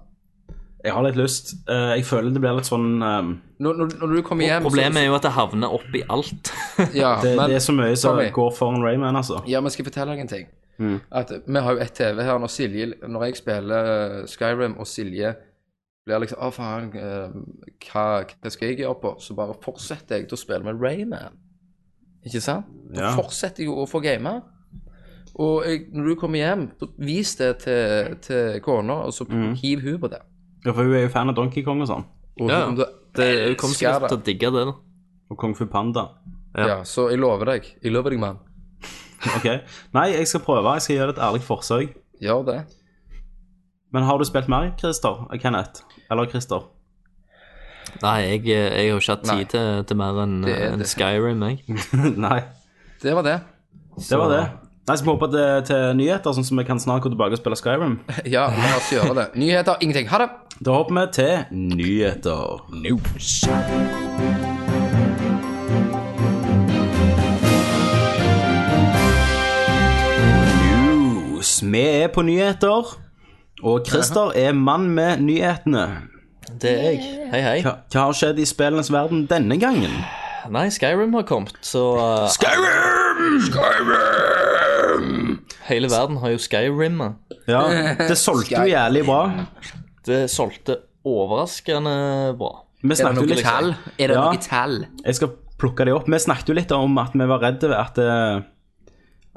Speaker 1: Jeg har litt lyst. Eh, jeg føler det blir litt sånn ehm,
Speaker 2: Når, når, når du kommer hjem så-
Speaker 3: Problemet er jo at det havner oppi alt.
Speaker 2: ja,
Speaker 1: det,
Speaker 2: men,
Speaker 1: det er så mye som
Speaker 2: Tommy.
Speaker 1: går foran Rayman, altså.
Speaker 2: ja, men skal jeg fortelle deg en ting?
Speaker 1: Mm.
Speaker 2: At Vi har jo et TV her når Silje Når jeg spiller eh, Skyrim, og Silje blir liksom Å, faen, eh, hva, hva skal jeg gjøre på? Så bare fortsetter jeg til å spille med Rayman. Ikke sant? Da
Speaker 1: Ja.
Speaker 2: fortsetter jeg jo å få game. Og jeg, når du kommer hjem, så vis det til, til kona, og så hiv hun på det.
Speaker 1: Ja, for hun er jo fan av Donkey Kong og sånn.
Speaker 2: Og
Speaker 3: Ja,
Speaker 2: hun-
Speaker 3: Det
Speaker 2: Eh,
Speaker 3: hun kommer
Speaker 2: elsker
Speaker 3: sikkert til å digge det, da.
Speaker 1: Og Kung Fu Panda.
Speaker 2: Ja. så jeg lover deg. Jeg lover deg, mann.
Speaker 1: Ok. Nei, jeg skal prøve. Jeg skal gjøre det et ærlig forsøk.
Speaker 2: Gjør det.
Speaker 1: Men har du spilt mer, Christer? Eh, Kenneth? Eller Christer?
Speaker 3: Nei, jeg, eh, jeg har ikke hatt
Speaker 2: Nei.
Speaker 3: tid til, til mer enn
Speaker 2: Det er
Speaker 3: enn
Speaker 2: det.
Speaker 3: Skyrim, jeg.
Speaker 1: Nei,
Speaker 2: Det var det.
Speaker 1: det var det. Nei, Skal vi hoppe til, til nyheter, sånn som vi kan snart gå tilbake og spille Skyrim?
Speaker 2: Ja, la oss gjøre det. Nyheter, ingenting. Ha det.
Speaker 1: Da hopper vi til nyheter. News. Vi er på nyheter, og Christer er mann med nyhetene.
Speaker 3: Det er jeg. Hei, hei.
Speaker 1: Hva, hva har skjedd i spillenes verden denne gangen?
Speaker 3: Nei, Skyrim har kommet, så eh,
Speaker 2: Skyrim! Skyrim!
Speaker 3: hele verden har jo Skyrim. eh.
Speaker 1: Ja, det solgte jo jævlig bra.
Speaker 3: Det solgte overraskende bra.
Speaker 1: Vi
Speaker 2: Er det
Speaker 1: snakket jo
Speaker 2: noe
Speaker 1: litt
Speaker 2: tall? Er det
Speaker 1: Ja.
Speaker 2: noe tall?
Speaker 1: Jeg skal plukke de opp. Vi snakket jo litt om at vi var redde ved at, eh,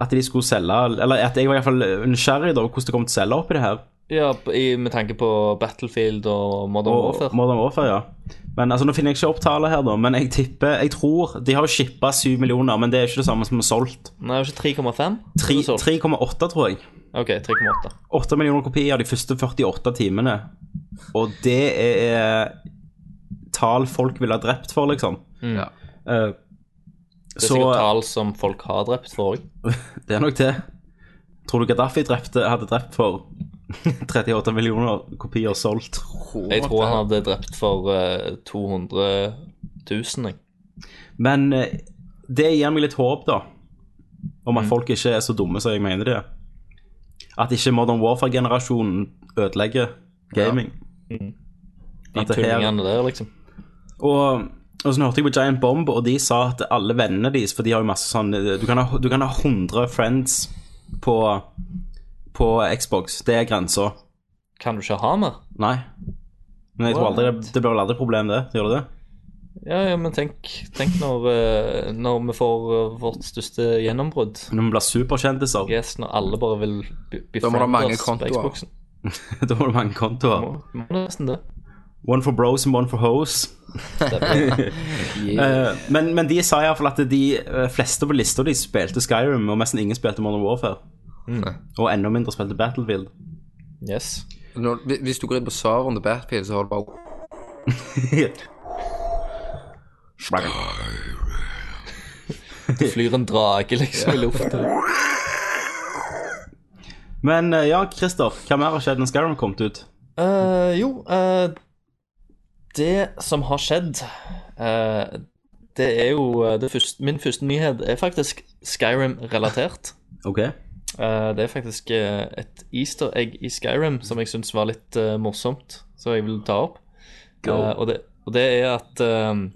Speaker 1: at de skulle selge Eller at jeg var iallfall nysgjerrig da, på hvordan det kom til å selge opp i det her.
Speaker 3: Ja, i, med tanke på Battlefield og Modern Warfare.
Speaker 1: Og Modern Warfare, ja. Men altså, Nå finner jeg ikke opp tallet her, da, men jeg tipper Jeg tror De har jo shippa 7 millioner, men det er ikke det samme som er solgt.
Speaker 3: Nei, altså det var ikke 3,5?
Speaker 1: Tre-
Speaker 3: Det var solgt.
Speaker 1: 3,8, tror jeg.
Speaker 3: Ok, 3,8.
Speaker 1: 8 millioner kopier de første 48 timene. Og det er eh, tall folk ville ha drept for, liksom.
Speaker 2: Ja.
Speaker 1: Eh,
Speaker 3: Mm. Det er sikkert tall som folk har drept for òg.
Speaker 1: Det er nok det. Tror du Gaddafi drepte, hadde drept for 38 millioner kopier solgt?
Speaker 3: Jeg tror han hadde drept for eh, 200 000. Jeg.
Speaker 1: Men eh, det gir meg litt håp, da. Om
Speaker 3: Mm.
Speaker 1: at folk ikke er så dumme som jeg mener de er. At ikke Modern Warfare-generasjonen ødelegger gaming.
Speaker 3: Mm. De
Speaker 1: At det her-
Speaker 3: tullingene der, liksom.
Speaker 1: Og, og så hørte jeg på Giant Bomb, og de sa at alle vennene deres For de har jo masse sånn Du kan ha, du kan ha 100 friends på, på Xbox. Det er grensa.
Speaker 3: Kan du ikke ha mer?
Speaker 1: Nei. Men jeg tror aldri det, det blir vel aldri et problem, det. Gjør det det?
Speaker 3: Ja, ja, men tenk, tenk når, eh, når vi får eh, vårt største gjennombrudd.
Speaker 1: Når vi blir superkjendiser,
Speaker 3: Yes, når alle bare vil be-
Speaker 2: Da må det
Speaker 3: befriende
Speaker 2: mange
Speaker 3: oss på
Speaker 2: kontoer.
Speaker 3: Xboxen.
Speaker 1: da må du mange kontoer.
Speaker 3: Må, må nesten det.
Speaker 1: One for bros and one for hoes. Eh, men, men de sa iallfall at de eh, fleste på lista de spilte Skyrim, og nesten ingen spilte Modern Warfare. Og enda mindre spilte Battlefield.
Speaker 3: Yes.
Speaker 2: Når, hvi- hvis du går inn på serveren til Battlefield, så har du bare
Speaker 3: Det flyr en drage liksom i luften.
Speaker 1: men eh, ja, Christer, hva mer har skjedd når Skyrim kom ut?
Speaker 3: Eh, jo, eh, det som har skjedd eh, Det er jo eh, det første, Min første nyhet er faktisk Skyrim-relatert.
Speaker 1: Ok.
Speaker 3: Eh, det er faktisk eh, et easter egg i Skyrim som jeg syns var litt eh, morsomt, så jeg vil ta opp. Eh, og, det, og det er at eh,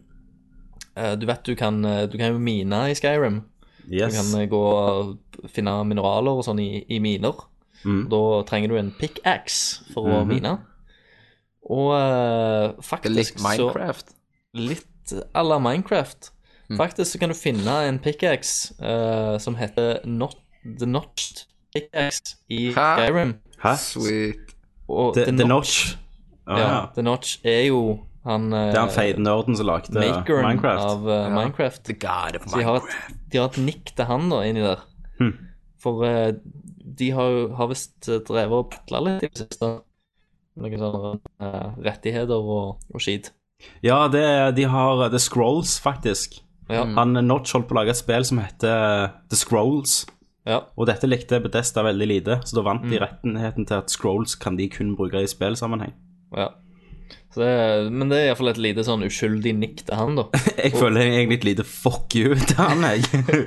Speaker 3: eh, Du vet du kan, eh, du kan jo mine i Skyrim. Du
Speaker 1: Yes.
Speaker 3: kan eh, gå og finne mineraler og sånn i, i miner.
Speaker 1: Mm.
Speaker 3: Da trenger du en pickaxe for å
Speaker 1: Mhm.
Speaker 3: mine. Og eh,
Speaker 2: Det er
Speaker 3: faktisk
Speaker 2: likt
Speaker 3: så
Speaker 2: Minecraft.
Speaker 3: Litt à la Minecraft.
Speaker 2: Mm.
Speaker 3: Faktisk så kan du finne en pickaxe eh, som heter not, The Notched Pickaxe i
Speaker 2: Hæ?
Speaker 3: Skyrim.
Speaker 1: Hæ?
Speaker 2: Sweet.
Speaker 3: Og
Speaker 1: The,
Speaker 3: The
Speaker 1: the
Speaker 3: Notch-
Speaker 1: Notch. Ah,
Speaker 3: ja,
Speaker 1: ja.
Speaker 3: The Notch er jo han, eh,
Speaker 1: Det er han feite nerden som lagde
Speaker 3: makeren
Speaker 1: Minecraft.
Speaker 3: av eh, Minecraft.
Speaker 2: The god of
Speaker 3: Så de har, et, de har et nikk til han da, inni der.
Speaker 1: Hm.
Speaker 3: For eh, de har, jo- har visst eh, drevet og putla litt i det siste. Noen sånne eh, rettigheter og, og skit.
Speaker 1: Ja, det, de har eh, The Scrolls, faktisk.
Speaker 3: Ja.
Speaker 2: Mm.
Speaker 1: Han eh, Notch holdt på å lage et spill som heter eh, The Scrolls.
Speaker 3: ja.
Speaker 1: Og dette likte Bedesta veldig lite, så da vant de rettigheten til at Scrolls kan de kun bruke i spillsammenheng.
Speaker 3: ja. Så det, er- men det er iallfall et lite sånn uskyldig nikk til han, da.
Speaker 1: Jeg føler egentlig et lite fuck you til han, jeg.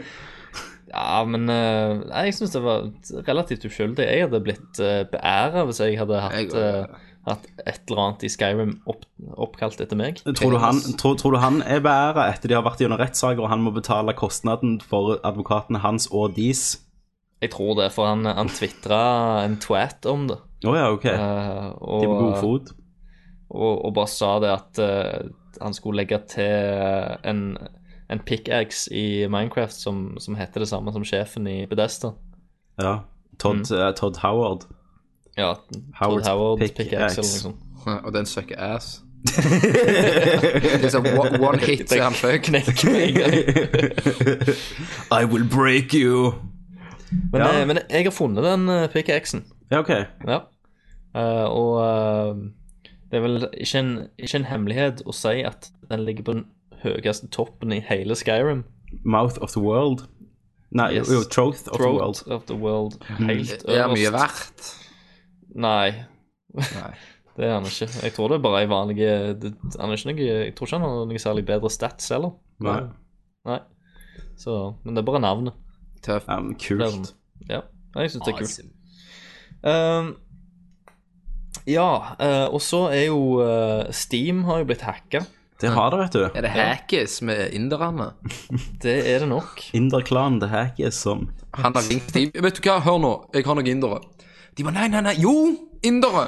Speaker 3: Ja, men eh, nei, jeg syns det var relativt uskyldig. Jeg hadde blitt uh, beæra hvis jeg hadde hatt,
Speaker 2: Jeg også.
Speaker 3: eh, hatt et eller annet i Skyrim opp, oppkalt etter meg.
Speaker 1: tror, du han, tror, tror du han er beæra etter de har vært gjennom rettssaker, og han må betale kostnaden for advokatene hans og deres?
Speaker 3: Jeg tror det, for han, han tvitra en twat om det.
Speaker 1: Å ja, ok.
Speaker 3: eh,
Speaker 1: De
Speaker 3: og,
Speaker 1: er på god fot.
Speaker 3: og, og bare sa det at eh, han skulle legge til eh, en, en pickaxe i Minecraft som, som heter det samme som sjefen i Bedesta.
Speaker 1: Ja. Todd, eh, Todd Howard.
Speaker 3: Ja, Todd
Speaker 1: Howard's
Speaker 3: Howard
Speaker 1: pickaxe.
Speaker 3: pickaxe eller noe sånt.
Speaker 2: Og den sucker ass. det er sånn one, one hit, så er han fuck.
Speaker 3: Knekk meg.
Speaker 1: I will break you.
Speaker 3: Men,
Speaker 1: Ja.
Speaker 3: eh, men jeg har funnet den eh, pickaxen.
Speaker 1: Ja, ok.
Speaker 3: Ja. Eh, og eh, det er vel ikke en, ikke en hemmelighet å si at den ligger på den høyeste toppen i hele Skyrim.
Speaker 1: Mouth of the world. Nei,
Speaker 3: Yes.
Speaker 1: jo, Troth of the world.
Speaker 3: Throat of the world. Helt øverst.
Speaker 2: Mm. Det er mye verdt.
Speaker 3: Nei.
Speaker 2: Nei.
Speaker 3: Det er han ikke. Jeg tror det er bare ei vanlig det- Han er ikke noe, Jeg tror ikke han har noe særlig bedre stats heller.
Speaker 1: Nei.
Speaker 3: Nei. Så, men det er bare navnet.
Speaker 2: Tøft.
Speaker 1: Ja, men
Speaker 3: Det er
Speaker 1: Um, kult.
Speaker 3: sånn- Ja, jeg syns det er kult. Ehm, ja, eh, og så er jo eh, Steam har jo blitt hacka.
Speaker 1: Det Det har det, vet du.
Speaker 2: Er det hackes med inderne?
Speaker 3: Det er det nok.
Speaker 1: Inderklan det hackes som
Speaker 2: Han har ringt de Vet du hva, hør nå, jeg har noen indere. De bare nei, nei, nei. Jo, indere!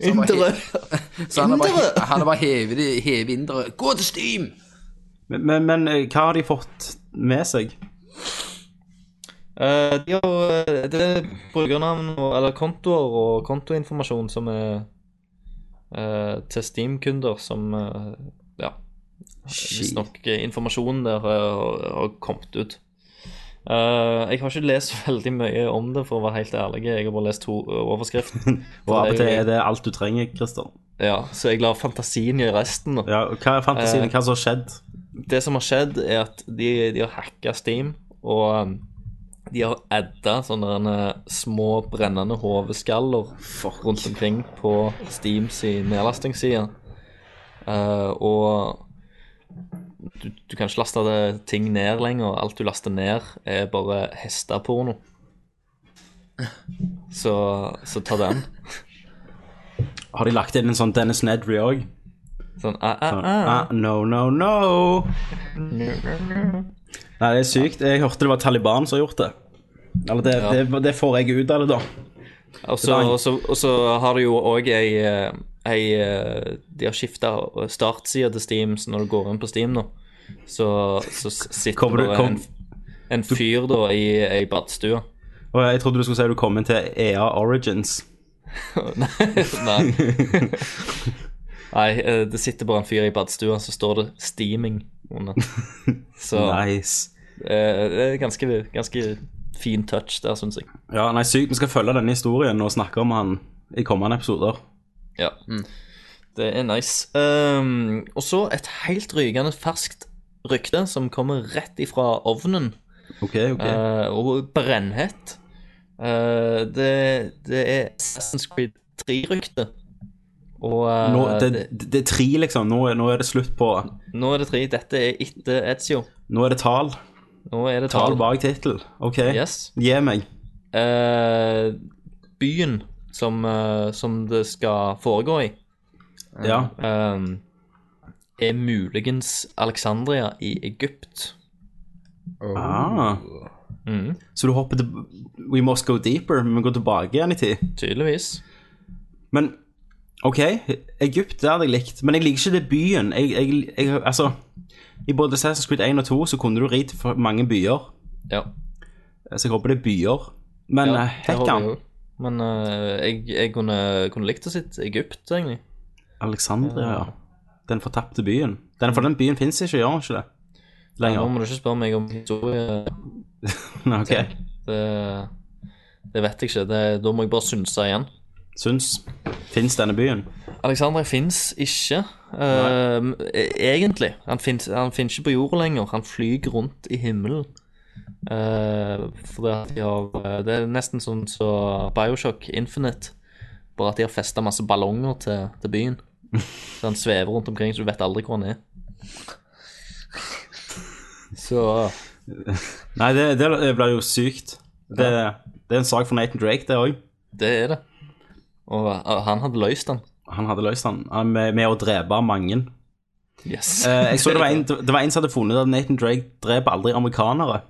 Speaker 2: Så han bare
Speaker 3: Indre.
Speaker 2: he- Så han har bare, han har bare hevet de- hevet indere. Gå til Steam!
Speaker 1: Men, men, men eh, hva har de fått med seg?
Speaker 3: Eh, de har, eh, det er brukernavn og, eller kontoer og kontoinformasjon som er eh, til Steam-kunder som eh, Ja. Visstnok eh, informasjonen der eh, har, har kommet ut. Eh, jeg har ikke lest veldig mye om det, for å være helt ærlig. Jeg har bare lest to eh, overskriften.
Speaker 1: Og av og til er det alt du trenger, Christer.
Speaker 3: Ja, så jeg lar fantasien gjøre resten. da.
Speaker 1: Ja, og hva er fantasien?
Speaker 3: Eh.
Speaker 1: Hva som har skjedd?
Speaker 3: Det som har skjedd, er at de, de har hacka Steam, og um, de har adda sånne der, uh, små brennende hodeskaller rundt omkring på Steam sin nedlastingsside. Uh, og du, du kan ikke laste det- ting ned lenger. Alt du laster ned, er bare hesteporno. Så, så ta den.
Speaker 1: Har de lagt inn en sånn Dennis Nedry òg?
Speaker 3: Sånn ah, ah, ah.
Speaker 1: Ah, no, no, no. Nei, det er sykt. Jeg hørte det var Taliban som har gjort det. Eller det, det, det får jeg ut av det, da.
Speaker 3: Og så, og så, og så har du jo òg ei, eh, ei eh, De har skifta startside til Steam, så når du går inn på Steam nå, så, så s- sitter
Speaker 1: Kommer du-
Speaker 3: det
Speaker 1: kom-
Speaker 3: en, en fyr da i ei badstue.
Speaker 1: Og jeg trodde du skulle si du kom inn til EA Origins.
Speaker 3: Nei. Nei, eh, det sitter bare en fyr i badstua, så står det 'steaming' under. Så
Speaker 1: Nice.
Speaker 3: eh, det er ganske, ganske fin touch der, syns jeg.
Speaker 1: Ja, nei, sykt. Vi skal følge denne historien og snakke om han i kommende episoder.
Speaker 3: Ja.
Speaker 1: Mm.
Speaker 3: Det er nice. Ehm, og så et helt rykende ferskt rykte som kommer rett ifra ovnen.
Speaker 1: Ok, ok.
Speaker 3: eh, og brennhett. Eh, det, det er Assassin's Creed 3-ryktet. Og eh,
Speaker 1: nå, det,
Speaker 3: det,
Speaker 1: det, det er tre, liksom. Nå, er- nå er det slutt på
Speaker 3: nå er det tre. Dette er etter Ezio.
Speaker 1: Nå er det tall.
Speaker 3: Nå er det
Speaker 1: Tall
Speaker 3: tall.
Speaker 1: bak tittel. Ok.
Speaker 3: Yes.
Speaker 1: Gi meg.
Speaker 3: Eh, byen som, eh, som det skal foregå i,
Speaker 1: Ja.
Speaker 3: ehm, er muligens Alexandria i Egypt.
Speaker 2: Oh.
Speaker 3: Mm.
Speaker 1: Ah.
Speaker 3: Mhm.
Speaker 1: Så du hopper til We must go deeper, men vi går tilbake igjen i tid.
Speaker 3: Tydeligvis.
Speaker 1: Men OK, Egypt det hadde jeg likt, men jeg liker ikke det byen. Jeg, jeg, jeg, altså, I både Assassin's Creed 1 og 2 så kunne du ri til for mange byer,
Speaker 3: Ja.
Speaker 1: så jeg håper det er byer. Men eh,
Speaker 3: ja
Speaker 1: ja,
Speaker 3: det håper jeg
Speaker 1: Hekkan,
Speaker 3: jo. Men eh, jeg, jeg kunne, kunne likt å sitte i Egypt, egentlig.
Speaker 1: Alexandria, ja. Den fortapte byen. Den, for den byen fins ikke, gjør den ikke det?
Speaker 3: Nå
Speaker 1: Lenger.
Speaker 3: må du ikke spørre meg om historie.
Speaker 1: Nei, OK.
Speaker 3: Det, det vet jeg ikke. Det, da må jeg bare synse igjen.
Speaker 1: Syns. Fins denne byen?
Speaker 3: Alexandra fins ikke, eh, egentlig. Han fins han finnes ikke på jorda lenger. Han flyr rundt i himmelen. Eh, for det, at de har, det er nesten sånn som Bioshock Infinite, bare at de har festa masse ballonger til, til byen. Så han svever rundt omkring, så du vet aldri hvor han er. Så
Speaker 1: Nei, det, det blir jo sykt. Det, det er en sak for Nathan Drake, det òg.
Speaker 3: det er det. Og eh, han hadde løst den.
Speaker 1: Han hadde løst den Han- med, med å drepe mange.
Speaker 3: Yes.
Speaker 1: Eh, jeg så det var, en, det var en som hadde funnet at Nathan Drake dreper aldri amerikanere.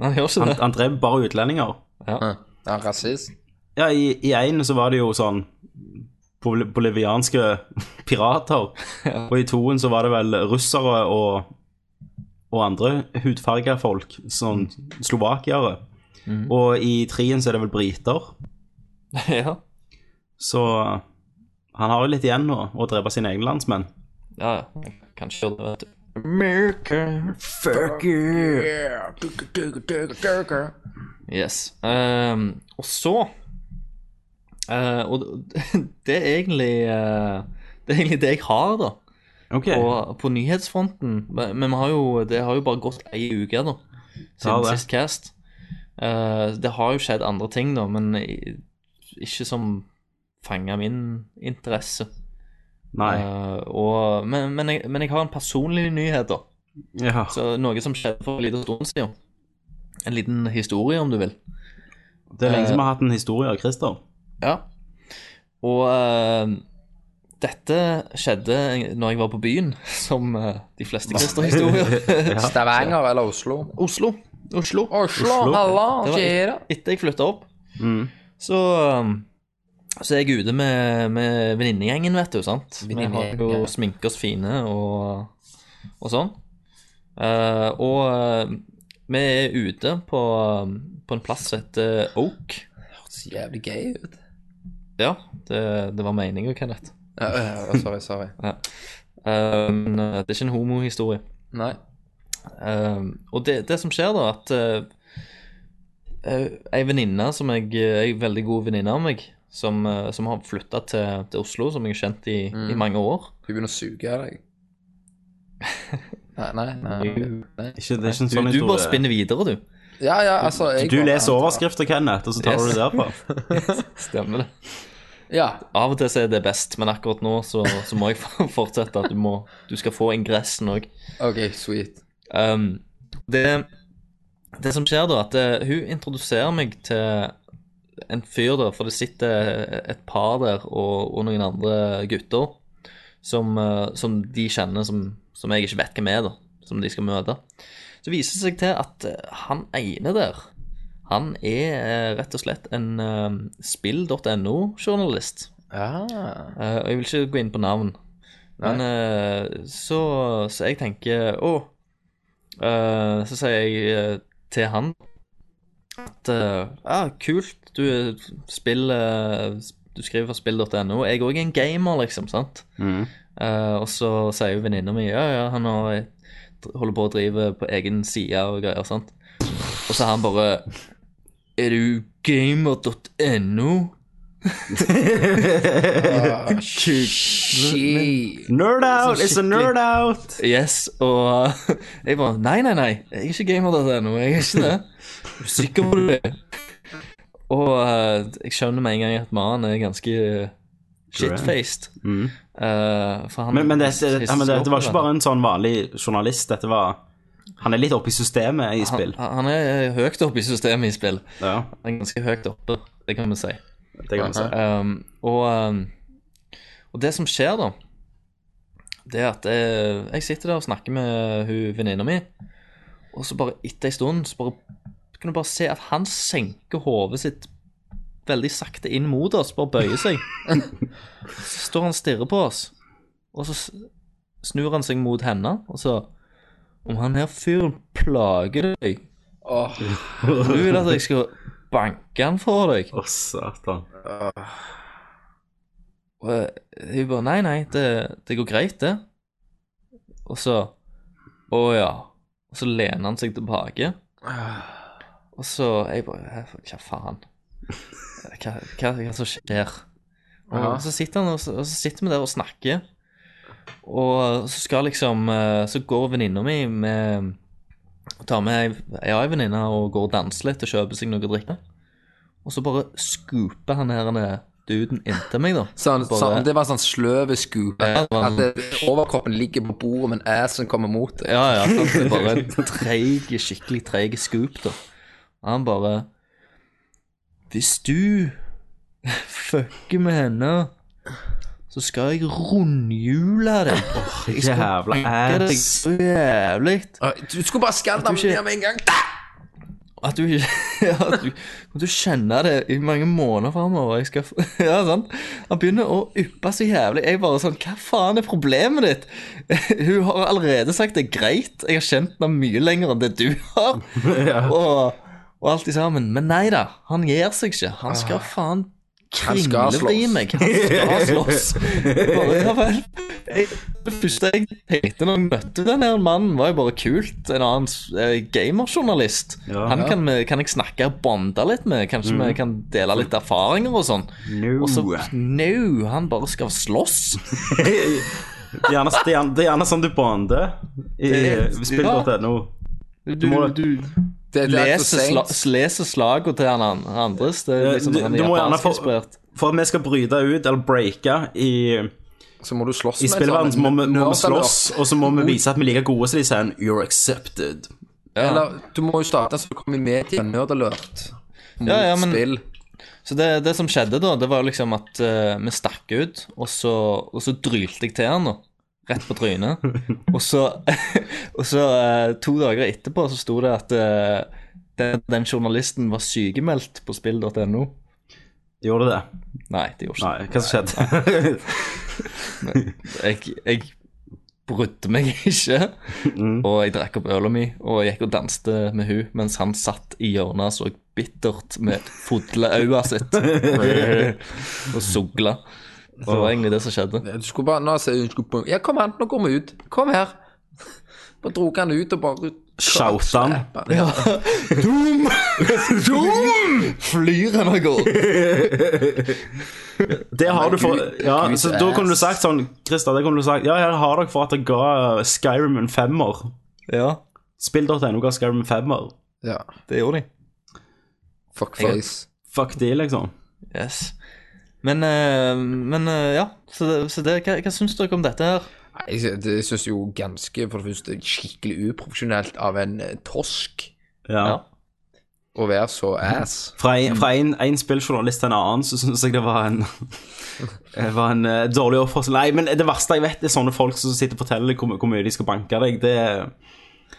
Speaker 3: han gjør ikke
Speaker 1: Han,
Speaker 3: det.
Speaker 1: han dreper bare utlendinger.
Speaker 3: Ja.
Speaker 2: Er han rasist?
Speaker 1: Ja, i, i en så var det jo sånn bol bolivianske pirater. Og i toen så var det vel russere og, og andre hudfarga folk. Sånn slovakiere.
Speaker 3: Mm.
Speaker 1: Og i treen så er det vel briter.
Speaker 3: ja.
Speaker 1: Så han har jo litt igjen nå å drepe sine egne landsmenn.
Speaker 3: Ja, ja. Kanskje gjør det, vet du. America.
Speaker 2: Yeah. Duker, duker, duker, duker.
Speaker 3: Yes. Ehm, og så eh, Og det er egentlig eh, Det er egentlig det jeg har, da.
Speaker 1: Ok,
Speaker 3: På, på nyhetsfronten. Men men vi har jo, det har jo bare gått ei uke, da.
Speaker 1: har
Speaker 3: Siden
Speaker 1: det.
Speaker 3: sist cast. Eh, det har jo skjedd andre ting, da, men i- ikke som fanga min interesse.
Speaker 1: Nei.
Speaker 3: Eh, og, men, men, jeg, men jeg har en personlig nyhet, da.
Speaker 1: Ja.
Speaker 3: Så noe som skjedde for en liten stund siden. En liten historie, om du vil. eh,
Speaker 1: Det er lenge siden vi har hatt en historie av Christer.
Speaker 3: Ja. Og eh, Dette skjedde når jeg var på byen, som eh, de fleste kristerhistorier.
Speaker 2: Stavanger eller Oslo?
Speaker 3: Oslo. Oslo.
Speaker 2: Oslo, halla,
Speaker 3: Det var
Speaker 2: skjer'a?
Speaker 3: et, etter jeg flytta opp,
Speaker 1: Mm.
Speaker 3: så, um, så er jeg ute med, med venninnegjengen, vet du. sant? Vi har
Speaker 2: Venninnegjengen,
Speaker 3: jo
Speaker 2: ja.
Speaker 3: sminke oss fine og, og sånn. Eh, og eh, vi er ute på, eh, på en plass som heter Oak.
Speaker 2: Hørtes jævlig gay ut.
Speaker 3: Ja, det, det var meninga, Kenneth.
Speaker 2: Ja, ja, ja, sorry, sorry.
Speaker 3: Eh, men eh, det er ikke en homohistorie.
Speaker 2: Nei.
Speaker 3: Um, og det, det som skjer da, at uh, ei venninne som jeg eh, Ei veldig god venninne av meg, som, eh, som har flytta til, til Oslo, som jeg har kjent i,
Speaker 2: Mm.
Speaker 3: i mange år
Speaker 2: Hun begynner å suge av deg. Nei, nei, nei, nei.
Speaker 1: Ikke, det er ikke en
Speaker 3: Du,
Speaker 1: sånn
Speaker 3: du bare
Speaker 1: historie.
Speaker 3: spinner videre, du.
Speaker 2: Ja, ja, altså jeg
Speaker 1: Du
Speaker 2: bare
Speaker 1: leser
Speaker 2: antar.
Speaker 1: overskrifter, Kenneth, og så tar du
Speaker 3: Yes.
Speaker 1: det derfra.
Speaker 3: Stemmer det.
Speaker 2: Ja.
Speaker 3: Av og til så er det best, men akkurat nå så, så må jeg fortsette. at Du, må, du skal få ingressen òg.
Speaker 2: OK, sweet.
Speaker 3: Um, det, det som skjer da, at eh, hun introduserer meg til en fyr der, for det sitter et par der og, og noen andre gutter som, eh, som de kjenner, som, som jeg ikke vet hvem er, da, som de skal møte. Så viser det seg til at eh, han ene der, han er eh, rett og slett en eh, spill.no-journalist.
Speaker 2: Ja.
Speaker 3: Eh, og jeg vil ikke gå inn på navn. Men eh, så, så jeg tenker Å. eh, så sier jeg eh, til han at eh, Ja, kult. Du spiller Du skriver for spill.no. Jeg òg er en gamer, liksom. sant? Eh, og så sier jo venninna mi ja, ja, han har, holder på å drive på egen side og greier. sant? Og så er han bare Er du gamer.no?
Speaker 2: Shit.
Speaker 1: Nerd out! It's a
Speaker 3: Sånn skikkelig-
Speaker 1: nerd out!
Speaker 3: Yes, og jeg bare Nei, nei, nei, jeg er ikke gamer.no. Jeg er ikke det. Er du sikker på det? Og eh, jeg skjønner med en gang at mannen er ganske shitfaced.
Speaker 1: Mm.
Speaker 3: Eh, for han
Speaker 1: Men, men, det, det,
Speaker 3: hisser
Speaker 1: ja, men det,
Speaker 3: seg
Speaker 1: det var
Speaker 3: opp
Speaker 1: ikke
Speaker 3: over
Speaker 1: bare en sånn vanlig journalist. Dette var Han er litt oppe i systemet i
Speaker 3: han,
Speaker 1: spill.
Speaker 3: han han er høyt oppe i systemet i spill.
Speaker 1: Ja,
Speaker 3: Han er ganske høyt oppe, det kan vi si.
Speaker 1: det kan man si.
Speaker 3: Um, og, um, og det som skjer, da, det er at jeg, jeg sitter der og snakker med hun venninna mi, og så bare etter ei stund så bare, kan du bare se at han senker hodet sitt veldig sakte inn mot oss, bare bøyer seg. så står han og stirrer på oss, og så s- snur han seg mot henne, og så Om han her fyren plager deg,
Speaker 2: Åh,
Speaker 3: og du vil at jeg skal banke han for deg
Speaker 1: Å, satan.
Speaker 3: Og eh, hun bare Nei, nei, det, det går greit, det. Og så Å ja. Og så lener han seg tilbake. Og så Jeg bare «Hæ, Hva faen? Hva, hva, hva som skjer? Og
Speaker 2: Ja.
Speaker 3: så sitter han og, så- og så sitter vi der og snakker. Og så skal liksom eh, Så går venninna mi med Tar med ei- ei annen venninne og går og danser litt og kjøper seg noe å drikke. Og så bare scooper han her denne duden inntil meg, da.
Speaker 2: Sånn,
Speaker 3: Bare-
Speaker 2: sånn, det var sånn sløve skupe.
Speaker 3: Ja, det var-
Speaker 2: At det, overkroppen ligger på bordet, men assen kommer mot deg.
Speaker 3: Ja, ja. sant? Det er Bare en treig, skikkelig treig scoop, da. Han bare Hvis du fucker med henne, så skal jeg rundhjule deg. Jeg skal
Speaker 1: jævla
Speaker 3: banke deg
Speaker 1: ass.
Speaker 3: så jævlig
Speaker 2: Åh, Du skulle bare skalle
Speaker 3: ikke-
Speaker 2: ned med en gang. Da!
Speaker 3: at du ikke ja, at du, at du kjenner det i mange måneder framover. Jeg skal f- Ja, sant? Han begynner å yppe så jævlig. Jeg bare sånn Hva faen er problemet ditt? Hun har allerede sagt det er greit. Jeg har kjent henne mye lenger enn det du har. Og, og alt i sammen. Men nei da. Han gir seg ikke. Han skal faen
Speaker 2: Ah. Han skal
Speaker 3: kringle i
Speaker 2: slåss.
Speaker 3: meg. Han skal slåss. Jeg Bare, ja vel. Jeg, det første jeg tenkte når jeg møtte den her mannen, var jo bare kult. En annen eh, gamerjournalist.
Speaker 1: Ja. Mm.
Speaker 3: Han kan, vi, kan jeg snakke og bonde litt med. Kanskje vi kan dele litt erfaringer og sånn.
Speaker 1: No.
Speaker 3: Og så No, han bare skal slåss.
Speaker 1: Det er gjerne, det er gjerne, det er gjerne sånn du bonder i
Speaker 3: Det-
Speaker 1: spill.no.
Speaker 3: Du,
Speaker 1: må-
Speaker 3: du
Speaker 2: Det, det er så
Speaker 3: leser, sla,
Speaker 2: sent.
Speaker 3: leser slagene til han an- andres. Det er liksom
Speaker 1: Du-
Speaker 3: han
Speaker 1: du må gjerne
Speaker 3: japansk
Speaker 1: få-
Speaker 3: inspirert.
Speaker 1: For at vi skal bryte ut eller breake i,
Speaker 2: Så må du slåss
Speaker 1: i
Speaker 2: med sånn
Speaker 3: sånn,
Speaker 1: spillverden, så må vi, må
Speaker 2: nerd,
Speaker 1: vi slåss, og så må vi vise at vi er like gode, så de sier en 'you're accepted'.
Speaker 2: Eller, eller du må jo starte så du kommer i media, nerd alert, mot
Speaker 3: Ja, ja, men-
Speaker 2: spill.
Speaker 3: Så det, det som skjedde da, det var liksom at eh, vi stakk ut, og så, og så drylte jeg til han da. Rett på trynet. Og så, og så eh, to dager etterpå så sto det at eh, den, den journalisten var sykemeldt på spill.no.
Speaker 1: Gjorde det?
Speaker 3: Nei, det gjorde
Speaker 1: Nei,
Speaker 3: ikke
Speaker 1: hva som skjedde?
Speaker 3: jeg, jeg brydde meg ikke. Og jeg drakk opp øla mi, og jeg gikk og danste med hun mens han satt i hjørnet og så bittert med fodleøya sitt og sugla. Det var egentlig det som skjedde.
Speaker 2: Du skulle bare nå, sier hun, skulle på, Ja, kom an, nå går vi ut. Kom her. Bare dro han ut og bare
Speaker 1: Shouta han.
Speaker 2: Slappa. Ja.
Speaker 3: Doom! Doom! Flyr han av gårde.
Speaker 1: Det har du for
Speaker 2: Gud-
Speaker 1: Ja,
Speaker 2: Gud
Speaker 1: så da kunne du
Speaker 2: ass.
Speaker 1: sagt sånn Christer, det kunne du sagt Ja, her har dere for at jeg ga Skyrim en femmer.
Speaker 3: Ja,
Speaker 1: Spill.no ga Skyrim en femmer.
Speaker 2: ja.
Speaker 3: det gjorde de.
Speaker 2: Fuckface.
Speaker 1: Fuck de, liksom.
Speaker 3: Yes. Men, eh, men eh, ja, så, det, så det, hva, hva syns dere om dette her?
Speaker 2: Nei, Jeg, sy- det syns jo ganske, for det første, skikkelig uprofesjonelt av en eh, tosk
Speaker 1: Ja.
Speaker 3: Ja.
Speaker 2: å være så ass.
Speaker 1: Fra en, fra en, en spilljournalist til en annen så syns jeg det var en Det var en eh, dårlig oppførsel. Nei, men det verste jeg vet, er sånne folk som sitter og forteller hvor, hvor mye de skal banke deg. Det,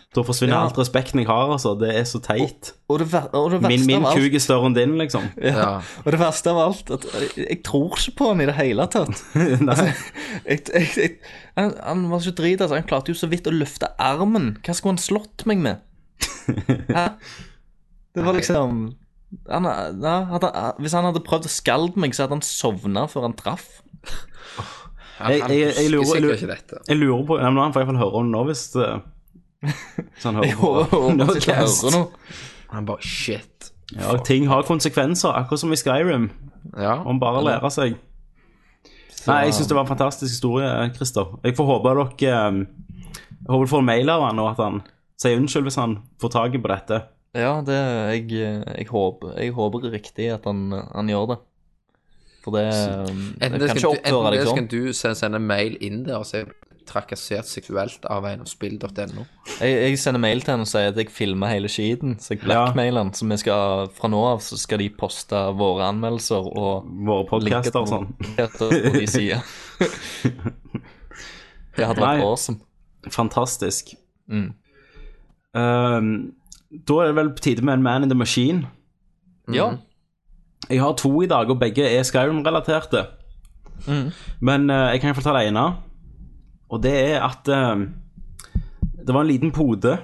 Speaker 1: da forsvinner
Speaker 3: Ja.
Speaker 1: alt respekten jeg har, altså. Det er så teit.
Speaker 3: Og det, ver- og det verste
Speaker 1: Min, min
Speaker 3: av alt
Speaker 1: kuk er større enn din, liksom.
Speaker 3: ja.
Speaker 2: Ja.
Speaker 3: Og det verste av alt, at jeg, jeg tror ikke på han i det hele tatt. Altså,
Speaker 1: Nei.
Speaker 3: jeg, jeg, jeg, han, han var så drit, altså. Han klarte jo så vidt å løfte armen. Hva skulle han slått meg med? Hæ? Det var liksom han, ja, hadde, Hvis han hadde prøvd å skalde meg, så hadde han sovna før han traff.
Speaker 2: Han,
Speaker 1: Jeg- jeg- jeg lurer-
Speaker 2: husker
Speaker 1: lurer-
Speaker 2: sikkert ikke dette.
Speaker 1: Jeg lurer på Nei, men Han får iallfall høre om det nå, hvis det, hvis han hører
Speaker 3: Jeg håper
Speaker 1: på
Speaker 3: håper at jeg ikke
Speaker 1: Nodcast.
Speaker 3: hører noe.
Speaker 2: Han bare shit.
Speaker 1: Ja, ting har konsekvenser, akkurat som i Skyrim.
Speaker 2: Ja.
Speaker 1: Man bare lærer seg. Nei, jeg syns det var en fantastisk historie, Christer. Jeg får håpe dere eh, Jeg håper du får en mail av han, og at han sier unnskyld hvis han får taket på dette.
Speaker 3: Ja, det, jeg, jeg, håper, jeg håper riktig at han, han gjør det. For det um, Jeg
Speaker 2: Enten
Speaker 3: kan
Speaker 2: det
Speaker 3: ikke
Speaker 2: skal, du, enten
Speaker 3: oppføre
Speaker 2: det
Speaker 3: deg sånn.
Speaker 2: skal du sende, sende mail inn der og si trakassert seksuelt av en av spill.no.
Speaker 3: Jeg, jeg sender mail til han og sier at jeg filmer hele skiten. Så jeg blackmailer han. Så vi skal, fra nå av så skal de poste våre anmeldelser og
Speaker 1: Våre
Speaker 3: linker
Speaker 1: podcaster
Speaker 3: til
Speaker 1: og sånn.
Speaker 3: podcaster på de sider. Det hadde
Speaker 1: Nei.
Speaker 3: vært awesome.
Speaker 1: Fantastisk.
Speaker 3: Mm.
Speaker 1: Ehm, da er det vel på tide med en Man in the Machine.
Speaker 3: Ja.
Speaker 1: Jeg har to i dag, og begge er Skyrim-relaterte. Men eh, jeg kan iallfall ta det ene. Og det er at eh, det var en liten pode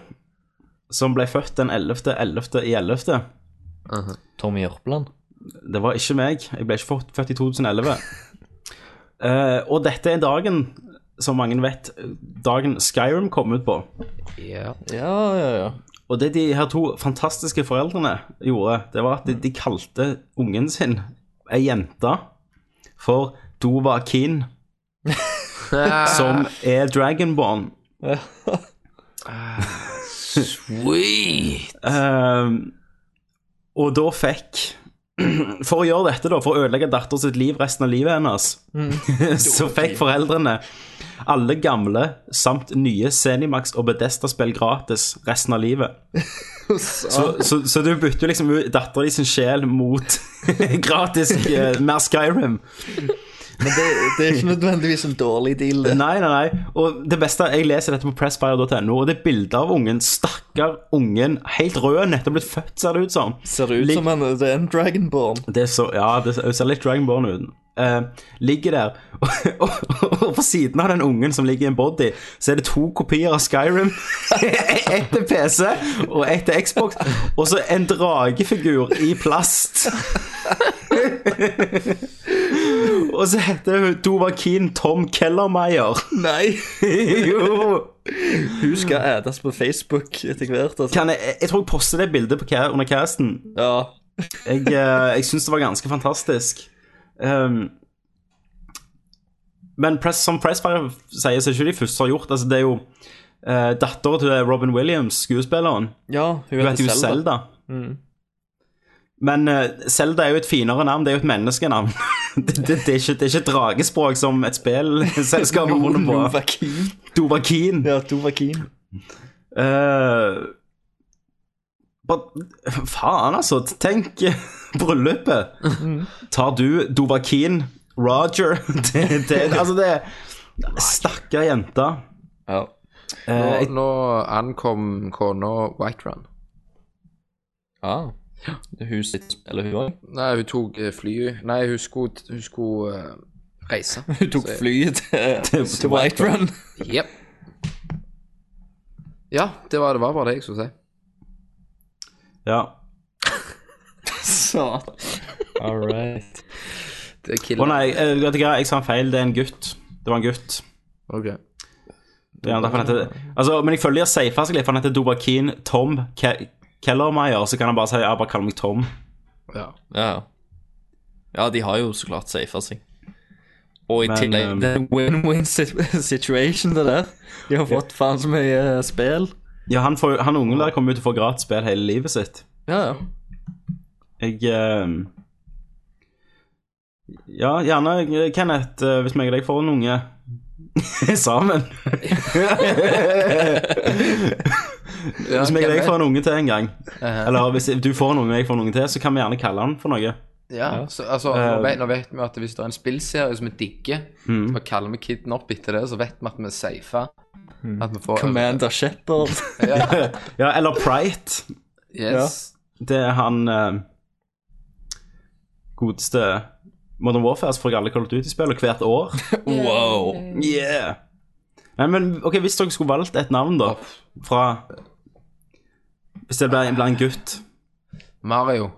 Speaker 1: som ble født den 11.11. i 11.
Speaker 3: Tommy Jørpeland.
Speaker 1: Det var ikke meg. Jeg ble ikke født- født i 2011. Eh, og dette er dagen, som mange vet, dagen Skyrim kom ut på.
Speaker 2: Ja.
Speaker 3: Ja, ja, ja.
Speaker 1: Og det de her to fantastiske foreldrene gjorde, det var at de, de kalte ungen sin, ei jente, for Dova Kin, som er Dragonborn.
Speaker 2: Sweet!
Speaker 1: Ehm, og da fikk For å gjøre dette, da, for å ødelegge datteren sitt liv resten av livet hennes, så fikk foreldrene alle gamle samt nye Zenimax og Bedesta-spill gratis resten av livet. Så, så, så du bytter jo liksom ut dattera di sin sjel mot gratis eh, mer Skyrim.
Speaker 3: Men det, det er ikke nødvendigvis en dårlig deal, det.
Speaker 1: Nei, nei, nei. Og det beste, jeg leser dette på pressfire.no, og det er bilde av ungen. Stakkar ungen. Helt rød, nettopp blitt født, ser det ut som.
Speaker 3: Ser ut som en, det er en dragonborn.
Speaker 1: Det er så, ja, det ser litt Dragonborn ut. Eh, ligger der, og, og, og på siden av den ungen som ligger i en body, så er det to kopier av Skyrim. Ett til PC, og ett til Xbox, og så en dragefigur i plast. og så heter hun Dova Keen Tom Kellermeyer.
Speaker 3: Nei!
Speaker 1: jo.
Speaker 3: Hun skal ædes på Facebook etter hvert, altså.
Speaker 1: Kan jeg, jeg tror jeg poster det bildet på, ca- under casten.
Speaker 3: Ja.
Speaker 1: Jeg, eh, jeg syns det var ganske fantastisk. Um, men press, som Pressfire sier, så er ikke de første som har gjort altså, det. er jo uh, datteren til Robin Williams, skuespilleren.
Speaker 3: ja, hun
Speaker 1: Hun heter
Speaker 3: heter
Speaker 1: jo
Speaker 3: Selda.
Speaker 1: Selda. Men uh, Selda er jo et finere navn. Det er jo et menneskenavn. det, det, det, er ikke, det er ikke dragespråk som et spillselskap har funnet på.
Speaker 3: Novakin.
Speaker 1: Dovakin.
Speaker 3: Ja, Tovakin.
Speaker 1: Eh, bare, faen, altså. Tenk bryllupet. Tar du Dovakin, Roger til, til Altså, det Stakkar jente.
Speaker 3: Ja.
Speaker 2: Nå,
Speaker 1: Eh,
Speaker 2: nå ankom kona Whiterun.
Speaker 3: ja. Ah. Hun sitter Eller hun òg.
Speaker 2: Nei, hun tok eh, flyet Nei, hun skulle, hun skulle eh, reise.
Speaker 3: Hun tok
Speaker 2: Så-
Speaker 3: flyet til,
Speaker 1: til
Speaker 3: til White Run.
Speaker 2: Jep. Ja, det var, det var bare det jeg skulle si.
Speaker 1: ja.
Speaker 3: Satan. All right.
Speaker 2: Det
Speaker 1: Å
Speaker 2: killer.
Speaker 1: nei, eh, vet du hva, jeg sa en feil. Det er en gutt. Det var en gutt.
Speaker 2: Ok.
Speaker 1: Det er derfor han heter, altså, men jeg føler jeg safer seg litt, for han heter Dobakin Tom Ke Kellermeier, så kan han bare si ja, bare kall meg Tom.
Speaker 2: Ja.
Speaker 3: Ja. ja, de har jo så klart safa seg. Og i
Speaker 1: Men,
Speaker 3: tillegg
Speaker 1: ehm,
Speaker 3: Det er en win-win sit- situation, det der. De har fått faen så mye eh, spill.
Speaker 1: Ja, han, får, han ungen der kommer jo til å få gratis spill hele livet sitt.
Speaker 3: Ja, ja.
Speaker 1: Jeg eh, Ja, gjerne, eh, Kenneth, eh, hvis meg og deg får en unge sammen Hvis meg og deg får en unge til en gang,
Speaker 2: Eh,
Speaker 1: eller hvis du får en unge og jeg får en unge til, så kan vi gjerne kalle han for noe.
Speaker 2: Ja, så, altså,
Speaker 3: Eh,
Speaker 2: nå, vet, nå vet vi at hvis det er en spillserie som vi digger,
Speaker 3: Hmm.
Speaker 2: så kaller vi kiden opp etter det, så vet vi at vi er safe.
Speaker 3: Hmm.
Speaker 2: At vi får
Speaker 3: Commander Shepherd.
Speaker 1: Ja, eller Prite.
Speaker 2: Yes.
Speaker 1: Det er han eh, godeste Modern Warfare som får alle Call of Duty-spill og hvert år.
Speaker 3: wow.
Speaker 1: Yeah! Nei, men ok, Hvis dere skulle valgt et navn, da, fra Hvis det ble, ble en gutt
Speaker 2: Mario.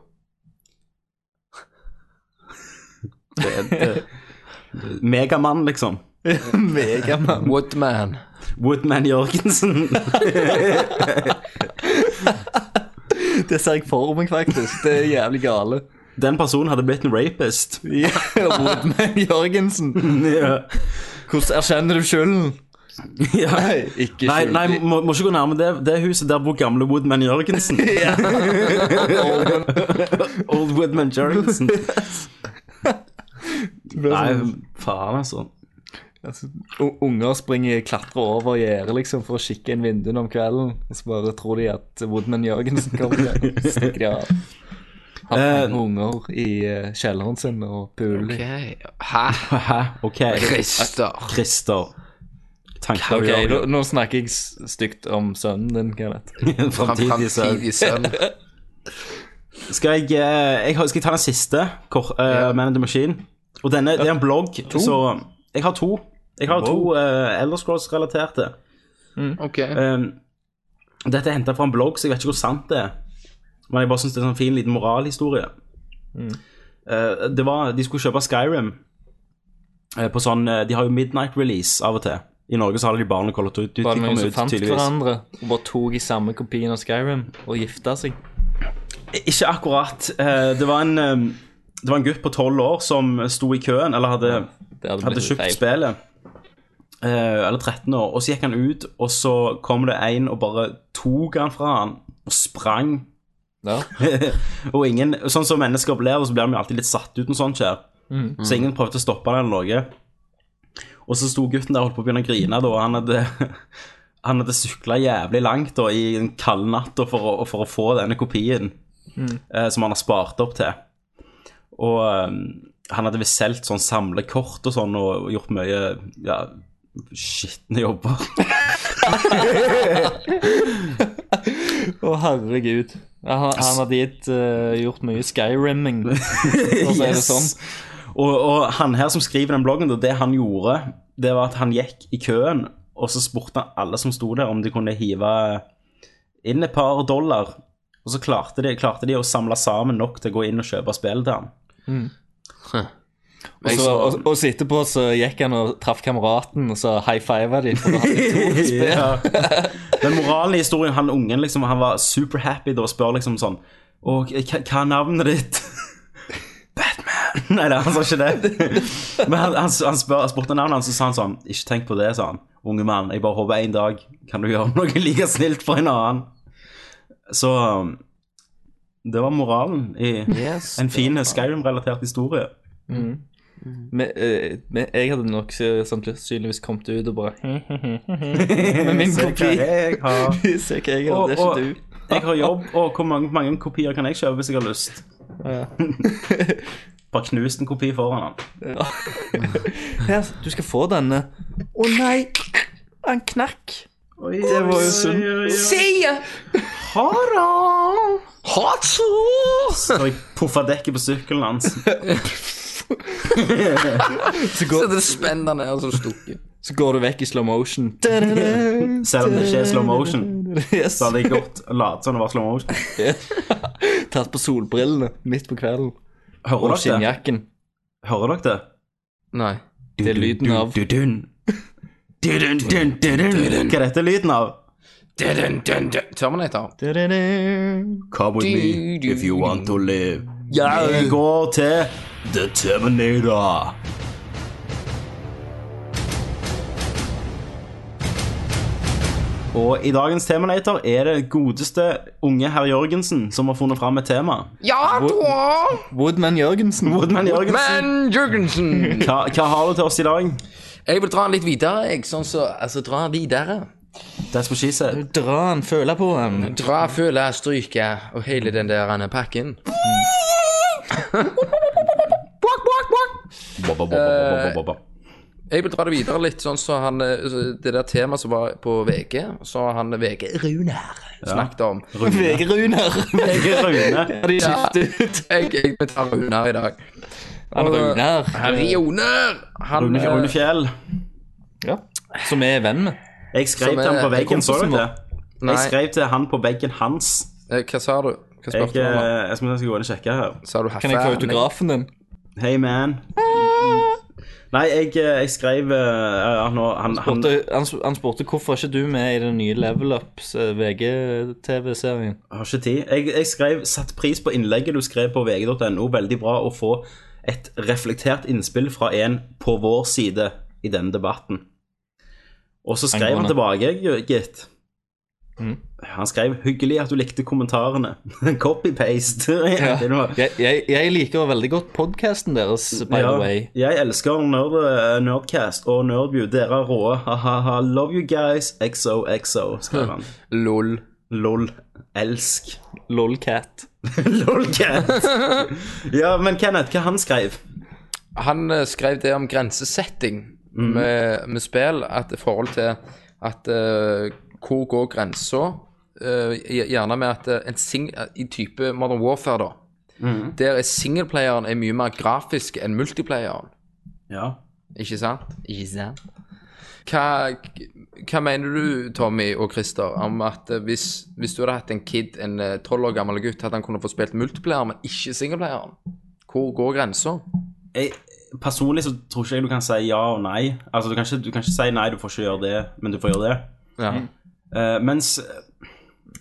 Speaker 1: det er et- Megamann, liksom.
Speaker 3: Megamann.
Speaker 2: Woodman.
Speaker 1: Woodman Jørgensen.
Speaker 3: Det ser jeg for meg, faktisk. Det er jævlig gale.
Speaker 1: Den personen hadde blitt en rapist.
Speaker 3: Ja, Woodman Jørgensen.
Speaker 1: Ja.
Speaker 3: Hvordan erkjenner du skylden?
Speaker 1: Ja.
Speaker 3: Ikke
Speaker 1: Nei,
Speaker 3: skyldig.
Speaker 1: nei må, må ikke gå nærme det, det huset der bor gamle Woodman Jørgensen. Old Woodman Jørgensen.
Speaker 3: sånn
Speaker 1: Nei, faen, altså.
Speaker 3: Altså, u- unger springer klatrer over gjerdet liksom, for å kikke inn vinduene om kvelden, og så bare tror de at Woodman Jørgensen kommer. og Stikker de av.
Speaker 1: Eh,
Speaker 3: Han har unger i eh, kjelleren sin og puler.
Speaker 2: Ok.
Speaker 3: dem.
Speaker 2: Hæ?
Speaker 1: Hæ? OK,
Speaker 2: Christer.
Speaker 1: Christer. Tanker
Speaker 3: Ok,
Speaker 1: okay,
Speaker 3: nå, nå snakker jeg s- stygt om sønnen din, Kenneth.
Speaker 1: Framtidig sønn.
Speaker 2: Framtidig sønn.
Speaker 1: Skal jeg, eh, jeg, har- skal jeg ta den siste, kor, eh, Man in the Machine? Og denne, det er en blogg, så Jeg har to. Jeg har to uh, Elder Scrolls-relaterte.
Speaker 2: Ok.
Speaker 1: Um, dette er henta fra en blogg, så jeg vet ikke hvor sant det er. Men jeg bare syns det er en sånn fin liten moralhistorie. Uh, det var, de skulle kjøpe Skyrim eh, på sånn eh, De har jo midnight release av og til. I Norge så hadde de barn og Call of Duty
Speaker 3: Var
Speaker 1: kom
Speaker 3: det noen som
Speaker 1: ut,
Speaker 3: fant
Speaker 1: tydeligvis.
Speaker 3: hverandre og bare tok i samme kopien av Skyrim og gifta seg?
Speaker 1: Ikke akkurat. Eh, det, var en, eh, det var en gutt på tolv år som sto i køen, eller hadde,
Speaker 3: Det hadde
Speaker 1: hadde
Speaker 3: blitt
Speaker 1: kjøpt
Speaker 3: feil.
Speaker 1: spillet. Eh, eller 13 år. Og så gikk han ut, og så kom det en og bare tok han fra han og sprang.
Speaker 3: Ja.
Speaker 1: og ingen, sånn som mennesker opplever, så blir de jo alltid litt satt ut når sånt skjer. Så ingen prøvde å stoppe det eller noe. Og så sto gutten der og holdt på å begynne å grine, da, og han hadde han hadde sykla jævlig langt da, i den kalde natta for, å- for å få denne kopien eh, som han har spart opp til. Og eh, han hadde visst solgt sånn samlekort og sånn, og gjort mye ja, skitne jobber.
Speaker 3: Å, herregud. Ja, Han, han hadde gitt, eh, gjort mye skyrimming, for å si det
Speaker 1: Yes.
Speaker 3: sånn.
Speaker 1: Og, og han her som skriver den bloggen, da, det han gjorde, det var at han gikk i køen, og så spurte han alle som sto der, om de kunne hive inn et par dollar. Og så klarte de, klarte de å samle sammen nok til å gå inn og kjøpe spill til han.
Speaker 3: Og, så, og, og så etterpå så gikk han og traff kameraten, og så high fiva de. For da hadde de to spill.
Speaker 1: Ja. Men moralen i historien, han ungen liksom, han var super happy da og spør liksom sånn Å, hva hva er navnet ditt? Batman. Nei, nei, han sa ikke det. Men han, han, han, spør, han spurte navnet hans, og så sa han sånn Ikke tenk på det, sa han. Unge mann, jeg bare håper en dag kan du gjøre noe like snilt for en annen. Så um, det var moralen i
Speaker 2: Yes.
Speaker 1: en fin Skyrim-relatert historie.
Speaker 3: Mm. Men, eh, men jeg hadde nok eh, sannsynligvis kommet ut og bare Med min
Speaker 1: Se hva
Speaker 3: kopi.
Speaker 1: jeg har.
Speaker 3: Se hva jeg har,
Speaker 1: Og,
Speaker 3: det er
Speaker 1: og,
Speaker 3: ikke du.
Speaker 1: jeg har jobb, og hvor mange, mange kopier kan jeg kjøpe hvis jeg har lyst? Bare knust en kopi foran han.
Speaker 3: Her, du skal få denne. Å nei, han knakk. Det var jo synd.
Speaker 1: Ha det!
Speaker 3: Hatsu!
Speaker 1: Så jeg puffa dekket på sykkelen hans.
Speaker 3: Så,
Speaker 2: Så
Speaker 3: går-
Speaker 2: det spenner ned og så stukker.
Speaker 3: så går du vekk i slow motion. Da-da-da.
Speaker 1: Selv om det ikke er slow motion,
Speaker 3: Yes.
Speaker 1: så hadde jeg godt latt som det var slow motion.
Speaker 3: Tatt på solbrillene midt på kvelden. Og
Speaker 1: Hører dere det?
Speaker 3: skinnjakken.
Speaker 1: Hører dere det?
Speaker 2: Nei.
Speaker 3: Det er lyden av
Speaker 1: Hva er dette lyden av?
Speaker 2: Dun, dun, dun. Terminator.
Speaker 3: Da-da-da.
Speaker 1: Come with me if you want to live.
Speaker 2: Ja.
Speaker 1: Vi går til The Terminator. Og i dagens Terminator er det godeste unge herr Jørgensen som har funnet fram et tema.
Speaker 2: Ja, da!
Speaker 3: Woodman Jørgensen.
Speaker 1: Woodman Jørgensen,
Speaker 2: Men Jørgensen!
Speaker 1: hva, hva har du til oss i dag?
Speaker 2: Jeg vil dra den litt videre, jeg. Sånn så, altså, dra videre.
Speaker 1: That's what she
Speaker 2: Eh,
Speaker 1: said.
Speaker 3: Dra han, føle på han.
Speaker 2: Dra, føle, stryke og hele den der andre pakken. Bok, bok, bok. Jeg vil dra det videre litt, sånn så han eh, Det der temaet som var på VG, så har han VG Rune her snakket om.
Speaker 3: Vege Runar.
Speaker 1: Jeg er Rune.
Speaker 3: De skifter ut.
Speaker 2: Jeg, jeg vil ta Rune her i dag.
Speaker 3: Han Runar.
Speaker 2: Rune! Han
Speaker 1: Rune,
Speaker 2: eh,
Speaker 1: Rune Fjell.
Speaker 3: Ja. Som vi er venn med.
Speaker 1: Jeg skrev
Speaker 2: Som er-
Speaker 1: til han på
Speaker 2: det er
Speaker 1: veggen, så
Speaker 3: kompisen
Speaker 1: du det? Jeg
Speaker 2: eh, Nei,
Speaker 1: skrev til han på veggen hans.
Speaker 2: eh, hva sa du? Hva
Speaker 1: Jeg,
Speaker 2: spurte du om? da?
Speaker 1: eh, jeg skal jeg skal gå inn og sjekke her.
Speaker 2: Sa du
Speaker 3: Kan jeg få
Speaker 2: Haffa?
Speaker 3: autografen din?
Speaker 1: Hei, man. Nei, jeg, jeg skrev eh, han, han, han,
Speaker 3: Spurte, han, han spurte hvorfor er ikke du med i den nye Level Ups eh, VG-TV-serien.
Speaker 1: har ikke tid. Jeg, jeg skrev 'satt pris på innlegget du skrev på vg.no'. Veldig bra å få et reflektert innspill fra en på vår side i denne debatten. Og så skrev han tilbake, gitt.
Speaker 3: Mhm.
Speaker 1: Han skrev 'hyggelig at du likte kommentarene'. Copy-paste.
Speaker 3: Ja.
Speaker 1: Det var-
Speaker 3: Jeg, jeg, jeg liker veldig godt podkasten deres, by the way.
Speaker 1: Jeg elsker nerd, eh, Nerdcast og Nerdview. Dere er rå. Ha-ha-ha. Love you guys. XOXO, skrev han.
Speaker 2: Lol.
Speaker 1: Lol. Elsk.
Speaker 3: Lolcat.
Speaker 1: Lolcat. ja, men Kenneth, hva han skrev?
Speaker 2: Han eh, skrev det om grensesetting
Speaker 1: Mm.
Speaker 2: med, med spill, at i forhold til at eh, hvor går grensa? Eh, gjerne med at eh, en sing i type Modern Warfare, da. Der er singelplayeren er mye mer grafisk enn multiplayeren.
Speaker 1: Ja.
Speaker 2: Ikke sant? Ikke sant? Hva, hva mener du, Tommy og Christer, om at eh, hvis, hvis du hadde hatt en kid, en eh, tolv år gammel gutt, at han kunne få spilt multiplayer, men ikke singelplayeren? Hvor går grensa?
Speaker 1: Jeg, personlig så tror ikke jeg du kan si ja og nei. Altså, du kan, ikke, du kan ikke si nei, du får ikke gjøre det, men du får gjøre det.
Speaker 2: Ja.
Speaker 1: Eh, mens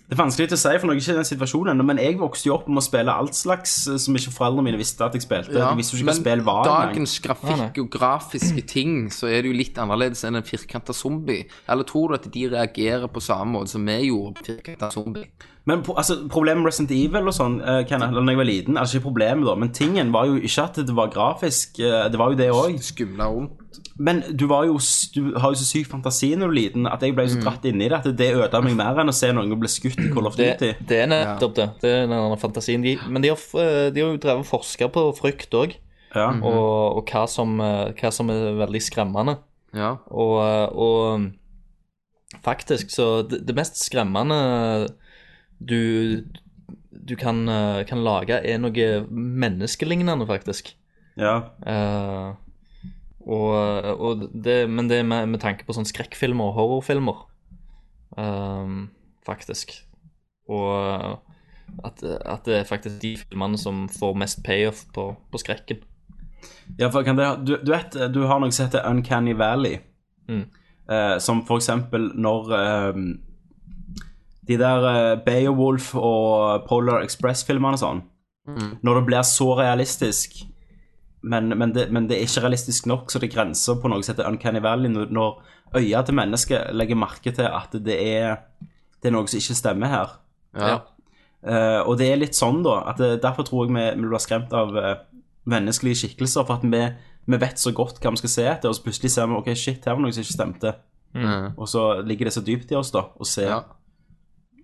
Speaker 1: det er vanskelig til å si, for jeg er ikke i den situasjonen ennå, men jeg vokste jo opp med å spille alt slags eh, som ikke foreldrene mine visste at jeg spilte. de visste jo ikke hva spill var. engang.
Speaker 2: dagens grafikk og grafiske ting, så er det jo litt annerledes enn en firkanta zombie. Eller tror du at de reagerer på samme måte som vi gjorde på firkanta zombie?
Speaker 1: Men pro altså, problemet med Resident Evil og sånn, uh, Kenneth, eller når jeg var liten, altså ikke problemet da, men tingen var jo ikke at det var grafisk, eh, det var jo det òg.
Speaker 2: Skumla rundt.
Speaker 1: Men du, var jo, s- du har jo så syk fantasi når du er liten at jeg ble
Speaker 3: Mm.
Speaker 1: så dratt inn i det at det ødela meg mer enn å se noen bli skutt i Call of
Speaker 3: Det,
Speaker 1: Duty.
Speaker 3: det er nettopp det. Det er den andre fantasien. De, men de har, f- eh, de har jo drevet forsker på frykt òg,
Speaker 1: Ja.
Speaker 3: Mm. Mhm. og, og hva, som, eh, hva som er veldig skremmende.
Speaker 2: Ja.
Speaker 3: Og, eh, og faktisk, så det, det mest skremmende du, du kan, eh, kan lage, er noe menneskelignende, faktisk.
Speaker 1: ja.
Speaker 3: Eh, og, og det, men det er med, med tanke på sånn skrekkfilmer og horrorfilmer, ehm, faktisk. Og at, at det er faktisk de filmene som får mest payoff på, på skrekken.
Speaker 1: ja, for kan det, du, du vet, eh, du har noe som heter Uncanny Valley,
Speaker 3: Mm.
Speaker 1: Eh, som for eksempel når eh, de der eh, Beowulf og Polar Express-filmerne og sånn,
Speaker 2: Mm.
Speaker 1: når det blir så realistisk, men, men, det, men det er ikke realistisk nok, så det grenser på noe som heter Uncanny Valley, når, når øya til mennesket legger merke til at det er, det er noe som ikke stemmer her.
Speaker 2: ja.
Speaker 3: Ja.
Speaker 1: Eh, og det er litt sånn, da, at det, derfor tror jeg vi, vi blir skremt av eh, menneskelige skikkelser, for at vi, vi vet så godt hva vi skal se etter, og så plutselig ser vi ok, shit, her var noe som ikke stemte.
Speaker 2: Mm.
Speaker 1: Og så ligger det så dypt i oss, da, å se
Speaker 2: Ja.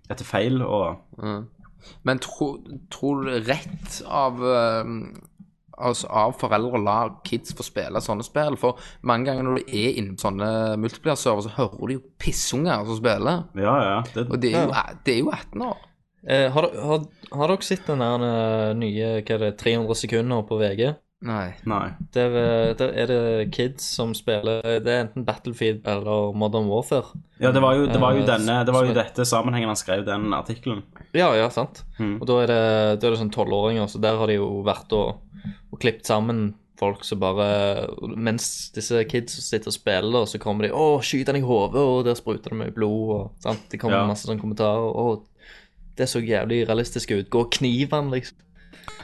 Speaker 1: etter feil og
Speaker 2: Mm. Men tro- tror du rett av eh, altså av foreldre å la kids få spille sånne spill? For mange ganger når du er inne på sånne multiplier-server, så hører du jo pissunger som spiller.
Speaker 1: Ja, ja. Det,
Speaker 2: Og det er jo, det er jo 18 år.
Speaker 3: Eh, har, dere- har, har dere sett den der eh, nye hva er det, 300 sekunder på VG?
Speaker 2: Nei.
Speaker 1: nei.
Speaker 3: Der, eh, der er det kids som spiller eh, Det er enten Battlefield eller Modern Warfare.
Speaker 1: Ja, det var jo, det var jo,
Speaker 3: Eh,
Speaker 1: denne, det var jo
Speaker 3: så-
Speaker 1: dette sammenhengen han skrev den artikkelen.
Speaker 3: Ja, ja, sant.
Speaker 1: Mhm.
Speaker 3: Og da er det, da er det sånn tolvåringer, så der har de jo vært og, og klippet sammen folk som bare Mens disse kids sitter og spiller, så kommer de 'Å, skyt han i hodet', og der spruter det mye blod, og sant. Det kommer
Speaker 1: Ja.
Speaker 3: masse sånne kommentarer. Å, det så jævlig realistisk ut. Gå og kniv han, liksom.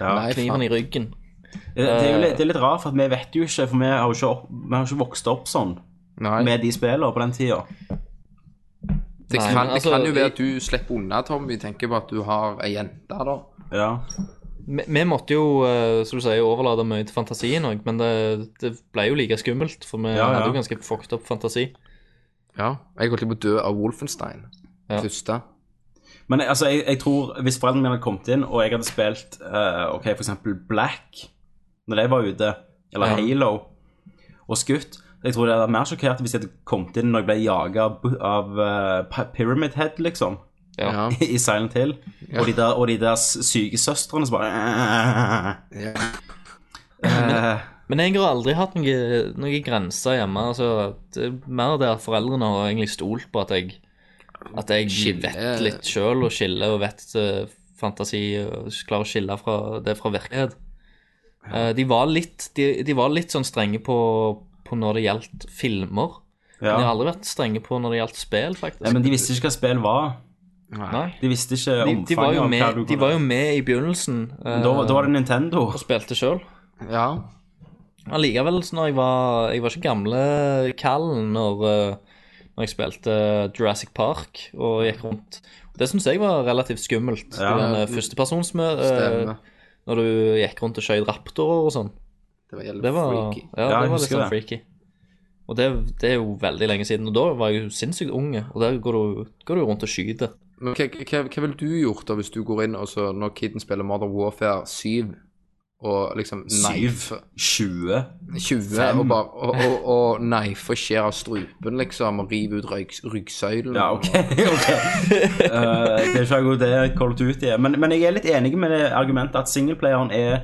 Speaker 1: Ja.
Speaker 2: Nei,
Speaker 3: Kniv
Speaker 2: faen.
Speaker 3: han i ryggen.
Speaker 1: Det, det, er jo litt, det er litt rart, for at vi vet jo ikke, for vi har jo ikke, opp, vi har jo ikke vokst opp sånn
Speaker 2: Nei.
Speaker 1: med de spillene på den tida.
Speaker 2: Det
Speaker 3: Nei,
Speaker 2: kan,
Speaker 3: men
Speaker 2: det kan
Speaker 3: altså,
Speaker 2: jo være
Speaker 3: i-
Speaker 2: at du slipper unna, Tommy. Tenker på at du har ei jente, da.
Speaker 1: Ja.
Speaker 3: Vi, vi måtte jo, eh, som du sier, overlate mye til fantasien òg, men det, det ble jo like skummelt, for vi
Speaker 1: Ja, ja.
Speaker 3: hadde jo ganske fucked up fantasi.
Speaker 2: Ja. Jeg holdt på å dø av Wolfenstein.
Speaker 3: Ja.
Speaker 2: Første.
Speaker 1: Men altså, jeg, jeg tror hvis foreldrene mine hadde kommet inn, og jeg hadde spilt eh, ok, for eksempel Black når jeg var ute, eller
Speaker 3: Ja.
Speaker 1: Halo, og skutt Jeg tror det hadde vært mer sjokkert hvis jeg hadde kommet inn når jeg ble jaga av, bu- av eh, Pi- Pyramid Head, liksom,
Speaker 2: Ja.
Speaker 1: i Silent Hill, og, de der, og de der s- syke søstrene som bare
Speaker 2: Ja.
Speaker 1: eh,
Speaker 3: Men jeg har aldri hatt noen noe grenser hjemme. altså det er Mer det at foreldrene har egentlig stolt på at jeg, at jeg
Speaker 2: Skille.
Speaker 3: vet litt sjøl og skiller og vet eh, fantasi og klarer å skille fra det fra virkelighet. Eh, de, var litt, de, de var litt sånn strenge på, på når det gjaldt filmer. Men de har
Speaker 1: ja.
Speaker 3: aldri vært strenge på når det gjaldt spill, faktisk.
Speaker 1: ja. Men de visste ikke hva spill var.
Speaker 2: Nei.
Speaker 3: Nei.
Speaker 1: De visste ikke
Speaker 3: De, de, var
Speaker 1: Eh, omfanget
Speaker 3: jo
Speaker 1: av hva
Speaker 3: med,
Speaker 1: du
Speaker 3: de var jo med i begynnelsen eh,
Speaker 1: da, da var det Nintendo.
Speaker 3: og spilte sjøl.
Speaker 2: Ja.
Speaker 3: Allikevel, så når jeg var Jeg var ikke gamle kallen når, eh, når jeg spilte Jurassic Park og gikk rundt. Det syns jeg var relativt skummelt. eh,
Speaker 1: Ja.
Speaker 3: det der Førstepersonsmøte
Speaker 2: Stemmer.
Speaker 3: Eh, når du gikk rundt og skjøt raptorer og sånn.
Speaker 2: Det var jævlig
Speaker 3: Det var,
Speaker 2: freaky.
Speaker 3: ja,
Speaker 1: Ja, jeg
Speaker 3: det var litt
Speaker 1: husker det.
Speaker 3: sånn freaky. Og det, det er jo veldig lenge siden. Og da var jeg jo sinnssykt unge, og der går du, går du rundt og skyter.
Speaker 2: Men hva, hva, hva ville du gjort da hvis du går inn og så når kiden spiller Modern Warfare 7 og liksom knife
Speaker 1: 7, 20
Speaker 2: 20 og bare og, og, og knife skjer av strupen, liksom, og rive ut rygg, ryggsøylen?
Speaker 1: Ja, ok. ok. Eh, det er ikke en god idé Call of Duty er. Men, men jeg er litt enig med det argumentet at singleplayeren er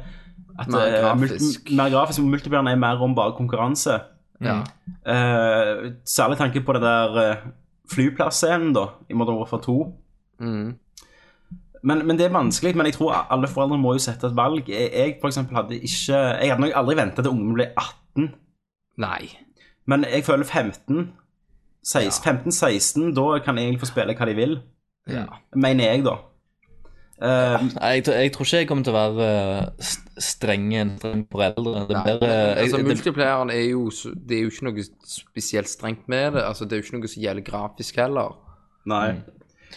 Speaker 1: at,
Speaker 2: Mer
Speaker 1: eh, mul-
Speaker 2: grafisk.
Speaker 1: mer grafisk og multiplayeren er mer om bare konkurranse.
Speaker 2: Ja.
Speaker 1: Eh, særlig tanke på det der eh, flyplass-scenen da, i Modern Warfare 2.
Speaker 2: Mm.
Speaker 1: Men, men det er vanskelig, men jeg tror alle foreldre må jo sette et valg. Jeg, jeg for eksempel hadde ikke Jeg hadde nok aldri venta til ungen ble 18,
Speaker 2: Nei.
Speaker 1: men jeg føler 15 15-16, da kan jeg egentlig få spille hva de vil.
Speaker 2: Ja.
Speaker 1: Mener jeg, da. Eh,
Speaker 3: Nei, jeg, tror- jeg tror ikke jeg kommer til å være eh, st- strenge enn streng foreldre. Det
Speaker 2: Nei,
Speaker 3: er bedre
Speaker 2: men, altså,
Speaker 3: jeg- det-
Speaker 2: Multiplayeren er jo, så- det er jo ikke noe spesielt strengt med det. Altså, det er jo ikke noe som gjelder grafisk heller.
Speaker 1: Nei.
Speaker 2: Mm.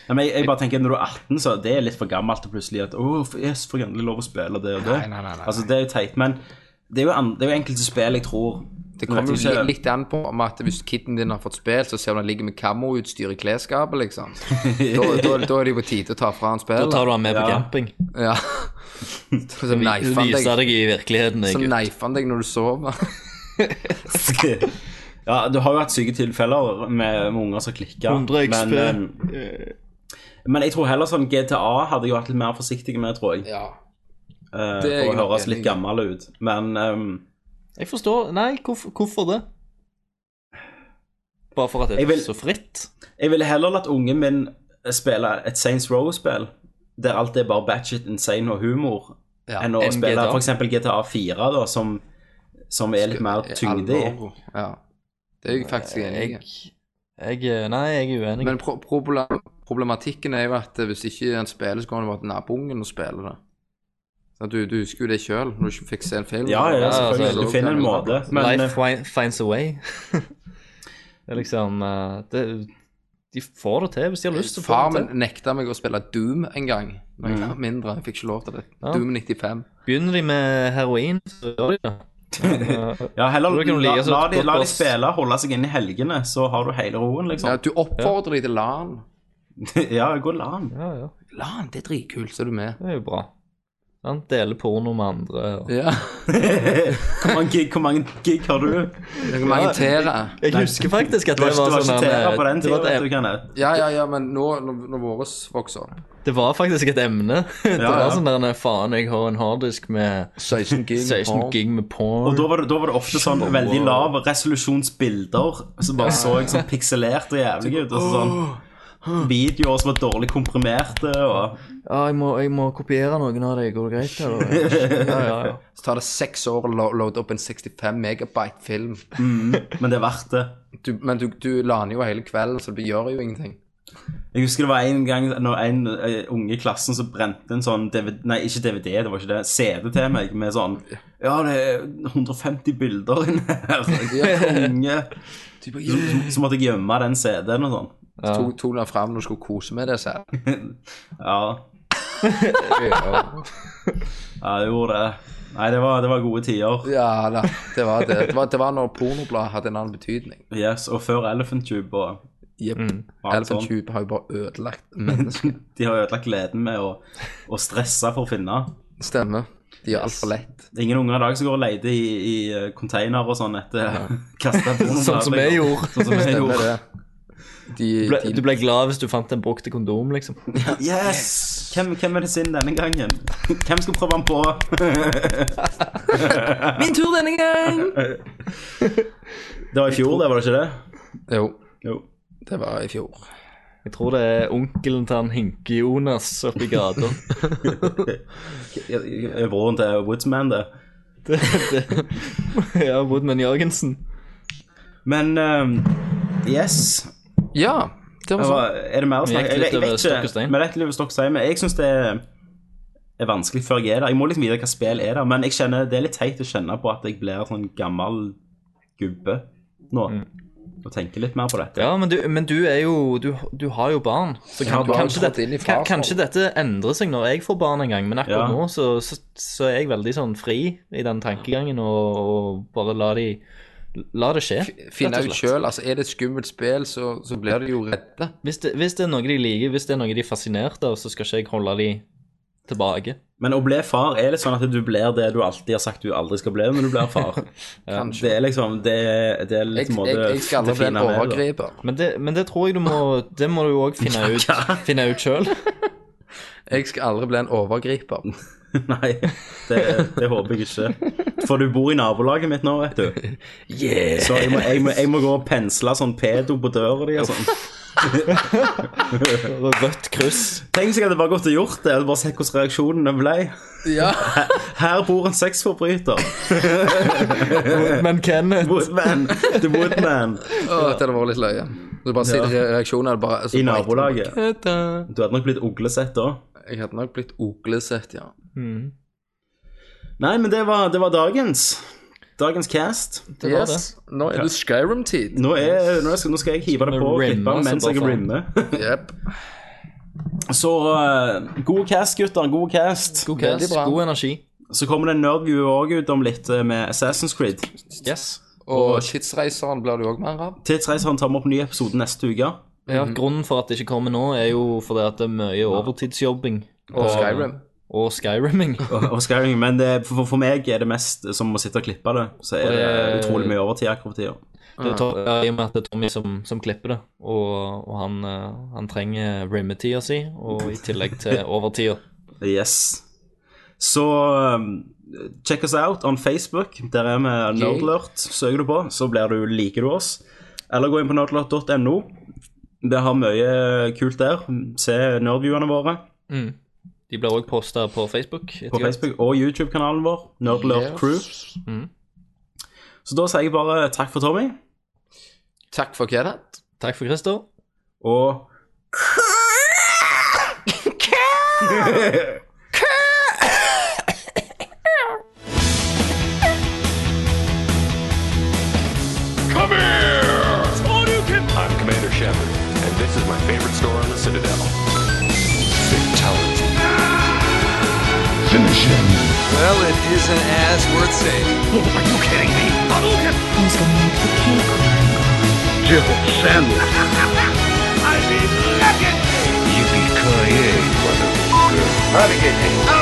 Speaker 1: Nei, men jeg, jeg bare tenker Når du er 18, så det er litt for gammelt til plutselig at Åh, for- yes, får jeg endelig lov å spille det og det.
Speaker 2: Nei, nei, nei, nei.
Speaker 1: Altså, det er jo teit, men det er jo, an, det er jo enkelte spill jeg tror
Speaker 2: Det
Speaker 1: Nå
Speaker 2: kommer
Speaker 1: vet jeg
Speaker 2: jo
Speaker 1: ikke-
Speaker 2: litt an på om at hvis kiden din har fått spilt, så ser du han ligger med kammoutstyr i klesskapet, liksom. Da, da, da er det jo på tide å ta fra han
Speaker 3: Da
Speaker 2: spillet.
Speaker 3: tar du han med på
Speaker 1: Ja.
Speaker 3: camping.
Speaker 2: Ja. Så
Speaker 3: Du
Speaker 2: neifer han
Speaker 3: viser
Speaker 2: deg,
Speaker 3: deg i virkeligheten.
Speaker 2: så
Speaker 3: Jeg, gutt.
Speaker 2: neifer han deg når du sover.
Speaker 1: Ja, du har jo hatt syke tilfeller med, med unger som klikker.
Speaker 3: 100 XP.
Speaker 1: Men, eh, men jeg tror heller sånn GTA hadde jeg vært litt mer forsiktig med, tror jeg.
Speaker 2: Ja.
Speaker 1: eh,
Speaker 2: Det er jeg
Speaker 1: for å
Speaker 2: nok
Speaker 1: høres
Speaker 2: enig i.
Speaker 1: litt gammel ut. Men ehm,
Speaker 3: jeg forstår Nei, hvorfor, hvorfor det? Bare for at det
Speaker 1: Jeg
Speaker 3: er
Speaker 1: vil-
Speaker 3: så fritt?
Speaker 1: Jeg ville heller latt ungen min spille et Saints Row-spill, der alt er bare batchet insane og humor,
Speaker 2: Ja,
Speaker 1: enn å
Speaker 3: enn
Speaker 1: spille
Speaker 3: GTA.
Speaker 1: for eksempel GTA 4, da, som, som er litt mer tyngde i.
Speaker 2: Alvor. Ja. Det er jeg faktisk enig i.
Speaker 3: Eh, Jeg, jeg eh, Nei, jeg er uenig.
Speaker 2: Men pro problem problematikken er jo at eh, hvis ikke en spiller, så kan det være at naboungen og spiller det. Sånn at du, du husker jo det sjøl, når du ikke fikk se en film.
Speaker 1: Ja, ja,
Speaker 3: Ja,
Speaker 1: selvfølgelig.
Speaker 3: altså,
Speaker 1: du finner en
Speaker 2: kan du-
Speaker 1: måte. Men eh,
Speaker 3: Life
Speaker 2: eh,
Speaker 3: wi- finds a way. det er liksom eh, det, De får det til hvis de har lyst til å få
Speaker 2: Far
Speaker 3: det
Speaker 2: min
Speaker 3: til.
Speaker 2: nekta meg å spille Doom en gang. Når
Speaker 1: Mm.
Speaker 2: jeg var mindre. Jeg fikk ikke lov til det.
Speaker 3: Ja.
Speaker 2: Doom 95.
Speaker 3: Begynner de med heroin, så gjør de det. Eh,
Speaker 1: ja, heller
Speaker 3: Da
Speaker 1: la,
Speaker 3: kan du like så
Speaker 1: la, de,
Speaker 3: godt
Speaker 1: la
Speaker 3: bare
Speaker 1: de spille, holde seg inne i helgene, så har du hele roen,
Speaker 2: Ja,
Speaker 1: liksom.
Speaker 2: du oppfordrer de til LAN.
Speaker 1: ja, gå LAN.
Speaker 3: Ja, ja.
Speaker 2: LAN, det er dritkult, så er du med.
Speaker 3: Det er jo bra. Han deler porno med andre. Og...
Speaker 2: Ja.
Speaker 1: Hvor mange gig, hvor mange gig har du?
Speaker 2: Hvor mange tærer?
Speaker 3: Jeg husker faktisk at
Speaker 1: Du var
Speaker 3: det
Speaker 1: ikke,
Speaker 3: var
Speaker 1: du var
Speaker 3: sånn
Speaker 1: ikke tera
Speaker 3: eh,
Speaker 1: på den
Speaker 3: det,
Speaker 1: tida,
Speaker 3: var
Speaker 1: vet
Speaker 3: et
Speaker 1: du,
Speaker 3: em-
Speaker 1: Kenneth.
Speaker 2: Ja, ja, ja, men nå, når, når våres vokser
Speaker 3: det var faktisk et emne. det
Speaker 1: Ja,
Speaker 3: var
Speaker 1: ja.
Speaker 3: sånn der nei, Faen, jeg har en harddisk med
Speaker 2: 16 gig.
Speaker 3: 16 gig med porn.
Speaker 1: Og da var, det, da var det ofte sånn veldig lav resolusjonsbilder som bare så jeg sånn pikselert og jævlig ut. Og så sånn videoer som var dårlig komprimerte og
Speaker 3: Ja, jeg må, jeg må kopiere noen av deg. Går det greit? Eller? Ja, ja, ja.
Speaker 2: Så tar det seks år å lo- loade opp en 65 megabyte film.
Speaker 1: Men det er verdt det.
Speaker 2: Du, men du, du laner jo hele kvelden, så det gjør jo ingenting.
Speaker 1: Jeg husker det var en gang når en eh, unge i klassen så brente en sånn DVD, Nei, ikke DVD, det var ikke det. CD til meg med sånn Ja, det er 150 bilder inne her. Konge. Så, så, så måtte jeg gjemme den CD-en og sånn.
Speaker 2: Så tok, tok den fram når du skulle kose med deg selv.
Speaker 1: Ja. ja, jeg gjorde det. Nei, det var, det var gode tider.
Speaker 2: Ja da, det var det. Det var, det var når pornobladet hadde en annen betydning.
Speaker 1: Yes, Og før Elephant Tube og
Speaker 2: Jepp.
Speaker 3: Mm.
Speaker 1: alt
Speaker 2: Elephant
Speaker 1: sånt.
Speaker 2: Tube har jo bare ødelagt mennesket.
Speaker 1: De har ødelagt gleden med å, å stresse for å finne.
Speaker 2: Stemmer. De gjør altfor lett.
Speaker 1: Det er ingen unger i dag som går og leter i, i eh, container og sånn etter kasta pornoblader.
Speaker 3: Sånn som jeg gjorde.
Speaker 1: Sånn som jeg
Speaker 2: Det er
Speaker 1: gjorde.
Speaker 2: det. De,
Speaker 3: oh. Du ble, du
Speaker 2: de,
Speaker 3: ble glad hvis du fant en brukte kondom, liksom.
Speaker 1: Yes! Hvem, hvem er det sin denne gangen? Hvem skal prøve den på?
Speaker 2: Min tur denne gang!
Speaker 1: Det var i fjor, det, var det ikke det?
Speaker 2: Jo,
Speaker 1: Jo.
Speaker 2: det var i fjor.
Speaker 3: Jeg tror det er onkelen til han Hinke-Jonas oppi gata.
Speaker 1: Broren til Woodsman, det.
Speaker 3: Det- det- ja, Woodman Jørgensen.
Speaker 1: Men eh, yes.
Speaker 2: Ja, det var
Speaker 1: Det
Speaker 2: sånn.
Speaker 1: var, er det mer å snakke
Speaker 3: Vi gikk litt
Speaker 1: Jeg, jeg
Speaker 3: over
Speaker 1: vet
Speaker 3: stokk og
Speaker 1: ikke.
Speaker 3: stein.
Speaker 1: Vi vet litt over stokk og stein, men jeg syns det er er vanskelig før jeg er der. Jeg må liksom vite hva spill er der, men jeg kjenner, det er litt teit å kjenne på at jeg blir sånn gammel gubbe nå.
Speaker 3: Mm.
Speaker 1: Og tenker litt mer på dette.
Speaker 3: Ja, men du, men du er jo Du, du har jo barn. Så kan,
Speaker 2: Ja, du har jo
Speaker 3: kanskje,
Speaker 2: trådt
Speaker 3: dette,
Speaker 2: inn i
Speaker 3: kan,
Speaker 2: farsrollen.
Speaker 3: kanskje dette endrer seg når jeg får barn en gang, men
Speaker 1: Ja.
Speaker 3: akkurat nå så, så, så er jeg veldig sånn fri i den tankegangen og, og bare la de La det skje.
Speaker 2: Finne
Speaker 3: rett og
Speaker 2: ut
Speaker 3: slett.
Speaker 2: sjøl. Altså, er det et skummelt spill, så, så blir de jo redde.
Speaker 3: Hvis det, hvis det er noe de liker, hvis det er noe de er fascinert av, så skal ikke jeg holde de tilbake.
Speaker 1: Men å bli far er litt sånn at du blir det du alltid har sagt du aldri skal bli, men du blir far.
Speaker 2: Kanskje.
Speaker 1: Det er liksom Det, det er
Speaker 2: Jeg,
Speaker 1: litt
Speaker 2: jeg,
Speaker 1: måte
Speaker 2: jeg skal aldri
Speaker 1: det
Speaker 2: bli en
Speaker 1: fine med det, da.
Speaker 2: overgriper.
Speaker 3: Men det, men det tror jeg du må Det må du jo òg finne ut Finne ut sjøl.
Speaker 2: Jeg skal aldri bli en overgriper.
Speaker 1: Nei, det, det håper jeg ikke. For du bor i nabolaget mitt nå, vet du.
Speaker 2: Yeah!
Speaker 1: Så jeg må, jeg må, jeg må gå og pensle sånn pedo på døra di og sånn.
Speaker 3: Rødt kryss.
Speaker 1: Tenk seg at det bare godt å gjort det, og bare sett hvordan reaksjonene ble.
Speaker 2: Ja,
Speaker 1: Her bor en sexforbryter.
Speaker 3: Men Kenneth
Speaker 1: Woodman. The Woodman.
Speaker 2: Åh, det hadde vært litt løye. Så bare sitter re- reaksjonen er bare så
Speaker 1: I
Speaker 2: bare-
Speaker 1: nabolaget. Du hadde nok blitt uglesett da.
Speaker 2: Jeg hadde nok blitt oglesett, ja.
Speaker 3: Mm.
Speaker 1: Nei, men det var, det var dagens. Dagens cast.
Speaker 3: Det var
Speaker 2: Yes, nå er det Skyrim-tid.
Speaker 1: Nå, er, nå, skal, nå skal jeg hive det på og
Speaker 3: Rimme,
Speaker 1: klippe
Speaker 3: altså,
Speaker 1: mens jeg
Speaker 3: bare
Speaker 1: rimmer.
Speaker 2: Jep.
Speaker 1: Så eh, god cast, gutter. God cast.
Speaker 3: God
Speaker 2: Veldig
Speaker 3: cast,
Speaker 2: bra.
Speaker 3: god energi.
Speaker 1: Så kommer det en nerdview òg ut om litt eh, med Assassin's Creed.
Speaker 3: Yes.
Speaker 2: Og Shitsreiseren blir du òg mer av.
Speaker 1: Tidsreiseren tar vi opp en ny episode neste uke.
Speaker 3: Ja, Grunnen for at det ikke kommer nå, er jo fordi at det er mye overtidsjobbing.
Speaker 2: Og Skyrim.
Speaker 3: Og skyrimming.
Speaker 1: og Skyrim, men det, for, for meg er det mest eh, som å sitte og klippe det. Så er det
Speaker 3: Og det-
Speaker 1: utrolig mye overtid akkurat tida.
Speaker 3: Det er Tom- ja, I og med at det er Tommy som, som klipper det, og, og han, eh, han trenger rimmetida si, og i tillegg til overtida.
Speaker 1: Yes. Så um, check oss out on Facebook. Der er vi Nerdlurt. Søker du på, så blir du, liker du oss. Eller gå inn på nerdlurt.no. Det har mye kult der. Se nerdviewene våre
Speaker 3: De blir òg posta på Facebook.
Speaker 1: på Facebook og YouTube-kanalen vår, Nerdlurt Crew. Så da sier jeg bare takk for Tommy,
Speaker 2: Takk for Kenneth.
Speaker 3: Takk for Christer.
Speaker 1: og
Speaker 5: Come here! I'm Commander Shepard, and this is my favorite store on the Citadel. Fatality. Finish him. Oh,
Speaker 6: Well, it isn't as worth saying.
Speaker 5: Are you kidding me? Hadouken! Who's going to make the cake? Jill Sandwich. I mean, look at me!
Speaker 6: navigate.